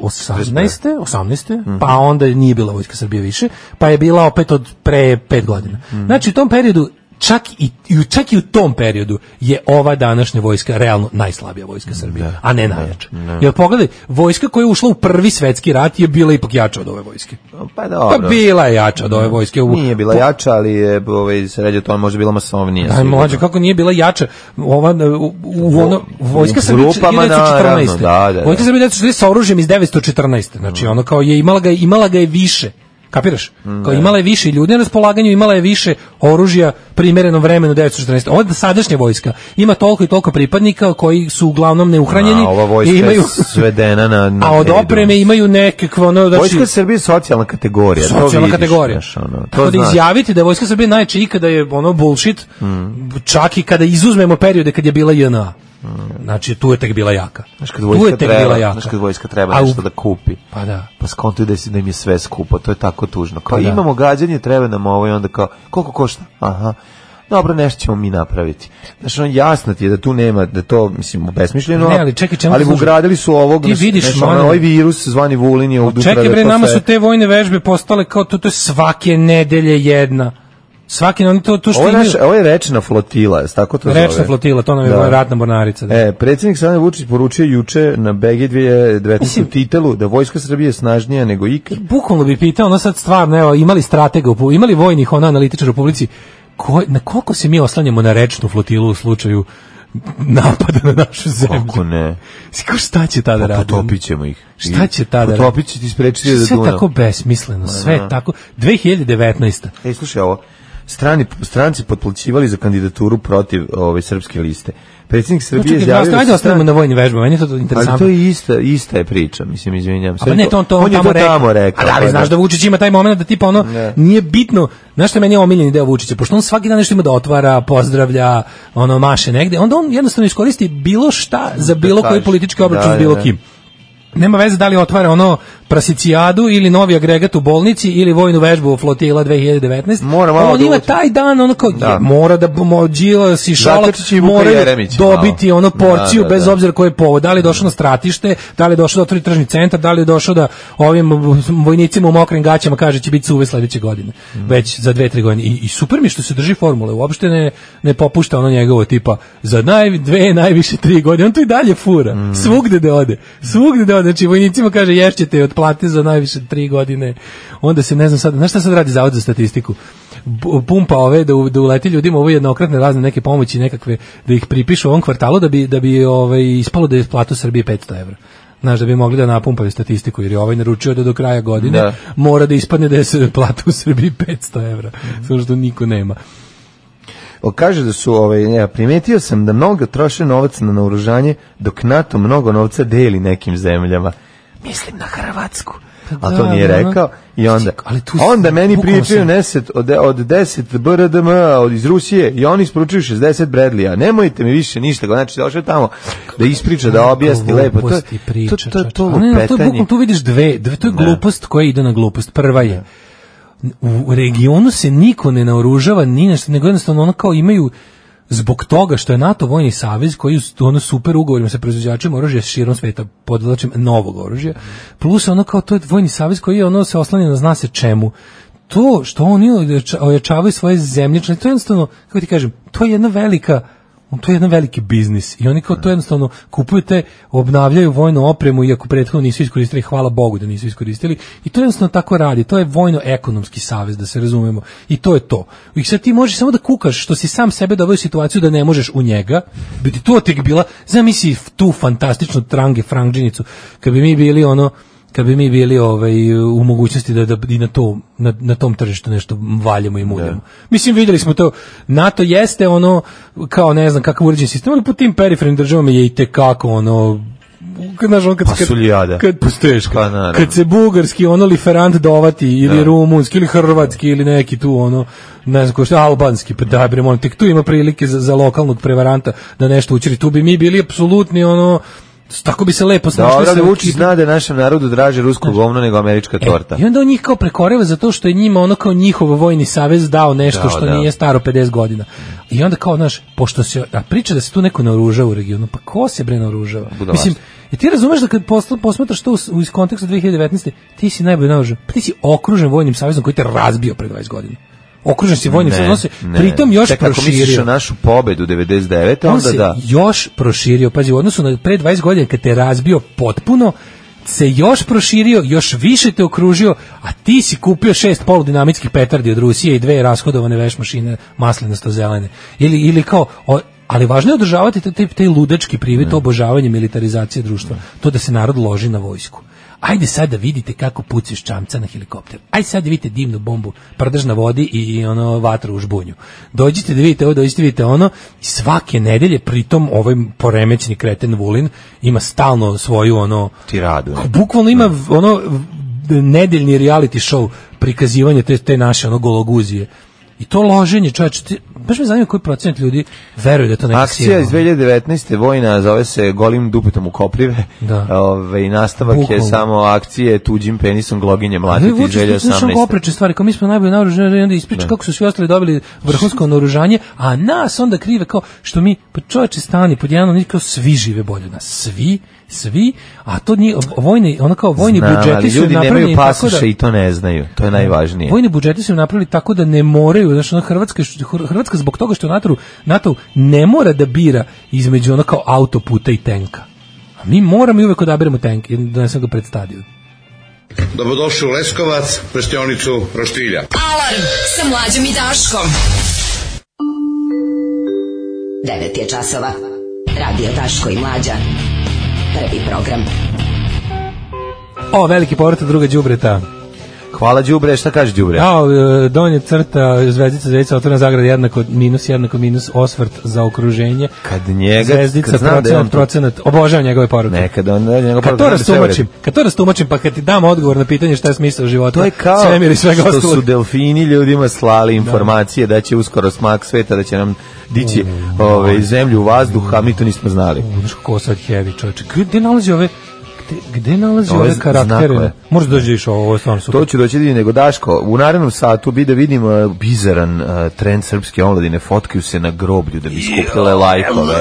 18. 18. Mhm. pa onda nije bila vojska Srbije više, pa je bila opet od pre pet godina. Mhm. Znači u tom periodu čak i, i u- čak i u tom periodu je ova današnja vojska realno najslabija vojska Srbije, a ne najjača. Jer pogledaj, vojska koja je ušla u prvi svetski rat je bila ipak jača od ove vojske. Pa Pa dobro. bila je jača od ove vojske. U- Nije bila po- jača, ali je, ovaj, se radi o tome, možda bila masovnija. Aj sigurno. mlađe Pa, kako nije bila jača ova u, u ono vojska u Srbije grupama, 1914. naravno, da, da, da. Vojska Srbije 1914 sa oružjem iz 914. Znači ono kao je imala ga je- imala ga je više. Kapiraš? Mm, Kao imala je više ljudi na raspolaganju, imala je više oružja primereno vremenu 914. Ova sadašnja vojska ima toliko i toliko pripadnika koji su uglavnom neuhranjeni A, ova vojska i imaju je svedena na, na a od periodu. opreme imaju nekakve ono znači Vojska Srbije je socijalna kategorija. to socijalna vidiš, kategorija. znaš, ono, to Tako da znaš. izjaviti da je Vojska Srbije najjača ikada je ono bullshit, čak i kada izuzmemo periode kad je bila JNA. Znači, tu je tek bila jaka. Znaš kad tu vojska je tek treba, bila jaka. znaš kad vojska treba A u- nešto da kupi. Pa da. Pa skontuju da, si- da im je sve skupo, to je tako tužno. Kao Pa da. imamo gađanje, treba nam ovo i onda kao, koliko košta? Aha, dobro, nešto ćemo mi napraviti. Znaš, on jasno ti je da tu nema, da je to, mislim, besmišljeno. Ne, ali čekaj, čemu ali služi? ugradili su ovog, Ti vidiš, znaš, ono, mane- ovaj virus zvani Vulin je od Čekaj bre, nama su te vojne vežbe postale kao to, to je svake nedelje jedna. Svake, oni to, to što Ovo je, imaju- naš, ovo je rečna flotila, jel' tako to zove? Rečna flotila, to nam je Da. ratna mornarica. Da. E, predsjednik Sanja Vučić poručio juče na BG 2019. Mislim- titelu da vojska Srbije je snažnija nego ikad. bukvalno bi pitao, ono sad stvarno, evo, imali stratega, u pu- imali vojnih ona analitičara u publici, ko, na koliko se mi oslanjamo na rečnu flotilu u slučaju napada na našu zemlju? Kako ne? Pa Si kao šta će tada raditi? Potopit ćemo ih. Šta će tada raditi? Potopit će ti sprečiti da Sve Dunav. tako besmisleno, sve tako. 2019. Ej, E, slušaj ovo. Strani, stranci potplaćivali za kandidaturu protiv ove srpske liste. Predsjednik Srbije Čekaj, izjavio... da da, su Znači, ajde ostavimo stran- na vojnim vežbama, meni je to interesantno. Ali to je ista, ista je priča, mislim, izvinjam se. A pa ne, to on to on je to tamo rekao. A da, ali pa znaš da Vučić ima taj moment da tipa ono Ne. nije bitno. Znaš što je meni omiljeni deo Vučića, pošto on svaki dan nešto ima da otvara, pozdravlja, ono maše negde, onda on jednostavno iskoristi bilo šta za bilo koji kaže. politički obračun Da, s da, bilo da. kim. Nema veze da li otvara ono prasicijadu ili novi agregat u bolnici ili vojnu vežbu u flotila 2019. Mora malo on da ima uđe. taj dan ono kao Da. je, mora da mo, Đilas i Šolak Zakrčić i Vuka moraju Jeremića malo. dobiti ono porciju Da, Mm. da, bez da. obzira koji je povod, da li je došao na stratište, da li je došao da otvori tržni centar, da li je došao da ovim vojnicima u mokrim gaćama kaže će biti suve sledeće godine, Mm. već za dve, tri godine. I, i super mi je što se drži formule, uopšte ne, ne popušta ono njegovo tipa za naj, dve, najviše tri godine, on to i dalje fura, Mm. svugde da ode, svugde da ode, znači vojnicima kaže ješćete od plate za najviše tri godine, onda se ne znam sad, znaš šta sad radi Zavod za statistiku? Bu- pumpa ove da, u- da uleti ljudima ovo jednokratne razne neke pomoći nekakve da ih pripišu ovom kvartalu da bi da bi ovaj ispalo da je platu Srbije 500 evra. Znaš, da bi mogli da napumpaju statistiku, jer je ovaj naručio da do kraja godine Da. mora da ispadne da je se plata u Srbiji 500 evra, Mhm. samo što niko nema. O, Kaže da su, ovaj, ja, primetio sam da mnogo troše novac na naoružanje, dok NATO mnogo novca deli nekim zemljama. Mislim na Hrvatsku. Pa A da, to nije da, da. rekao. I onda, Ali tu onda si- meni bukvalno pričaju sam- neset od, od 10 BRDM od, iz Rusije i oni isporučuju 60 Bradleya. Nemojte mi više ništa. Znači, došao je tamo da ispriča, da objasni lepo. To, Gluposti priča, to, ono to, to, čoveče. A ne, ne, to je lupetanje. bukvalno, tu vidiš dve, dve to je glupost koja ide na glupost. Prva je u regionu se niko ne naoružava ni nešto, nego jednostavno ono kao imaju zbog toga što je NATO vojni savez koji s- ono super ugovorima sa proizvođačima oružja širom sveta podlačim novog oružja plus ono kao to je vojni savez koji je ono se oslanja na zna se čemu to što oni ojača- ojačavaju svoje zemlje članice, to je jednostavno kako ti kažem to je jedna velika to je jedan veliki biznis i oni kao to jednostavno kupuju te, obnavljaju vojnu opremu iako prethodno nisu iskoristili, hvala Bogu da nisu iskoristili i to jednostavno tako radi, to je vojno-ekonomski savez, da se razumemo i to je to. I sad ti možeš samo da kukaš što si sam sebe doveo u situaciju da ne možeš u njega, bi ti to tek bila, zamisli f- tu fantastičnu trange frangđinicu, kad bi mi bili ono, kad bi mi bili ovaj u mogućnosti da da i na to na, na tom tržištu nešto valjamo i muljamo. Mislim videli smo to NATO jeste ono kao ne znam kakav uređen sistem, ali po tim perifernim državama je i te kako ono kad znaš, ono, kad, kad, Pasuljada. kad pusteška, Pa, naravno. kad se bugarski ono liferant dovati ili rumunski ili hrvatski ili neki tu ono ne znam ko šta, albanski, pa da bre, molim, tek tu ima prilike za, za lokalnog prevaranta da nešto učini, tu bi mi bili apsolutni ono, tako bi se lepo Da, snašli. ovdje sa- Vučić zna da je našem narodu draže rusko govno nego američka torta. E, I onda on njih kao prekoreva zato što je njima ono kao njihov vojni savez dao nešto Dao, što da. nije staro 50 godina. I onda kao, znaš, pošto se, a priča da se tu neko naoružava u regionu, pa ko se bre naoružava? Budalaštvo. Mislim, i ti razumeš da kad posl- posmatraš to u, s- u- iz konteksta 2019. ti si najbolje naoružan, pa ti si okružen vojnim savezom koji te razbio pre 20 godina. Okružen si vojnim savezom, on se pritom još Čekaj, ako misliš proširio. na našu pobedu 99. On onda se da. još proširio, pazi, u odnosu na pre 20 godina kad te je razbio potpuno, se još proširio, još više te okružio, a ti si kupio šest poludinamitskih petardi od Rusije i dve rashodovane veš mašine maslinasto zelene. Ili, ili kao, o- ali važno je održavati taj, taj, taj ludački privid, to obožavanje militarizacije društva, to da se narod loži na vojsku. Ajde sad da vidite kako puciš čamca na helikopter. Ajde sad da vidite divnu bombu, prdež na vodi i, i ono vatru u žbunju. Dođite da vidite ovo, dođite da vidite ono. I svake nedelje, pritom ovaj poremećni kreten Vulin ima stalno svoju ono... Tiradu, ne? Bukvalno ima v- ono v- nedeljni reality show prikazivanje te, te naše ono gologuzije. I to loženje, čovječe, ti- baš me zanima koji procenat ljudi veruje da je to neka ono. Akcija siroma. iz 2019. vojna zove se Golim dupetom u koprive. Da. Ove, i nastavak je Bukvalno. samo akcije tuđim penisom gloginje mlatiti Ali iz Vučić je slušao 2018. opreče stvari, kao mi smo najbolje naoružani, i onda ispriča kako su svi ostali dobili vrhunsko naoružanje, a nas onda krive kao što mi, pa čoveče stani, pod jedan, oni kao svi žive bolje od nas, svi, svi, a to nije, vojni, ono kao vojni Znam, ali budžeti su ljudi nemaju napravljeni tako pasoše da... i to ne znaju. To je najvažnije. Vojni budžeti su im napravili tako da ne moraju, znači ona Hrvatska Hr- Hrvatska zbog toga što je NATO NATO ne mora da bira između ono kao autoputa i tenka. A mi moramo i uvek odabiremo tenk, jer donesem ga pred stadion. Dobrodošli u Leskovac, prštionicu Roštilja. Alarm sa mlađom i Daškom. 9 je časova. Radio Daško i Mlađa. Prvi program. O, veliki povrat od druga đubreta. Hvala Đubre, šta kaže Đubre? Kao e, donja crta, zvezdica, zvezdica, otvorena zagrada, jednako minus, jednako minus, osvrt za okruženje. Kad njega, zvezdica, kad znam da je on procenat, procenat, obožavam njegove poruke. Nekad on da njega Kad to rastumačim, kad to rastumačim, pa kad ti dam odgovor na pitanje šta je smisao života, To je kao svemir i svega što su ostalog. delfini ljudima slali informacije da, će uskoro smak sveta, da će nam dići Mm. ove, zemlju u vazduh, a mi to nismo znali. U, Znaš kako sad heavy čovječe, gde nalazi ove, gde, gde nalazi Ove ove, z- znakove. karaktere? Možda dođe iš ovo, ovo je stvarno super. To ću doći da vidim, nego Daško, u narednom satu bi da vidim e, bizaran e, trend srpske omladine, fotkaju se na groblju da bi skupile lajkove.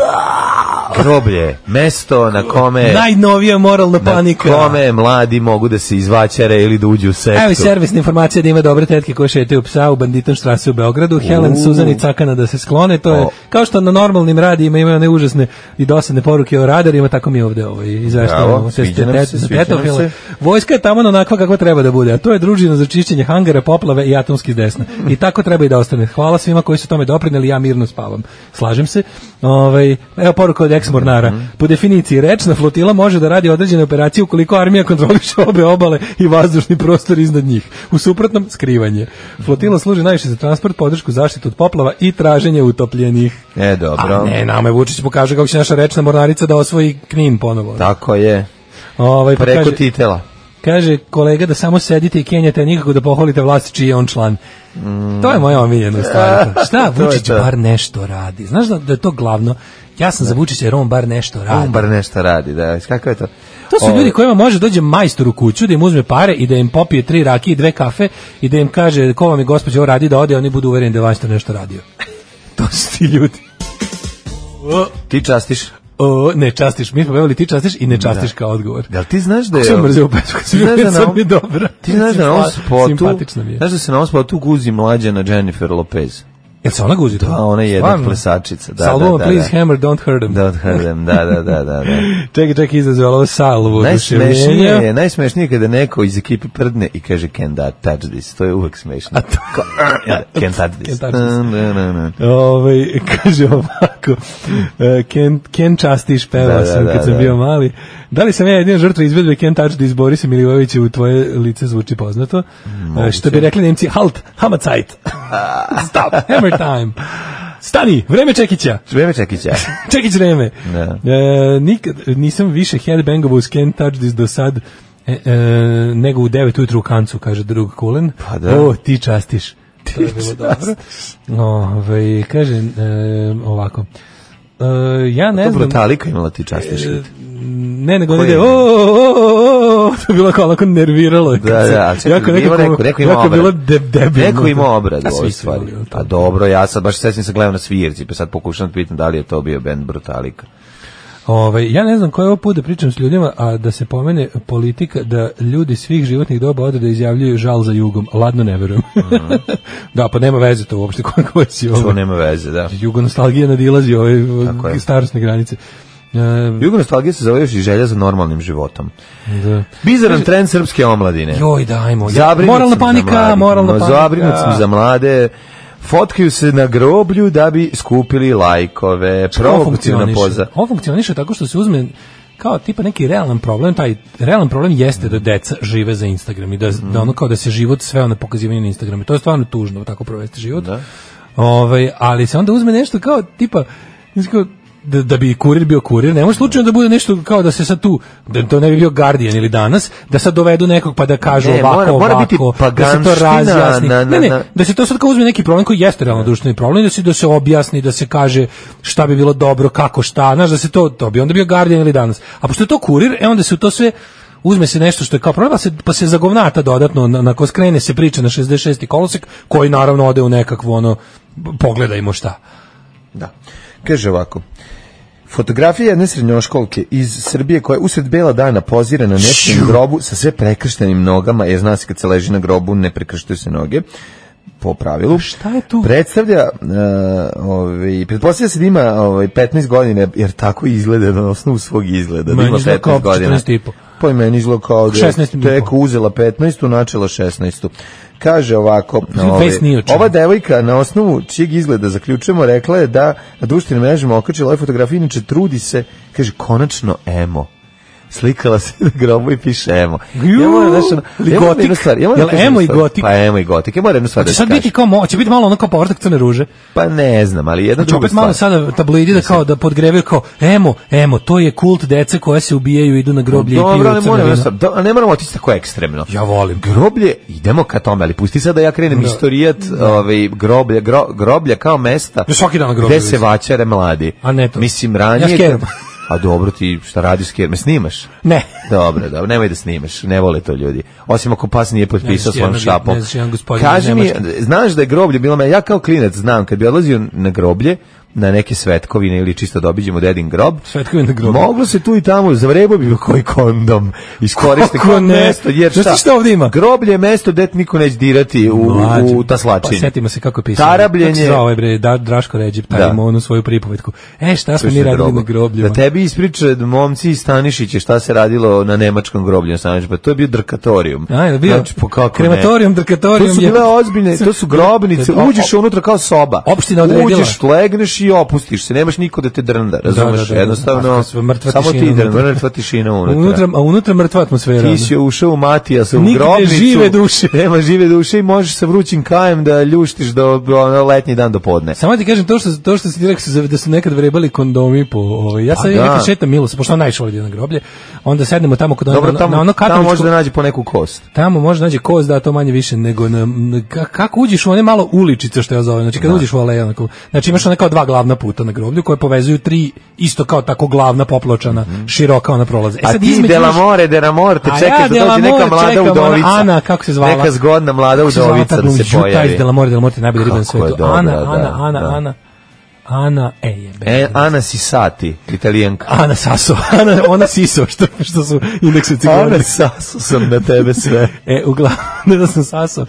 Groblje, mesto na kome... Najnovija moralna na panika. kome mladi mogu da se izvaćare ili da uđu u sektu. Evo i servisna informacija da ima dobre tetke koje šetaju psa u banditom štrasu u Beogradu. Helen, U. Suzan i Cakana da se sklone. To je, O. kao što na normalnim radijima imaju one užasne i dosadne poruke o radarima, tako mi ovde ovaj, ovo Bravo, izveštavamo. se sviđa nam se, za sviđa nam tetofile. se. Vojska je tamo onakva kako treba da bude, a to je družina za čišćenje hangara, poplave i atomski desna. I tako treba i da ostane. Hvala svima koji su tome doprineli, ja mirno spavam. Slažem se. Ovaj, evo poruka od ex-mornara. Mhm. Po definiciji, rečna flotila može da radi određene operacije ukoliko armija kontroliše obe obale i vazdušni prostor iznad njih. U suprotnom, skrivanje. Flotila služi najviše za transport, podršku, zaštitu od poplava i traženje utopljenih. E, dobro. A ne, nama je Vučić pokaže kako će naša rečna mornarica da osvoji Knin ponovo. Tako je. Ovaj, pa Preko kaže- titela. Kaže kolega da samo sedite i kenjate, a nikako da pohvalite vlast čiji je on član. To je moja omiljena stvar. Šta To je Vučić to. bar nešto radi? Znaš da, da je to glavno? Ja sam za Vučića jer on bar nešto radi. On bar Ovaj- nešto radi, da. Kako je to? To su Ovo- ljudi kojima može dođe majstor u kuću da im uzme pare i da im popije tri rakije i dve kafe i da im kaže ko vam je gospođa ovo radi da ode, oni budu uvereni da je majstor nešto radio. to su ti ljudi. O, Ti častiš? o, ne častiš, mi smo pevali ti častiš i ne častiš Da. kao odgovor. Jel ti znaš da je... Kako sam mrzio Petu kad sam Ti znaš bio, da na sad ovom- mi je dobro. Ti znaš da na ovom Simpatična spotu... mi je. Znaš da se na ovom spotu guzi mlađa na Jennifer Lopez? Jel se ona guzi to? Da, Pa ona je jedna Stvarno? plesačica. Da, Sa albuma da, da, Please da. Hammer, Don't Hurt Em. Don't hurt them, da, da, da, da. da. Čekaj, čekaj, izazvala ovo salvo Najsmešnije oduševljenja. je, najsmešnije je kada neko iz ekipe prdne i kaže can that touch this, to je uvek smešno. Ko- Ja, Can't touch this. Can't touch this. Dun, dun, dun, dun. Ovaj kaže ovako, e, Ken, Ken Častiš pevao Da, da, sam kad da, sam da. bio mali. Da li sam ja jedina žrtva izvedbe Ken Touch da izbori se Milivojevića u tvoje lice zvuči poznato? E, što bi rekli Nemci, halt, hamacajt, stop, hammer time. Stani, vreme Čekića. Vreme Čekića. Čekić vreme. Da. E, nikad nisam više headbangovao uz Ken Touch This do sad e, e, nego u 9 ujutru u kancu, kaže drug Kulen. Pa da. O, ti častiš. To je bilo dobro. Ove, kaže, e, ovako. E, ja ne Ne znam... brutalika imala ti častiš. E, ne, nego on Koji ide, je? o, o, o, o, to je bilo kao onako nerviralo. je. Da, da, ali čekaj, jako neko, nekako, neko, neko ima jako obrad. bilo de, debilno. Neko ima obrad A u svi ovoj su stvari. imali, jel Pa tako? dobro, ja sad baš sesim se gledam na svirci, pa sad pokušam da pitam da li je to bio band Brutalika. Ovaj ja ne znam koje ovo put da pričam s ljudima, a da se pomene politika da ljudi svih životnih doba odrada izjavljuju žal za jugom. Ladno ne verujem. da, pa nema veze to uopšte koliko je si To ovo. nema veze, da. Jugonostalgija nadilazi ove Tako je. starosne granice. E, Jugonostalgija se zove još i želja za normalnim životom. da. Bizaran trend srpske omladine. Joj, dajmo. Ja, Zabrinut moralna sam za panika, mlade. moralna Ma, panika. Zabrinut sam za mlade. Fotkaju se na groblju da bi skupili lajkove. Ovo Provokativna funkcioniše. Znači, poza. Ovo funkcioniše tako što se uzme kao tipa neki realan problem, taj realan problem jeste da deca žive za Instagram i da, Mhm. da ono kao da se život sveo na pokazivanje na Instagramu. To je stvarno tužno tako provesti život. Da. Ovaj, ali se onda uzme nešto kao tipa znaš kao, da, da bi kurir bio kurir, ne može slučajno da bude nešto kao da se sad tu, da to ne bi bio Guardian ili danas, da sad dovedu nekog pa da kažu Ne, ovako, mora- mora biti ovako, da se to paganština razjasni. na- na- ne, ne, na- da se to sad kao uzme neki problem koji jeste realno društveni problem, da se da se objasni, da se kaže šta bi bilo dobro, kako šta, znaš da se to to bi onda bio Guardian ili danas. A pošto je to kurir, e onda se u to sve uzme se nešto što je kao problem, pa se, pa se zagovnata dodatno, na, na skrene se priča na 66. kolosek, koji naravno ode u nekakvo ono, b- pogledajmo šta. Da. Kaže ovako. Fotografija jedne srednjoškolke iz Srbije koja usred bela dana pozira na nečijem grobu sa sve prekrštenim nogama, jer zna se kad se leži na grobu ne prekrštaju se noge po pravilu. Šta je tu? Predstavlja, uh, ovaj, pretpostavlja se da ima ovaj, 15 godina, jer tako izgleda na osnovu svog izgleda. Da Meni ima izgleda 15 kao godina. 14 i po. Pa i meni izgleda kao da je 16 i po. tek uzela 15, načela 16. Kaže ovako, ovaj, Face nije o čemu. ova devojka na osnovu čijeg izgleda zaključujemo rekla je da na društvenim mrežama okačila ove fotografije, inače trudi se, kaže, konačno emo. Slikala se na grobu i piše emo. Ju, moram, znaš, ono, ili ja moram gotik? jednu stvar, ja moram da Jel kažem emo i jednu stvar. gotik? Pa emo i gotik. Ja moram jednu stvar da Hoće ti sad biti kažem. kao, mo- će biti malo ono kao povratak crne ruže. Pa ne znam, ali jedna Znači druga opet malo stvar. sada tablidi da kao da podgrevaju kao emo, emo, to je kult dece koja se ubijaju, idu na groblje i Dobro, piju ne crno moramo, vino. jednostavno- da, ne moramo otići tako ekstremno. Ja volim. groblje, idemo ka tome, ali pusti sad da ja krenem Da. istorijat ovaj, groblja, gro, groblja kao mesta Ja svaki dan na groblje gde se idem. vaćare mladi. A ne to. Mislim, ranije... Ja skeram. A dobro, ti šta radiš skeram? Me snimaš? Ne. Dobro, dobro, nemoj da snimaš, ne vole to ljudi. Osim ako pas nije potpisao znaš svojom jednog- šapom. ne znaš jedan gospodin iz Kaži mi, Nemačke. znaš da je groblje bilo me, ja kao klinac znam, kad bi odlazio na groblje, na neke svetkovine ili čisto da obiđemo dedin grob, Svetkovi na grobu. Moglo se tu i tamo, zavrebo bi koji kondom iskoriste Kako kao ne? mesto, jer šta? Znaš ti šta ovde ima? Groblje je mesto gde ti niko neće dirati u, Mlađe. u taslačenje. Pa setimo se kako je pisao. Tarabljenje. Kako se zvao ovaj bre, da, Draško Ređip, taj Da. da. ima onu svoju pripovetku. E, šta smo mi radili na grobljima? Da tebi ispriče momci iz Stanišića šta se radilo na nemačkom groblju na Stanišiću, pa to je bio drkatorijum. A, je li bio? Znači, pa kako ne? Krematorijum, drkatorijum To su je- bile ozbiljne, to su grobnice, O, o, uđeš unutra kao soba. Opština odredila. Uđeš, legneš i i opustiš se, nemaš niko da te drnda, razumeš? da, da. jednostavno, A, sve mrtva samo ti tišina drnda, unutra. mrtva tišina unutra. Unutra, a unutra mrtva atmosfera. Ti si ušao u Matijasa, u Nigde grobnicu. žive duše. Nema žive duše i možeš sa vrućim kajem da ljuštiš do ono, letnji dan do podne. Samo ti kažem to što to što si ti rekao su za- da su nekad vrebali kondomi po ovaj ja Pa sam da. nekad šetam Milosa pošto on najšao ovdje na groblje. Onda sednemo tamo kod ono- Dobro, na- tamo, na ono tamo katoličko- može da nađe po neku kost. Tamo možda nađe koz da to manje više nego na, na- ka- kako uđeš u one malo uličice što ja zovem. Znači kad uđeš u aleju onako, znači imaš ona kao dva glavna puta na groblju koje povezuju tri isto kao tako glavna popločana, široka ona prolaze. Mhm. E A ti između imaš- Delamore, Delamore, te A čekaš ja da dođe neka Delamore mlada čekam, ona udovica. ono, Ana, kako se zvala? Neka zgodna mlada Kako se zvala ta udovica da se glumica? Juta iz pojavi. Delamore, Delamore ti je najbolji riba na Kako je svetu. dobra, Ana, da, Ana, Ana, da. Ana. Ana, e jebe. E, Ana Sisati, italijanka. Ana Saso, Ana, ona Siso, što, što su indekse Ana cigarne. Sasu sam na tebe sve. E, uglavnom, ne da sam saso.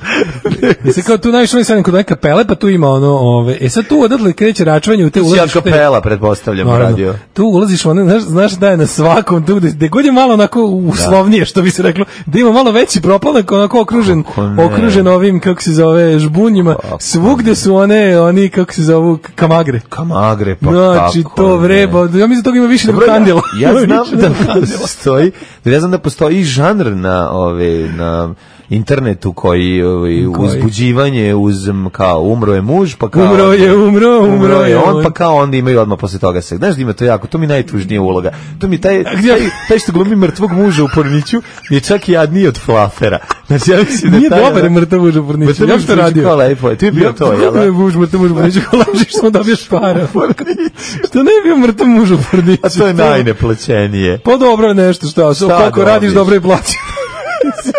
Da se kao tu najviše ovaj sedem kod neke kapele, pa tu ima ono, ove, e sad tu odatle kreće račvanje u te Ti si ulaziš. u te- akapela, pretpostavljam, Naravno. radio. Tu ulaziš, ono, znaš, znaš da je na svakom, tu gde, gde god je malo onako uslovnije, što bi se reklo, da ima malo veći proplanak, onako okružen, Kako ne? okružen ovim, kako se zove, žbunjima, svugde su one, oni, kako se zovu, k- kamagre. Kamagre, pa Znači, kako to ne. vreba, ja mislim da toga ima više nego Dobro, kandila. Ja, ja Ima znam više da nego kandila. postoji, da ja znam da postoji žanr na ove na internetu koji, ovaj, Koji? uzbuđivanje uz m, kao umro je muž pa kao Umro je, umro, umro je on on. pa kao onda imaju odmah posle toga se znaš da ima to jako to mi je najtužnija uloga to mi taj gdje- taj, taj što glumi mrtvog muža u porniću je čak i jadniji od flafera znači ja mislim da Nije taj, dobar je mrtav muž u Mrtav porniću. muž Ja u što porniću, radio? kao lepo je. Ti je bio to, jel da? Ne, muž mrtav muž u porniću, kao lažiš samo dobiješ para. Što ne bi bio mrtav muž u porniću? a to je najneplaćenije Pa dobro je nešto što, što Šta kako radiš dobiš? dobro i plaćaš.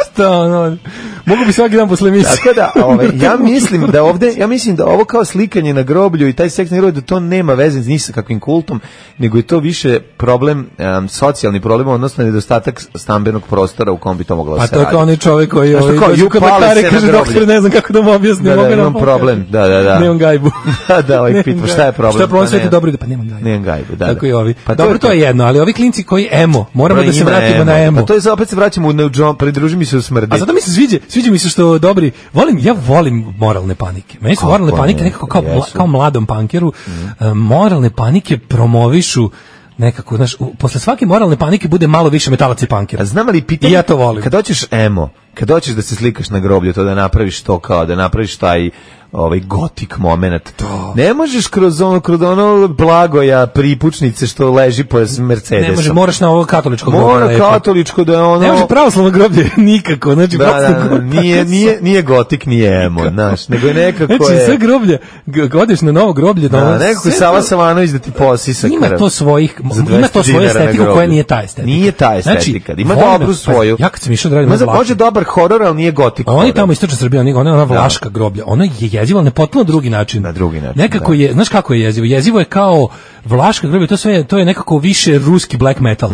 Šta ono, mogu bi svaki dan posle misli. Tako da, ove, ja mislim da ovde, ja mislim da ovo kao slikanje na groblju i taj seks na groblju, da to nema veze ni sa kakvim kultom, nego je to više problem, em, socijalni problem, odnosno nedostatak stambenog prostora u kom bi to moglo da A se Pa to je radi. kao onaj čovjek koji Znaš, ovaj, kao, dođe ju, kod pali se lekare na kaže groblje. doktor ne znam kako da mu objasnim. Da, da, mogu nam imam pomoći?" problem, da, da, da. Nemam gajbu. da, ovaj Nemam pita, gajbu. šta je problem? Šta je problem, Pa sve ti ne- dobro ide, pa nemam gajbu. Nemam gajbu, da, da. Tako i ovi. Pa to Dobro, je to to. je jedno, ali ovi klinci koji emo, moramo da se Ima vratimo na emo. emo. Pa to je sad opet se vraćamo u neudžom, pridruži mi se u smrdi. A zato mi se sviđa, sviđa mi se što dobri, volim, ja volim moralne panike. Meni su Kako moralne panike ne, nekako kao, mla- jesu. Mhm. kao mladom pankeru, e, moralne panike promovišu nekako, znaš, u- posle svake moralne panike bude malo više metalac i pankera. A Pa znam li pitanje? I ja to volim. Kad hoćeš emo, kad hoćeš da se slikaš na groblju, to da napraviš to kao da napraviš taj ovaj gotik moment. Ne možeš kroz ono, kroz ono blagoja pripučnice što leži pored Mercedesa. Ne može, moraš na ovo katoličko groblje Mora lepo. katoličko da je ono... Ne može pravoslavno groblje nikako, znači Da, pravoslavno da, da, groblje- nije, nije, nije gotik, nije emo, znaš, nego je nekako Znači, sve je... groblje, g- odeš na novo groblje, da, Da, ono- nekako sve je Sava to- Savanović da ti posisa ima krv. to svojih Za ima 200 to svoju dinara na estetiku koja groblju. nije ta estetika. Znači, Nije ta estetika, ima volim- dobru svoju. Pa, ja kad sam išao da radim Ma na za- Vlaški- može dobar horor, ali nije gotik A oni horor. tamo istočna Srbija, oni ona je ona vlaška groblja. Ono je jezivo, ali na potpuno drugi način. Na drugi način, Nekako da. je, znaš kako je jezivo? Jezivo je kao vlaška groblja, to sve je- to je nekako više ruski black metal.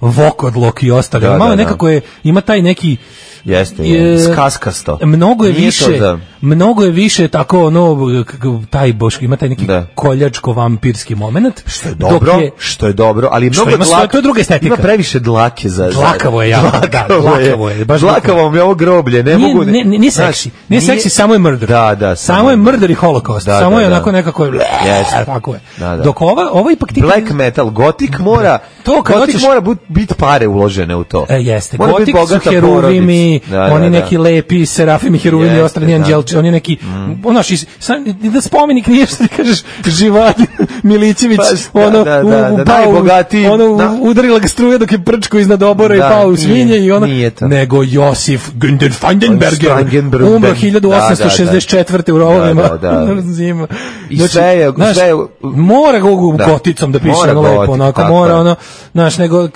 Vokodlok i ostali. Mhm. Da, Malo da, da. nekako je ima taj neki Jeste, je- je, skaskasto. Mnogo je Nije to više, za- mnogo je više tako ono k- k- taj boš ima taj neki Da. koljačko vampirski momenat. Što je dobro, dok je- što je dobro, ali Što mnogo ima svoje- to je druga estetika. Ima previše dlake za za- Dlakavo je jako, da, dlakavo je, baš dlakavo mi je ovo groblje, ne nije, mogu. ne, ne, nije znaš, seksi, nije, seksi, samo je murder. Da, da, Samo je murder i holokaust, Da, samo da, je da. onako nekako je, Jeste. tako je. Da, da. Dok ova, ova ipak ti... Black metal, gotik mora, To kad gotik hoćeš- mora bit, bit pare uložene u to. E, jeste, Mora bit gotik bogata su heruvimi, porodica. Da, oni da, da. neki lepi serafimi, heruvimi i Jeste, ostali da. Mm. anđelči, oni neki, onaš, is- sam, da spomenik nije što ti kažeš, Živalj Milićević, Pa šta, ono, da, u- da, u da, pao, najbogatiji, ono, da. udarila ga struja dok je prčko iznad obora i Da, pao u nije, svinje i ono, nije to. nego Josif Günder Feindenberger, Strangenbruggen. umro Da, da, da. 1864. u rovovima. Da, da, da. Zima. Znači, I sve je- znaš, sve je- mora ga u Da. goticom da piše Mora ono lepo, gotik, onako, tako mora je. ono, znaš, nego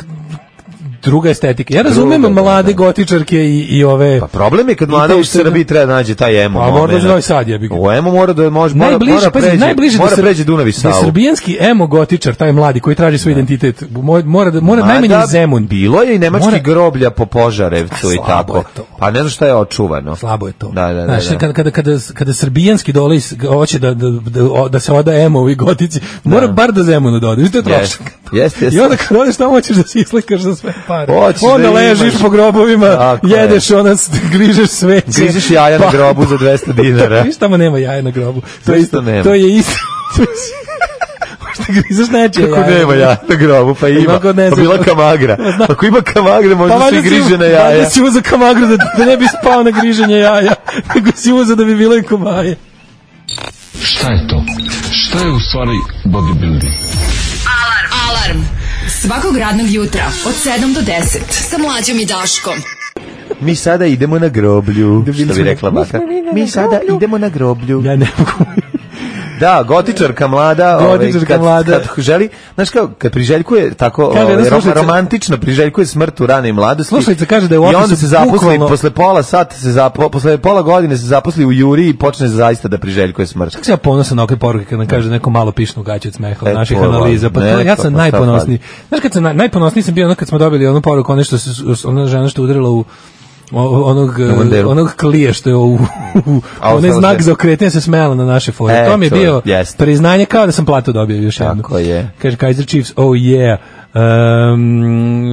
druga estetika. Ja razumem Druga, da, mlade da. gotičarke i, i ove... Pa problem je kad I mlada te u što- Srbiji treba da nađe taj emo. Pa mora da momenat. za Novi Sad, jebi ga. U emo mora da može, mora, najbliže, mora pazi, pređe, najbliže mora da se pređe Dunav i Da je Savu. srbijanski emo gotičar, taj mladi koji traži svoj identitet, mo- mora da mora najmanje Mada u Zemun. Bilo je i nemački Mora- groblja po Požarevcu A, i slabo tako. je to. Pa ne znam šta je očuvano. Slabo je to. Da, da, da. Znaš, da. kada, kada, kada, kada srbijanski dole iz- hoće da, da, da, o- da se oda emo ovi gotici, mora bar do Zemuna da odeš, to je Jeste, trošak. jeste. I onda kad odeš tamo hoćeš da se islikaš za sve pare. Hoćeš onda da ležiš imaš. po grobovima, Tako je. jedeš ona, s- grižeš Pa, sve. Griziš jaja na grobu za 200 dinara. Viš tamo nema jaja na grobu. To je Zaista isto, nema. to je isto. da grizaš nečije Kako nema jaja na grobu, pa ima. Kako ne Pa znam. bila kamagra. Ako ima kamagra, možda se i griže na jaja. Da Pa si uzao kamagru da, da ne bi spao na griženje jaja, nego si uzao da bi bilo i komaje. Šta je to? Šta je u stvari bodybuilding? Alarm. Alarm. Svakog radnog jutra od 7 do 10 sa mlađom i Daškom. Mi sada idemo na groblju, što bi rekla baka. Mi sada idemo na groblju. Ja ne mogu. Da, gotičarka mlada, ovaj, Gotičarka kad, mlada. kad želi, znaš kao, kad priželjkuje tako Kaže, ovaj, jedna ro- slušalica- romantično priželjkuje smrt u ranoj mladosti. Slušalica kaže da je u I onda opisu se zaposli bukvalno- posle pola sata se zapo, posle pola godine se zaposli u Juri i počne zaista da priželjkuje smrt. Kako sam ja ponosan na ove poruke kad nam kaže neko malo pišnu gaću od smeha od Eto naših E, vam, analiza, pa to, eto, ja pa sam šta najponosniji. Znaš kad sam na- najponosniji sam bio ono kad smo dobili onu poruku, ono što se ona žena što je udarila u o- onog Na banderu. onog klije što je u, u, u A, onaj ostalo znak se- za okretanje se smejala na naše fore. E, to mi je to bio jeste. priznanje kao da sam plato dobio još jedno. Tako je. Kaže Kaiser Chiefs, oh yeah. Um,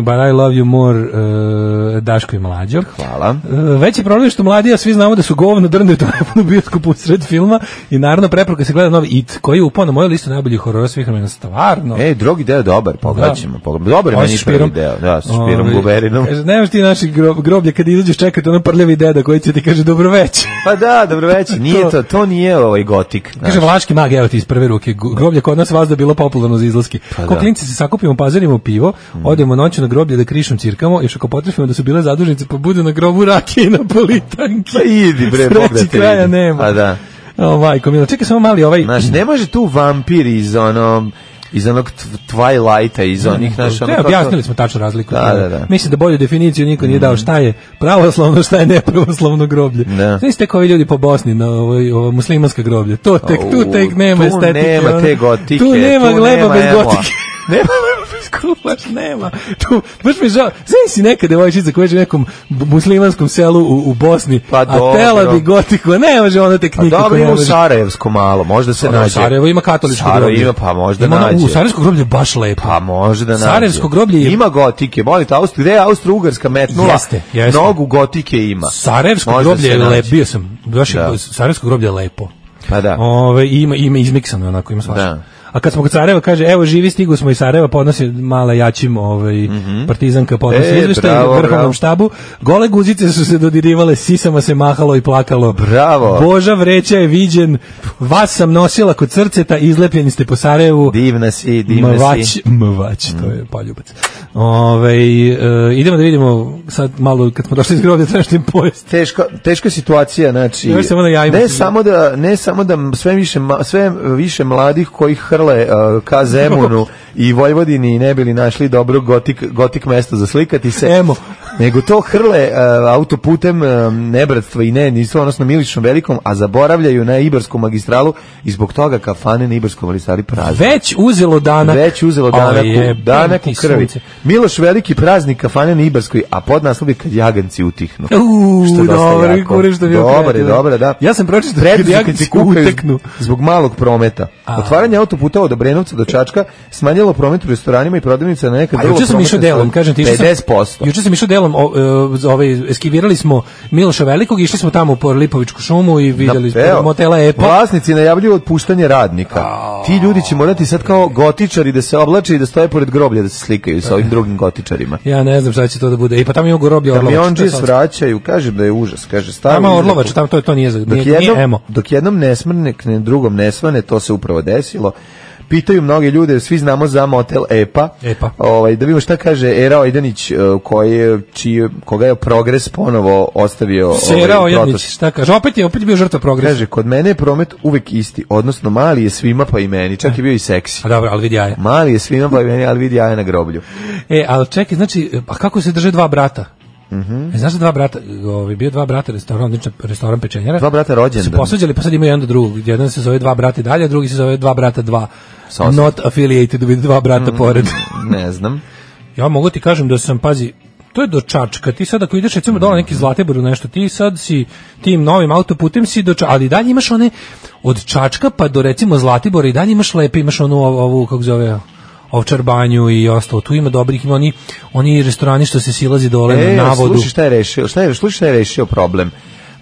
but I love you more uh, Daško i Mlađo. Hvala. E, Veći problem je što mladi, a svi znamo da su govno drndaju telefon u bioskopu u sred filma i naravno preporuka se gleda novi It, koji je upao na moju listu najboljih horora svih vremena, stvarno. E, drugi deo je dobar, pogledaćemo. pogledamo. Dobar je Ovo sa meni i prvi špirom. deo, da, sa špirom Ovaj, guberinom. Kaže, nemaš ti naših grob, groblja kad izađeš čekati ono prljavi deda koji će ti kaže dobro večer. Pa da, dobro večer. Nije to, to nije ovaj gotik. znaš. Kaže Vlaški mag, evo ti iz prve ruke, gu- groblje kod nas vazda bilo popularno za izlaske. Pa da. Mm. Ko klinci se sakupimo, pazarimo pivo, odemo noću na groblje da krišom cirkamo, još ako potrefimo da su bile zadužnice, pa bude na grobu rakije i napolitanke. Pa idi bre, Sreći Bog da te kraja vidi. nema. Pa da. O, majko, milo, čekaj samo mali ovaj... Znaš, ne može tu vampir iz onom iz onog tw- Twilighta, iz onih ono naš Ne, objasnili smo tačno razliku. Da, da, da. Mm. Mislim da bolju definiciju niko nije dao šta je pravoslavno, šta je nepravoslavno groblje. Da. Znaš tek ovi ljudi po Bosni na ovoj, ovo muslimanska groblje. To tek, tu tek nema tu estetike. nema ono. te gotike, Tu nema tu gleba nema bez emoa. gotike. Nema gleba bez gotike, baš nema. Tu, baš mi je žao. Znaš si neka devojčica koja je u nekom b- muslimanskom selu u, u Bosni, Pa a tela dobro. bi gotiku, a ne može ona Pa tehnike. dobro, koja ima u može. Sarajevsku malo, možda se Ono, Pa nađe. Sarajevo ima katoličko Sarajevo groblje. ima, pa možda Ima ono- nađe. U, Sarajevsko groblje je baš lepo. Pa možda nađe. Sarajevsko groblje je- Ima gotike, molite, Austro, gde je Austro-Ugarska metnula? Jeste, jeste. Mnogu gotike ima. Sarajevsko Možda groblje se je nađe. lepo, bio sam, baš je- Da. Sarajevsko groblje je lepo. Pa da. Ove, i ima, ima izmiksano, je onako, ima svašta. Da. A kad smo kod Sarajeva, kaže, evo, živi stigu smo iz Sarajeva, podnosi mala jačim ovaj, partizanka, podnosi Mhm. E, izveštaj bravo, vrhovnom bravo. štabu. Gole guzice su se dodirivale, sisama se mahalo i plakalo. Bravo. Boža vreća je viđen, vas sam nosila kod srceta, izlepljeni ste po Sarajevu. Divna si, divna Mvać, si. mvać, to je poljubac. Ove, e, idemo da vidimo sad malo, kad smo došli iz groblja, treba što im pojesti. teška teška situacija znači Još samo na jajima ne se- samo da ne samo da sve više ma- sve više mladih koji hrle uh, ka Zemunu i Vojvodini ne bili našli dobro gotik gotik mesto za slikati se Emo. nego to hrle uh, autoputem uh, nebratstva i ne nisu odnosno Miličnom velikom a zaboravljaju na Ibarsku magistralu i zbog toga kafane na Ibarskoj magistrali prazne Već uzelo danak. već uzelo danak, Ali je, u, danak ti u krvi. sunce. Miloš veliki praznik kafane na Ibarskoj, a pod naslov je kad jaganci utihnu. Uuu, Što je dosta dobro, jako. kureš da bi Dobar je, dobar, da. Ja sam pročito Predviđa da kad ti se kukaju uteknu. Zbog malog prometa. A. Otvaranje autoputa od Obrenovca do Čačka smanjilo promet u restoranima i prodavnicama na neka A druga Pa juče sam prometna išao delom, sredstva. kažem ti. išao sam- 50%. Juče sam išao delom, o, e, ovaj, eskivirali smo Miloša Velikog, išli smo tamo po Lipovičku šumu i videli smo Evo, motela Epa. Vlasnici najavljuju otpuštanje radnika. Ti ljudi će morati sad kao gotičari da se oblače i da stoje pored groblja da se slikaju sa ovim drugim gotičarima. Ja ne znam šta će to da bude. I pa tamo ima groblje Orlovača. Kamionđe šta sad? svraćaju, kaže da je užas, kaže stavio. Tamo je Orlovača, tamo to, to nije, za- Dok nije, nije jednom, Emo. dok jednom ne smrne, ne drugom ne svane, to se upravo desilo. Pitaju mnoge ljude, jer svi znamo za motel EPA. Epa. Ovaj, da vidimo šta kaže Era Ojdanić, eh, koji je, čiji, koga je Progres ponovo ostavio. ovaj, Sera Ojednić, protos. šta kaže? Opet je, opet je bio žrtva progresa. Kaže, kod mene je promet uvek isti, odnosno mali je svima pa i meni, čak je bio i seksi. A dobro, ali vidi jaje. Mali je svima pa i meni, ali vidi jaja na groblju. E, ali čekaj, znači, a kako se drže dva brata? Mhm. E, znaš da dva brata, ovi, bio dva brata restoran, odličan restoran pečenjara. Dva brata rođendan. Su posvađali, pa sad imaju jedan do drugog. Jedan se zove dva brata i dalje, a drugi se zove dva brata dva. Sa osam. Mhm. Not affiliated with dva brata pored. Ne znam. ja mogu ti kažem da sam, pazi, to je do Čačka. Ti sad ako ideš recimo dole neki Zlatibor ili nešto, ti sad si tim novim autoputem si do Čačka, ali i dalje imaš one od Čačka pa do recimo Zlatibora i dalje imaš lepe, imaš onu ov- ovu kako zove Ovčar banju i ostalo. Tu ima dobrih, ima oni, oni restorani što se silazi dole E, na a navodu. Slušaj šta je rešio, šta je, slušaj šta je rešio problem.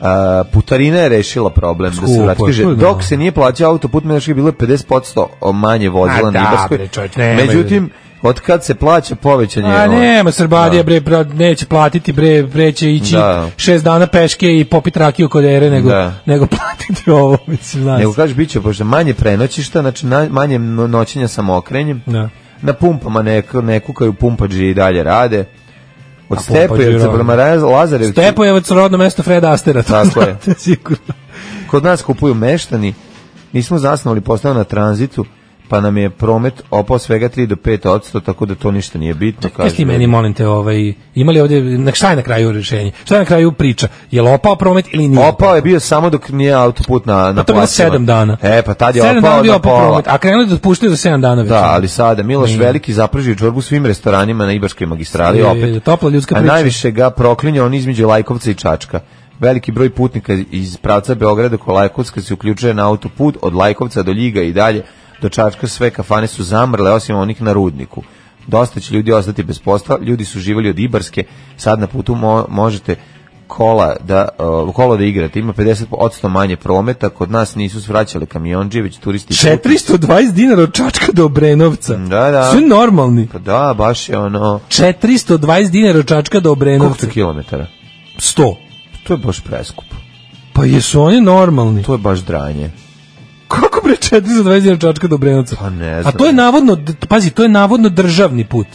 A, putarina je rešila problem da se Skupo vrati. je, Kaže, to je dok da. se nije plaćao autoput, Medačka je bilo 50% manje vozila A na da, Ibarskoj. bre, čovjek, nemoj. Međutim, od kad se plaća povećanje... A ovaj, nema Srbadija da. bre, pra- neće platiti bre, bre će ići Da. šest dana peške i popit rakiju kod ere nego, Da. nego platiti ovo, mislim, znaš. Nego kažeš, bit će pošto manje prenoćišta, znači na, manje no- noćenja samookrenjem. Da. Na pumpama ne, ne kukaju, pumpađi i dalje rade. Od A Stepojevca pumpađi prema rade. Ra- Lazarevcu. Stepojevac rodno mesto Fred Astera. to Tako je. znate sigurno. Kod nas kupuju meštani. Nismo zasnovali postao na tranzitu, pa nam je promet opao svega 3 do 5 odsto, tako da to ništa nije bitno. Jesi ti kaže. meni, molim te, ovaj, imali ovdje, na, šta je na kraju rješenje? Šta je na kraju priča? Je li opao promet ili nije? Opao je bio samo dok nije autoput na, Pa na to je bilo plaćama. sedam dana. E, pa tad je Sedam opao dana bio na opao pola. promet, a krenuli da otpuštaju za 7 dana već. Da, ali sada Miloš Ne. Veliki zapržio čorbu svim restoranima na Ibarskoj magistrali Je, opet. je, topla ljudska a priča. najviše ga proklinja on između Lajkovca i Čačka. Veliki broj putnika iz pravca Beograda ko Lajkovska se uključuje na autoput od Lajkovca do Ljiga i dalje do Čačka sve kafane su zamrle osim onih na rudniku. Dosta će ljudi ostati bez posla, ljudi su živjeli od Ibarske, sad na putu mo- možete kola da uh, kolo da igrate. Ima 50% manje prometa, kod nas nisu svraćali kamiondžije, već turisti. 420 dinara od Čačka do Obrenovca. Mm, Da, da. Svi normalni. Pa da, baš je ono... 420 dinara od Čačka do Koliko Obrenovca. kilometara? 100. To je baš preskupo. Pa jesu oni normalni? To je baš dranje. Kako bre 420 dinara od Čačka do Obrenovca? Pa ne A znam. to je navodno, d- pazi, to je navodno državni put.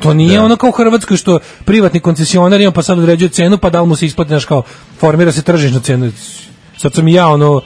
To nije ono kao u Hrvatskoj što privatni koncesionar ima pa sad određuje cenu pa da li mu se isplati, znaš kao, formira se tržišna cena. Sad sam i ja ono,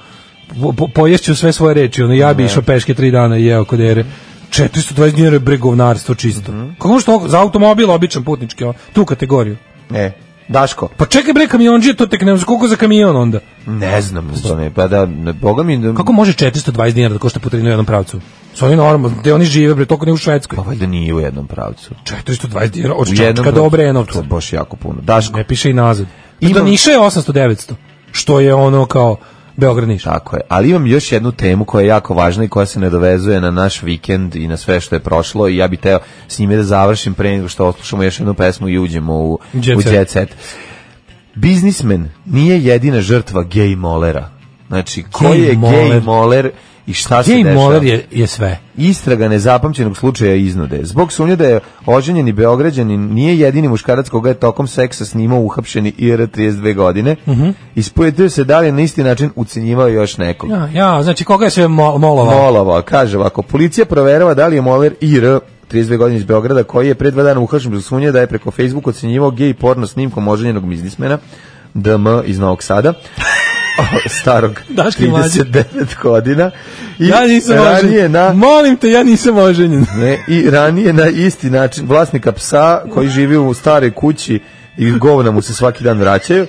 po- po, poješću sve svoje reči, ono, ja bi išao peške tri dana i jeo kod ere. 420 dinara je bregovnarstvo čisto. Mhm. Kako može to za automobil običan putnički, ono, tu kategoriju. E, Daško, Pa čekaj bre kamionđije, to tek ne znam koliko za kamion onda. ne znam za ne, pa da, ne, boga mi... Da, Mhm. Kako može 420 dinara da košta putarina u jednom pravcu? Su oni normalni, gde oni žive bre, toliko ne u Švedskoj. Pa valjda nije u jednom pravcu. 420 dinara U od jednom Čačka pravcu. do Obrenovca. To je baš jako puno. Daško, Ne piše i nazad. I do Imam- Niša je 800-900, što je ono kao Beograd Niš. tako je. Ali imam još jednu temu koja je jako važna i koja se ne dovezuje na naš vikend i na sve što je prošlo i ja bih teo s njime da završim pre nego što oslušamo još jednu pesmu i uđemo u Jet u set. jet set. Biznismen nije jedina žrtva gej molera. Znači, ko Gej je gej moler? moler i šta se Gej dešava? Moller je, je sve. Istraga nezapamćenog slučaja iznude. Zbog sumnje da je oženjeni Beograđanin nije jedini muškarac koga je tokom seksa snimao uhapšeni IR 32 godine, Mhm. ispojetio se da li je na isti način ucenjivao još nekog. Ja, ja, znači koga je sve mo- molova? Molova, kaže ovako, policija proverava da li je Moler IR 32 godine iz Beograda, koji je pre dva dana uhapšen zbog sumnje da je preko Facebook ocenjivao gej porno snimkom oženjenog biznismena, DM iz Novog Sada, starog Daško je mlađi. 39 godina. I ja nisam ranije oženjen. na Molim te, ja nisam oženjen. Ne, I ranije na isti način vlasnika psa koji živi u staroj kući i govna mu se svaki dan vraćaju.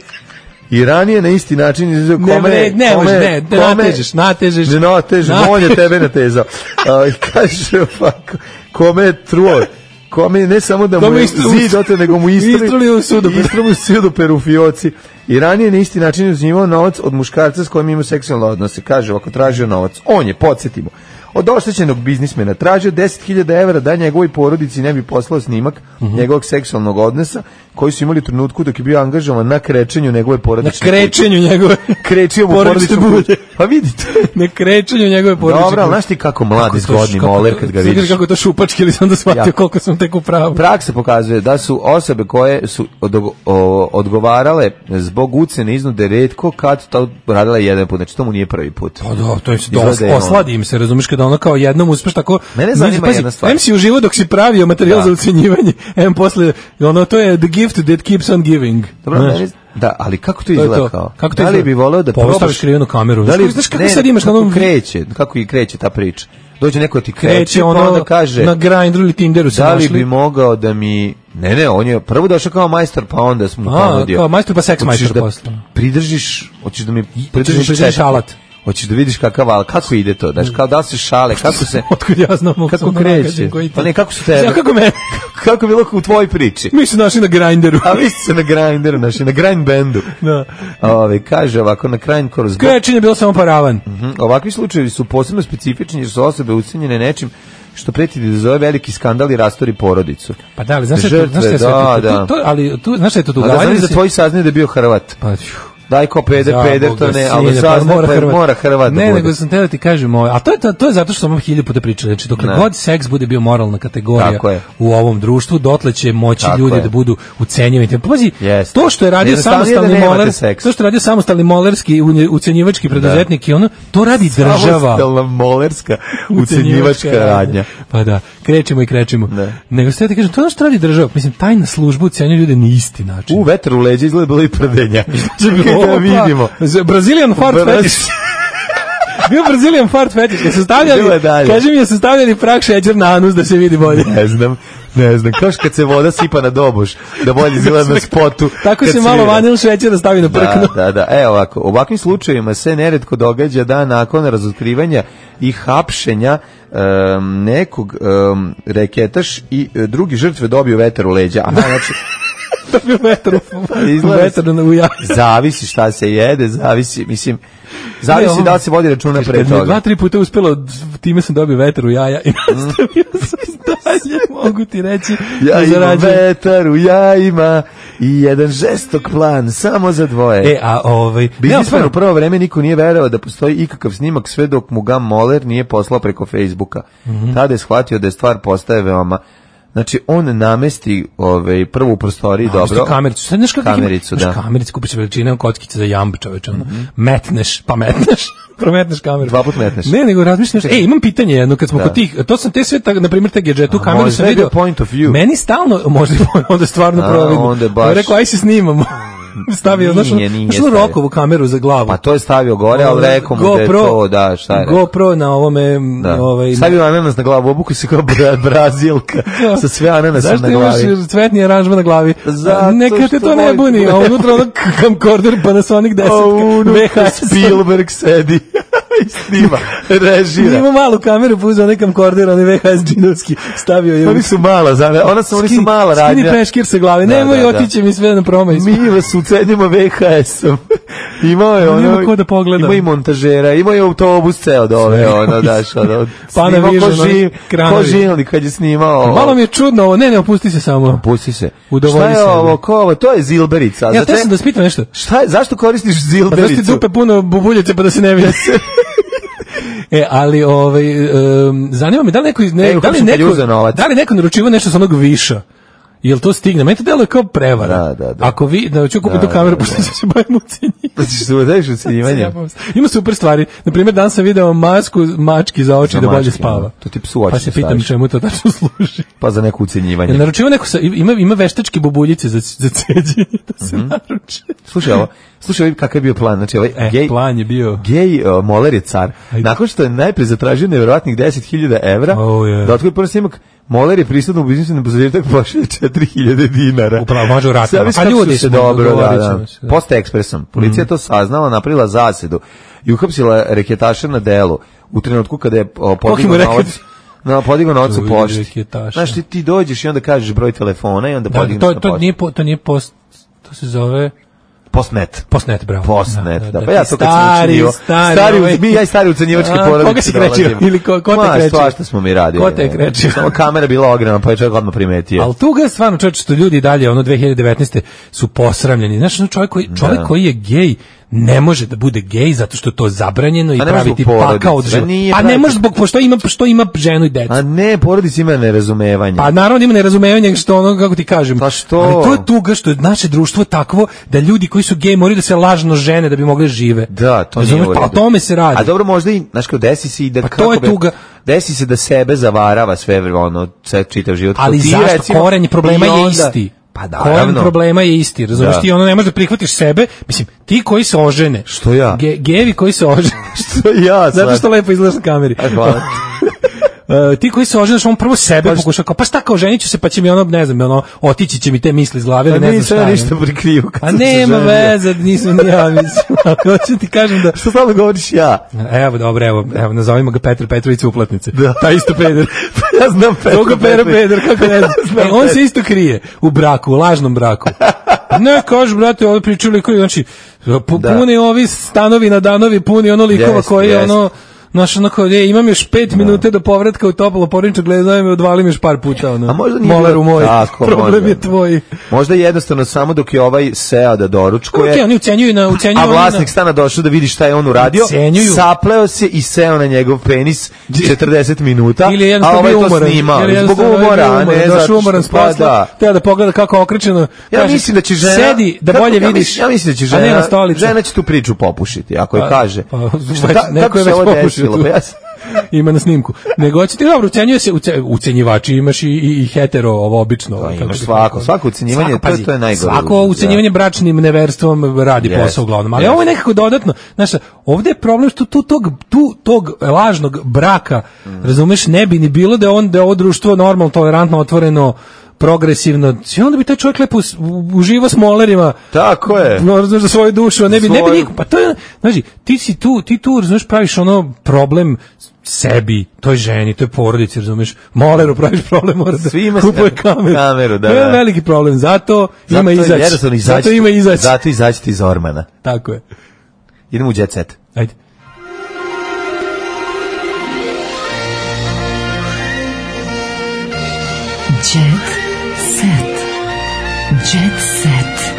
I ranije na isti način izuzeo Ne, kome... ne, ne, kome, može, ne, ne, natežeš, natežeš. Ne natežeš, Nate- on je tebe natezao. A, i kaže ovako, kome je truo, kome je ne samo da Da mu mu je istru- zid ote, nego mu istruli, Istruli u sudoperu. istruli u sudoperu fioci. I ranije na isti način uzimao novac od muškarca s kojim ima seksualne odnose. Kaže, ovako tražio novac. On je, podsjetimo, od oštećenog biznismena tražio 10.000 evra da njegovoj porodici ne bi poslao snimak Mhm. njegovog seksualnog odnosa koji su imali u trenutku dok je bio angažovan na krečenju njegove Na porodične kuće. krećenju njegove. Krečio mu porodične porodičnu kuću. bulje. Pa vidite. Na krećenju njegove porodične Dobro, ali kuće. znaš ti kako mlad i Kako to- zgodni kako moler to- kad ga sad vidiš vidiš. kako je to šupački, ili sam onda shvatio Ja. koliko sam tek u pravu. Praksa pokazuje da su osobe koje su odog- o- odgovarale zbog ucene iznude redko kad to radile jedan put, znači to mu nije prvi put. Pa da, to je Izgleda dos, je on- osladi im se, razumiješ, kada ono kao jednom uspeš tako... Mene zanima jedna stvar. Em si uživo dok si pravio materijal Da. za ucenjivanje, em posle, ono, to je the gift that keeps on giving. Dobro, Znaš, meni- da, ali kako to to je izgleda to. kao? Kako to da li izgleda? bi voleo da Pa ovo staviš krivenu kameru. Znaš, znaš kako sad imaš na kako onom- kreće, kako i kreće ta priča. Dođe neko ti kreće, kreće ono, pa onda kaže na Grindru ili Tinderu se da li našli. bi mogao da mi Ne, ne, on je prvo došao kao majstor, pa onda smo mu A, ponudio. kao majstor, pa seks Hoćeš majstor da posle. Pridržiš, hoćeš da mi pridržiš, da pridržiš četku. alat. Hoćeš da vidiš kakav alat, kako ide to, znaš, kao da li se šale, kako se... Otkud ja znam, mogu Kako sam da kreće? nagađam koji to. Pa ne, kako su tebe? Ja, kako me? kako je bilo u tvojoj priči? Mi su našli na Grinderu. A vi ste se na Grinderu, naši, na Grind bandu. Da. Ove, kaže ovako, na Grind Core zbog Krećenje je bilo samo paravan. Mhm. Ovakvi slučajevi su posebno specifični jer su osobe ucenjene nečim što preti da zove veliki skandal i rastori porodicu. Pa da, ali znaš šta je Žrtve, to? Znaš šta je da, sve to? to, da. to- ali tu, znaš šta je to? A da Dugovanje znaš da da se- tvoji saznaju da je bio Hrvat. Pa, fiu. Daj ko peder, Za peder, Boga, to ne, sine, ali pa saznaj, pa Hrvat. mora Hrvat da Ne, bude. nego sam teo da ti kažem, ovo, a to je, to, to je zato što sam vam hiljadu puta pričali, znači dokle Ne. god seks bude bio moralna kategorija Tako je. u ovom društvu, dotle će moći Tako ljudi je. da budu ucenjivani. Pa Pazi, Jeste. to što je radio Jednostavnije da samostalni nemate moler, seks. to što je radio samostalni molerski unje- ucenjivački preduzetnik i ono, to radi država. Samostalna molerska ucenjivačka radnja. Pa da, krećemo i krećemo. Nego sve ti kažem, to je ono što radi država. Mislim, tajna služba ucenjuje ljude na isti način. U vetru u leđa izgleda bilo i prdenja. Čekaj da Opa, vidimo. za- Brazilian fart Braz- fetish. Bio Brazilian fart fetish, kad su stavljali, Bilo je dalje. kaži mi, jesu stavljali prah šećer na anus da se vidi bolje. Ne znam, ne znam. Kao što kad se voda sipa na doboš, da bolje izgleda na spotu. Tako kad se malo svira. vanil šećera stavi na prkno. Da, da, da. E, ovako, u ovakvim slučajevima se neretko događa da nakon razotkrivanja i hapšenja em, nekog em, reketaš i e, drugi žrtve dobiju vetar u leđa. Aha, znači, Da bi vetru, Izgleda- vetru na uja. zavisi šta se jede, zavisi, mislim, zavisi Ne, ovo- da li se vodi računa pre Kad mi je toga. Mhm. dva, tri puta uspelo, d- time sam dobio vetar u jaja i nastavio sam dalje, mogu ti reći. Ja da imam zarađujem. vetar u jajima i jedan žestok plan, samo za dvoje. E, a ovaj... ne, Biznismen stvarno, u prvo vreme niko nije verovao da postoji ikakav snimak sve dok mu ga Moller nije poslao preko Facebooka. Mhm. Tada je shvatio da je stvar postaje veoma Znači, on namesti ovaj, prvu prostoriju Dobro. dobro. kamericu. Sad znaš kako ih ima- Kamericu, znaš, da. Mhm. Kamericu kupiš veličine, kockice za jamb, čoveče. ono. Metneš, pa metneš. Prometneš kameru. Dva put metneš. Ne, nego razmišljaš. E, imam pitanje jedno, kad smo Da. kod tih, to sam te sve, tak, na primjer, te gadžetu A kameru možda sam je bio vidio. point of view. Meni stalno, možda je point, onda je stvarno A, providno. onda je baš- Mm, Ja Rekao, aj se snimamo. Stavio, znaš, ono- Nije, nije znaš, ono stavio. rokovu kameru za glavu. Pa to je stavio gore, ali rekao mu da je Ovaj, GoPro- to, da, šta je rekao. GoPro na ovome, m, Da. ovaj, Stavio ananas na glavu, obuku se kao bra- brazilka, sa sve ananasa Zašto na glavi. imaš cvetni aranžman na glavi? Zato Neka te što to ne volim. buni, a unutra ono camcorder Panasonic 10 A unutra VHS. Spielberg sedi i snima, režira. Ima malu kameru, puzao onaj camcorder, onaj VHS džinovski, stavio je. Oni su mala, zame, ona su, Pa oni su Skini- mala radnja. Skini peškir sa glave, Da, nemoj, da, da. otiće mi sve na promaj. Mi vas ucenimo VHS-om. Imao je ono... Nema ko da pogleda. Ima i montažera, ima i autobus ceo dole, ono, daš, ono... Panavision, snimao ko ono, živ, ko kranovi. živali kad je snimao... ovo. Malo mi je čudno ovo, ne, ne, opusti se samo. Pusti se. Udovolji Šta je sebe. ovo, ko ovo? To je zilberica. Ja, Pa, Za te te- sam da spitam nešto. Šta je, zašto koristiš Pa zašto ti zilbericu? dupe puno bubuljete pa da se ne vidi? E, ali ovaj em, zanima me da li neko iz ne, E, da li uhapšen neko Kaljuza novac. da li neko naručivao nešto sa onog viša. Jel to stigne? Meni to deluje kao prevara. Da, da, da. Ako vi da ću kupiti Da, tu kameru da, pošto ću se bavim ucenjivanjem. Da ćeš se udaješ ucenjivanje. Zajebam Pa se. Ima super stvari. Na primjer, danas sam video masku mački za oči Za da bolje mačke, da. spava. ono. To ti psu oči Pa se pitam staviš. čemu to tačno služi. Pa za neko ucenjivanje. Jel naručivao neko sa, ima ima veštačke bubuljice za za ceđenje da se Mhm. naruče. Slušaj ovo, slušaj ovo kakav je bio plan. Znači, ovaj E, gej, plan je bio. gej uh, Moller je car. Ajde. Nakon što je najpre zatražio nevjerojatnih 10.000 evra, Oh, yeah. da otkoli prvi snimak, Moller je pristupno u biznisu na pozoritak pošalje 4.000 dinara. Upravo, može u ratama. Zavisi Pa kako su ljudi se smo, dobro, da, dogovorit da. ćemo Mhm. se, da. Posta ekspresom. Policija je to saznala, napravila zasedu i uhapsila reketaša na delu u trenutku kada je o, podigao reket. novac. Na podigao novac Tu u vidi pošti. reketaša. Znaš ti, ti dođeš i onda kažeš broj telefona i onda Da, podigneš to na to pošti. nije po- to nije post to se zove Postnet. Postnet, bravo. Postnet, da, pa ja to kad sam stari, učinio, stari, stari, ovaj- mi ja i stari ucenjivački A, porodice. Koga si krećio? dolazimo. Ili ko, ko Ma, te krećio? Svašta smo mi radili. Ko te ne. krećio? Samo kamera bila ogromna, pa je čovjek odmah primetio. Ali tu ga je stvarno čovječ što ljudi dalje, ono 2019. su posramljeni. Znaš, ono čovjek koji, čovjek Da. koji je gej, ne može da bude gej zato što je to zabranjeno i A ne može praviti zbog porodice, pakao od da života. nije A ne praviti- može zbog, pošto ima, što ima ženu i decu. A ne, porodica ima nerazumevanje. Pa naravno da ima nerazumevanje što ono kako ti kažem. Pa što? Ali to je tuga što je naše društvo takvo da ljudi koji su gej moraju da se lažno žene da bi mogli da žive. Da, to nije Razumeš? u Pa redu. o tome se radi. A dobro, možda i, znaš kao, desi se i da... Pa to kako je bi- tuga. Desi se da sebe zavarava sve vreme, ono, ce- čitav život. Ali Ti, zašto? recimo, Koren problema i je onda- isti. Pa Koren naravno. problema je isti, razumiješ Da. ti, ono ne možeš da prihvatiš sebe, mislim, ti koji se ožene. Što ja? Ge, gevi koji se ožene. Što ja Zato sad? što lepo izgledaš na kameri. E, hvala. E, ti koji se oženeš, on prvo sebe Pa št- pokuša kao, pa šta kao ženit ću se, pa će mi ono, ne znam, ono, otići će mi te misli iz glave, Pa ili ne znam nisam šta. ja je. ništa prikriju kad Pa sam se nema ženio. veze, nisam ni ja, mislim, ako hoću ti kažem da... Što stalno govoriš ja? Evo, dobro, evo, evo, nazovimo ga Petar Petrović uplatnice. Da. Taj isto peder. Pa ja znam Petra Toga pera Petrovića. peder, kako ne znam. Znam E, on Petra. se isto krije u braku, u lažnom braku. Ne, kaže, brate, ovo pričali koji, znači, pu- Da. puni ovi stanovi na danovi, puni ono likova Jest, koji, jest. ono, Znaš, ono kao, je, imam još pet minuta do povratka u toplo porinče, gledaj me, odvalim još par puta, ono. A možda nije Moleru bilo- moj, Tako, problem možda. je tvoj. Možda je jednostavno samo dok je ovaj seo da doručkuje. Okej, oni ucenjuju na- ucenjuju A oni vlasnik na- stana došao da vidi šta je on uradio. Ucenjuju. Sapleo se i seo na njegov penis 40 minuta. Ili je a jednostavno ovaj bio to umoran. snimao. Ili je Zbog jednostavno umora, bio a ne umoran. zato Došao što umoran s pa posla, da. teo da pogleda kako okrećeno. Ja Kaže, mislim da će žena Sedi, da Kako- bolje ja vidiš. Mislim, ja mislim da će A ne na žena stolicu. žena će tu priču popušiti ako je Pa, kaže. pa, Šta- već- kako neko je se već ovo popušio desilo? tu. Pa ja sam- Ima na snimku. Nego ćete, dobro, ucenjuje se, uce, ucenjivači imaš i, i, i hetero, ovo obično. ovo, kako Pa imaš se svako, kaže. svako ucenjivanje, to- pazi, to je najgore. Svako ucenjivanje bračnim neverstvom radi Jest, posao uglavnom. Ali jest. ovo je nekako dodatno. Znaš, šta, ovde je problem što tu tog, tu, tog lažnog braka, Mm. razumeš, ne bi ni bilo da je on, da je ovo društvo normalno, tolerantno, otvoreno, progresivno. I onda bi taj čovjek lepo us- uživo s molerima Tako je. no, razumeš, za svoju dušu, a ne bi, ne bi Svoju. niko, pa to je, znači, ti si tu, ti tu, razumeš, praviš ono problem sebi, toj ženi, toj porodici, razumeš, moleru praviš problem, mora da Svima se- kupuje kameru. kameru, da, To je da. veliki problem, zato, Zato ima je izaći. jednostavno izaći Zato tu. ima izaći. Zato izaći iz ormana. Tako je. Idemo u jet set. Ajde. Jet set. Jet set.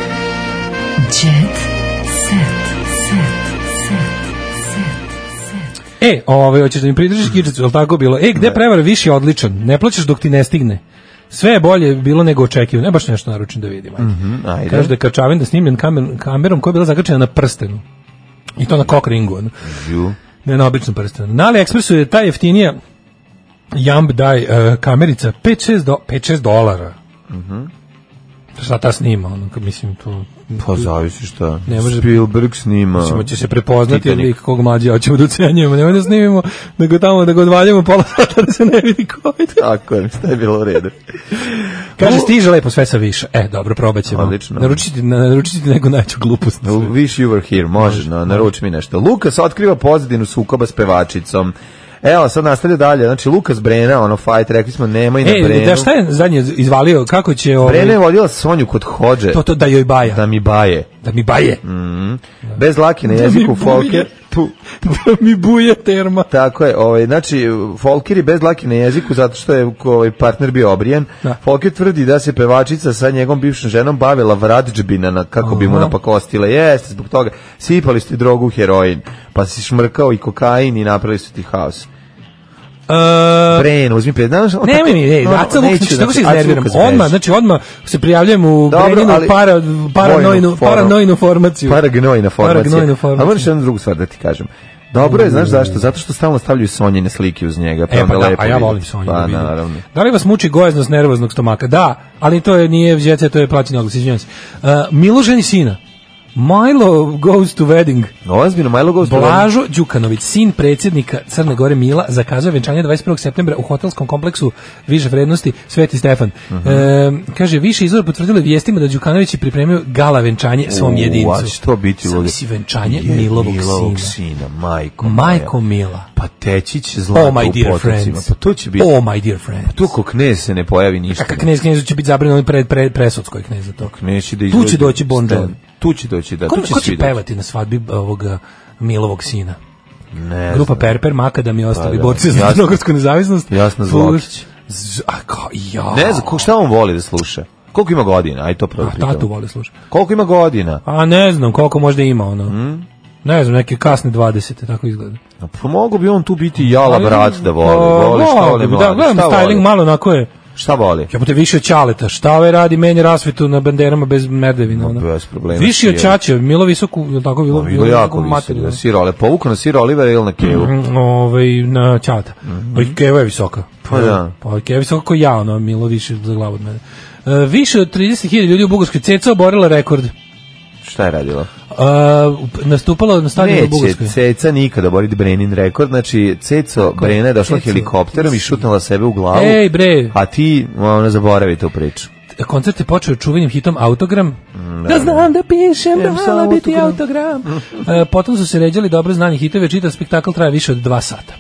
Jet set. Set. Set. E, ovaj, hoćeš da mi Mm. pridržiš kičicu, jel tako bilo? E, gde prevar više je odličan, ne plaćaš dok ti ne stigne. Sve je bolje bilo nego očekivano. Ne baš nešto naručim da vidim. Ajde. Mhm, ajde. Kaže da je Kačavin da je snimljen kamer, kamerom koja je bila zakačena na prstenu. I to na kok ringu. ono. Ju. Ne na običnom prstenu. Na AliExpressu je ta jeftinija Jamb daj e, kamerica 5-6 do, 5-6 dolara. Mhm. Šta ta snima? Ono, ka- mislim, to... Pa zavisi šta. Ne može- Spielberg snima. Mislimo će se prepoznati od Pa, Titanic. lik kog mlađe hoćemo da ucenjujemo, nemoj da snimimo, da ga tamo, da ga odvaljamo pola sata da se ne vidi ko je. Tako je, šta je bilo u redu. Kaže, stiže lepo sve sa više. E, dobro, probat ćemo. Odlično. Naručiti, na- naručiti neku najću glupost. Wish you were here, može, no, naruči mi nešto. Lukas otkriva pozadinu sukoba s pevačicom. Evo, sad nastavlja dalje. Znači, Lukas Brena, ono, fight, rekli smo, nemoj na E, Brenu. da šta je zadnje izvalio, kako će... Ovaj, Brena je vodila Sonju kod hođe. To, to da joj baja. Da mi baje. Da mi baje. Mhm. Bez laki na Da mi jeziku buje. Folker. Tu. da mi buje terma. Tako je, ovaj, znači, Folker je bez laki na jeziku zato što je ovaj, partner bio obrijen. Da. Folker tvrdi da se pevačica sa njegovom bivšom ženom bavila vradžbina na, kako bi mu Aha. napakostila. Jeste, zbog toga. Sipali ste drogu u heroin, pa si šmrkao i kokain i napravili su ti haos. E, Bren, uzmi pet. Znaš, on Nemoj tako- mi, ej, ono, Aca Lukas, neću, znači, tako se znači, Aca iznerviram. Lukas Odmah, beži. znači, odmah se prijavljujem u Dobro, Breninu ali- para, Vojnu paranojnu, formu. paranojnu formaciju. Paragnojna formacija. Paragnojna A formaciju. moraš jednu drugu stvar da ti kažem. Dobro je, znaš zašto? Zato što stalno stavljaju Sonjine slike uz njega. Pa E, onda pa da, lepo a ja vidi. volim Sonju. Pa, da vidim. naravno. Da li vas muči gojaznost nervoznog stomaka? Da, ali to je, nije vžete, to je plaćeni oglas, izvinjam se. Uh, Miloženi sina. Milo goes to wedding. Ozbiljno, Milo Ghost. Blažo Đukanović, sin predsjednika Crne Gore Mila, zakazao venčanje 21. septembra u hotelskom kompleksu više vrednosti Sveti Stefan. Mhm. E, kaže, više izvor potvrdilo je vijestima da Đukanović je pripremio gala venčanje svom jedincu. Ua, što biti Sam ludo. si venčanje Je, Milovog, Milovog sina. sina. Majko moja. Majko Mila. Pa teći će zlato Oh my u dear potocima. friends. Pa to će biti. Oh my dear friends. Tu ko knez se ne pojavi ništa. Kakav knez knezu će biti zabranjen on pred pred presudskoj kneza tog. Neće da Tu će izlazi. doći Bon Stan- Jovi. Tu će doći, da. Ko, tu će ko svi će doći. pevati na svadbi ovoga Milovog sina? Ne Grupa znam. Perper, Makadam i ostali Pa da. borci za Jasno. crnogorsku nezavisnost. Jasno, Plus- Zlokić. Z- A kao, ja. Ne znam, ko- šta on voli da sluša? Koliko ima godina? Aj to prvo A pitamo. tatu voli slušati. Koliko ima godina? A ne znam koliko možda ima ono. Hmm? Ne znam, neke kasne 20. tako izgleda. Pa mogu bi on tu biti jala brat Pa da voli. A, Voli šta mogao voli Pa, bi, mladi, Da, gledam šta voli? styling malo onako je. Šta voli? Ja te više od Ćaleta. Šta ovaj radi meni rasvetu na banderama bez merdevina? Ma, Ono. bez problema, Više od sjedi. Ćaće, Milo visoko, je li tako bilo? Pa, bilo jako visoko. ono. Da sir Ole, povuku na sir Olivera ili na Kevu. Mm, ovaj, na Ćata. Pa i Keva je visoka. Mhm. Pa da. Pa Keva je visoka kao ja, ono, Milo više za glavu od mene. E, više od 30.000 ljudi u Bugarskoj. Ceca oborila rekord. E, Šta je radila? nastupala na stadionu u Bugarskoj. Neće Ceca nikada boriti Brenin rekord. Znači, Ceco Brena je došla Ceco, helikopterom i jesi. šutnula sebe u glavu. Ej, bre. A ti, ona, zaboravi tu priču. koncert je počeo čuvenim hitom Autogram. Mm, Da, znam da pišem, da sa hvala biti autogram. autogram. E, potom su se ređali dobro znani hitove, čitav spektakl traje više od dva Mm. sata.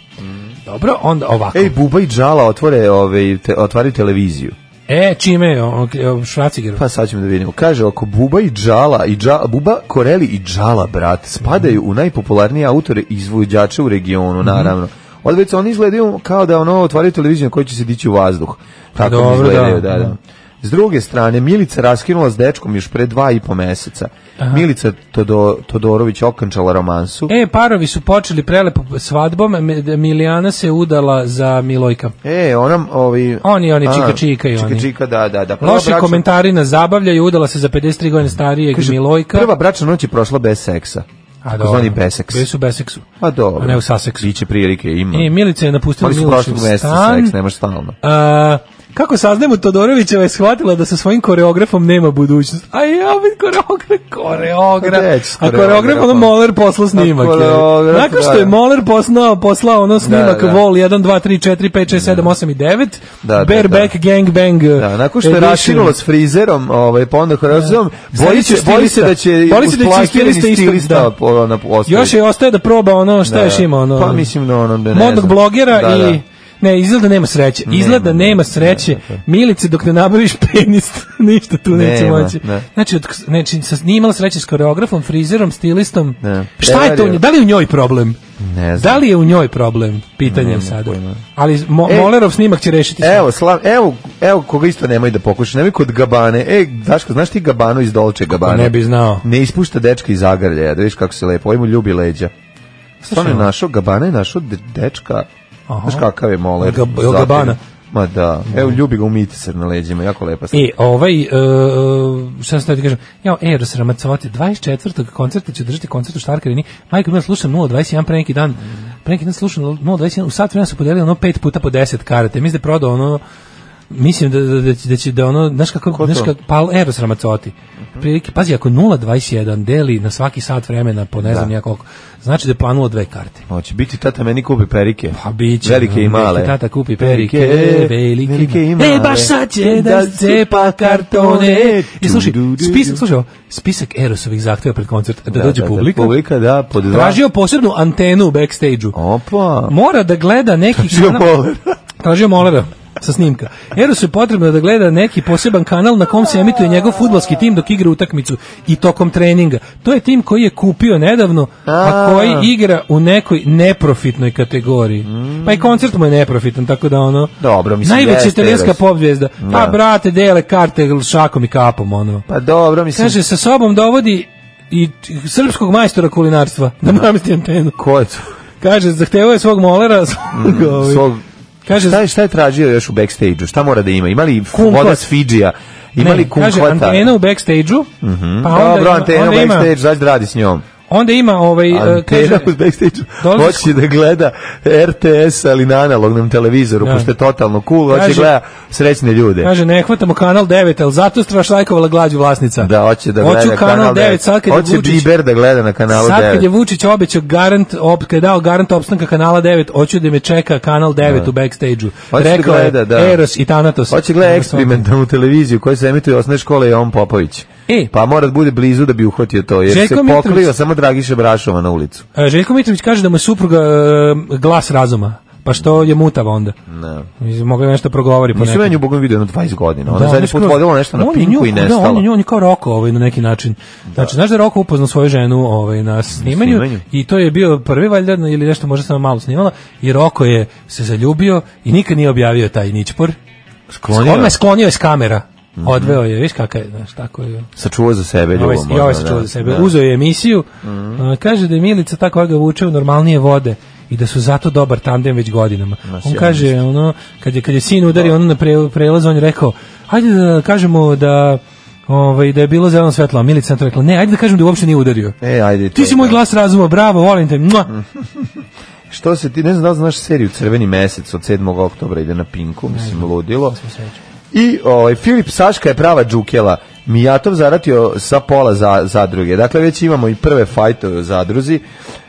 Dobro, onda ovako. Ej, Buba i Džala otvore, ove, te, ovaj, otvaraju televiziju. E, čime? O, o, šracigerom? Pa sad ćemo da vidimo. Kaže, ako Buba i Džala, i Dža, Buba, Koreli i Džala, brat, spadaju u najpopularnije autore i izvođače u Mhm. regionu, naravno. Od već oni izgledaju kao da ono otvaraju televiziju na kojoj će se dići u vazduh. Tako Dobro, mi izgledaju, da, da, da. da. S druge strane, Milica raskinula s dečkom još pre dva i po meseca. Milica Todo, Todorović okončala romansu. E, parovi su počeli prelepo svadbom, M- Milijana se udala za Milojka. E, ona, ovi... Oni, oni, a, čika, čika i oni. Čika, čika, da, da, da. Prva Loši bračna- komentari na zabavljaju, udala se za 53 godine starijeg Kaže, Milojka. Prva bračna noć je prošla bez seksa. A, Tako zvani dobro. beseks. Bili su beseksu. Pa dobro. A ne u saseksu. Biće prilike, ima. E, Milica je napustila Oni su Milošev prošlog meseca stan. seks, nemaš stalno. A, kako saznajemo, Todorovićeva je shvatila da sa svojim koreografom nema budućnost. A ja bit koreograf, koreograf. Pa Gde ćeš s A koreograf, ono koreografom? Moller poslao snimak. je. koreograf, Nakon što je da. Moller poslao, poslao ono snimak da. Vol 1, 2, 3, 4, 5, 6, 7, 8 i 9, Da, da, Bareback, Gang Bang. Da, nakon što je edition. rašinulo s frizerom, ovaj, pa onda korazom, boji, se, boji se da će Boji se da će usplaćeni stilista isto- stilista da. po- ono, ostaviti. Još je ostaje da proba ono, šta Da, još ima ono. Pa mislim da ono, da ne modnog znam. blogera Da, i da. Ne, izgleda nema sreće. Izgleda nema sreće. Milice, dok ne nabaviš penis, ništa tu neće Nema, moći. da. Znači, od, znači sa, nije imala sreće s koreografom, frizerom, stilistom. Da. Šta je to? u Prevario. nje- Da li je u njoj problem? Ne znam. Da li je u njoj problem? Pitanje je Nemam sada. pojma. Ali mo, E, Molerov snimak će rešiti sve. Evo, slav, evo, evo koga isto nemoj da pokušaš, nemoj kod Gabane. E, Daško, znaš ti Gabanu iz Dolče Gabane? ne bi znao. Ne ispušta dečka iz Zagrlja, da vidiš kako se lepo, ovaj mu ljubi leđa. Stvarno Slušaj, je Pa našao, Gabana je našao de- dečka, ono? Aha. znaš kakav je moler. Ga- zatim. Gabana. Mhm. Ma da, evo ljubi ga u mitiser na leđima, jako lepa stvar. E, ovaj, uh, šta sam ti kažem, e, ja, Eros Ramacovati, 24. koncerta ću držati koncert u Štarkarini, majko mila slušam 021 pre neki dan, pre neki dan slušam 021, u sat vremena su podelili ono pet puta po 10 karate, mislim da je prodao ono, mislim da, da, da, će- da će da ono, znaš kako, Ko znaš to? Mhm. kako, pa Eros Ramacovati, prilike, pazi, ako 021 deli na svaki sat vremena po ne znam Da. da. koliko, znači da je planulo dve karte. Hoće biti tata meni kupi perike. Pa biće. Velike i Neki male. Tata kupi perike, velike, i male. E, baš sad će da cepa kartone. I slušaj, spisak, slušaj, ovo, spisak Erosovih zahteva pred koncert, da, dođe publika. Da, publika, da, pod dva. Tražio posebnu antenu u backstage-u. Opa. Mora da gleda neki... Tražio kanal- moler. Tražio molera sa snimka. Erosu je potrebno da gleda neki poseban kanal na kom se emituje njegov futbalski tim dok igra utakmicu i tokom treninga. To je tim koji je kupio nedavno, a A. koji igra u nekoj neprofitnoj kategoriji. Pa i koncert mu je neprofitan, tako da ono... Dobro, mislim, Najveća jeste italijanska Eros. pop zvezda. Pa Da. brate, dele karte šakom i kapom, ono. Pa dobro, mislim, Kaže, sa sobom dovodi i t- srpskog majstora kulinarstva da namesti antenu. ko je to? Kaže, zahtevao je svog molera, svog, ovaj, Mm, Svog... Kaže, Šta je, šta je tražio još u backstage-u? Šta mora da ima? Ima li Kumkvat. voda s Fidžija? Ima li Ne, kaže, kumkvata? antena u backstage-u, pa onda, Mhm. Dobro, ima- antena u onda, ima, backstage, zašto da radi s njom? onda ima, ovaj, e, Antena kaže, u backstage dolazi- hoće da gleda RTS, ali na analognom televizoru, Da. pošto je totalno cool, hoće Kaže- da gleda srećne ljude. kaže, ne hvatamo kanal 9, ali zato strašlajkovala glađu vlasnica. Da, hoće da gleda Hoću kanal 9, sad kad je Hoće Vučić, Biber da gleda na kanalu sad kad je 9. Vučić obećao garant, op, kad je dao garant opstanka kanala 9, hoću da me čeka kanal 9 u backstage-u. Hoće da Rekao je gleda, da. Eros i Thanatos. Hoće gleda Nego sam- eksperimentalnu televiziju koja se emituje osnovne škole i on Popović. E. Pa mora da bude blizu da bi uhvatio to, jer Željko se Mitrović- poklio samo Dragiša Brašova na ulicu. E, Željko Mitrović kaže da mu je supruga e, glas razuma, pa što je mutava onda. Ne. Mislim, Mogla je nešto progovori po Nisam nekom. ja nju bogom vidio jedno 20 godina. Ona Da, da, Pa zadnji je put skroz- vodila nešto na on je pinku nju- i Da, on nestala. je nju, on je kao Roko ovaj, na neki način. Znači, znaš da je Roko upoznao svoju ženu ovaj, na snimanju, snimanju. i to je bio prvi valjda, ili nešto možda samo malo snimala, i Roko je se zaljubio i nikad nije objavio taj ničpor. Sklonio. Mhm. On me sklonio je s kamera. Odveo je, viš kakav je, znaš, tako je. Sačuvao za sebe I ovaj, ljubav. I ovaj se možda, čuo da, za sebe. da. Mhm. Uzeo je emisiju, a, kaže da je Milica ta koja ga vuče u normalnije vode i da su zato dobar tandem već godinama. on sjajno kaže, ono, kad je, kad je sin udario ono na pre- prelaz, on je rekao, ajde da kažemo da ovaj, da je bilo zeleno svetlo, a Milica na to rekla, ne, ajde da kažem da uopšte nije udario. E, ajde. to Ti je si moj to. glas razuma, bravo, volim te. mua. Mhm. Što se ti, ne znam da li znaš seriju Crveni mesec od 7. oktobra ide na Pinku, mislim, ludilo. I ovaj, Filip Saška je prava džukela. Mijatov zaratio sa pola za, zadruge. Dakle, već imamo i prve fajtove u zadruzi.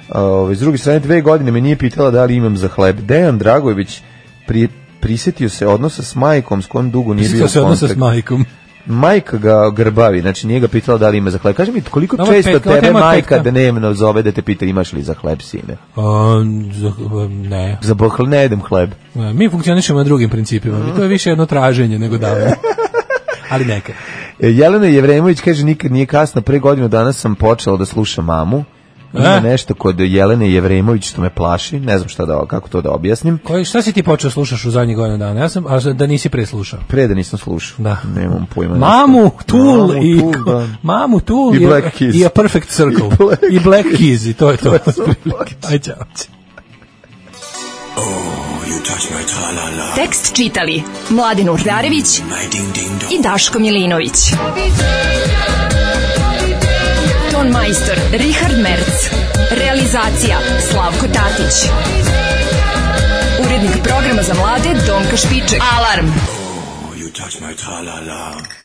Ovaj, s druge strane, dve godine me nije pitala da li imam za hleb. Dejan Dragojević pri, prisetio se odnosa s majkom s kojom dugo nije Sjetio bio se kontakt. odnosa s majkom. Majka ga grbavi, znači nije ga pitala da li ima za hleb. Kaži mi, koliko Ovo je često petka, ovo je tebe tema majka petka. dnevno zove da te pita imaš li za hleb, sine? Um, za- um, ne. Za bohl ne jedem hleb. E, Mi funkcionišemo na drugim principima. Mhm. To je više jedno traženje nego davanje. Ali neka. E, Jelena Jevremović kaže nikad nije kasno, pre godinu dana sam počela da slušam mamu. Ima E? nešto kod Jelene Jevremović što me plaši, ne znam šta da, kako to da objasnim. Koji, šta si ti počeo slušaš u zadnjih godina dana? Ja sam, a da nisi preslušao. Pre da nisam slušao. Da. Nemam pojma. Mamu, nešto. Tool Mamu, i Tool, da. Mamu, Tool I i, Black Keys. i A Perfect Circle. I Black, Keys i to je to. To je Aj, čao. Tekst čitali Mladin Urdarević i Daško Milinović. Ton majstor Richard Merc. Realizacija Slavko Tatić. Urednik programa za mlade Donka Špiček. Alarm! You touch my tra-la-la.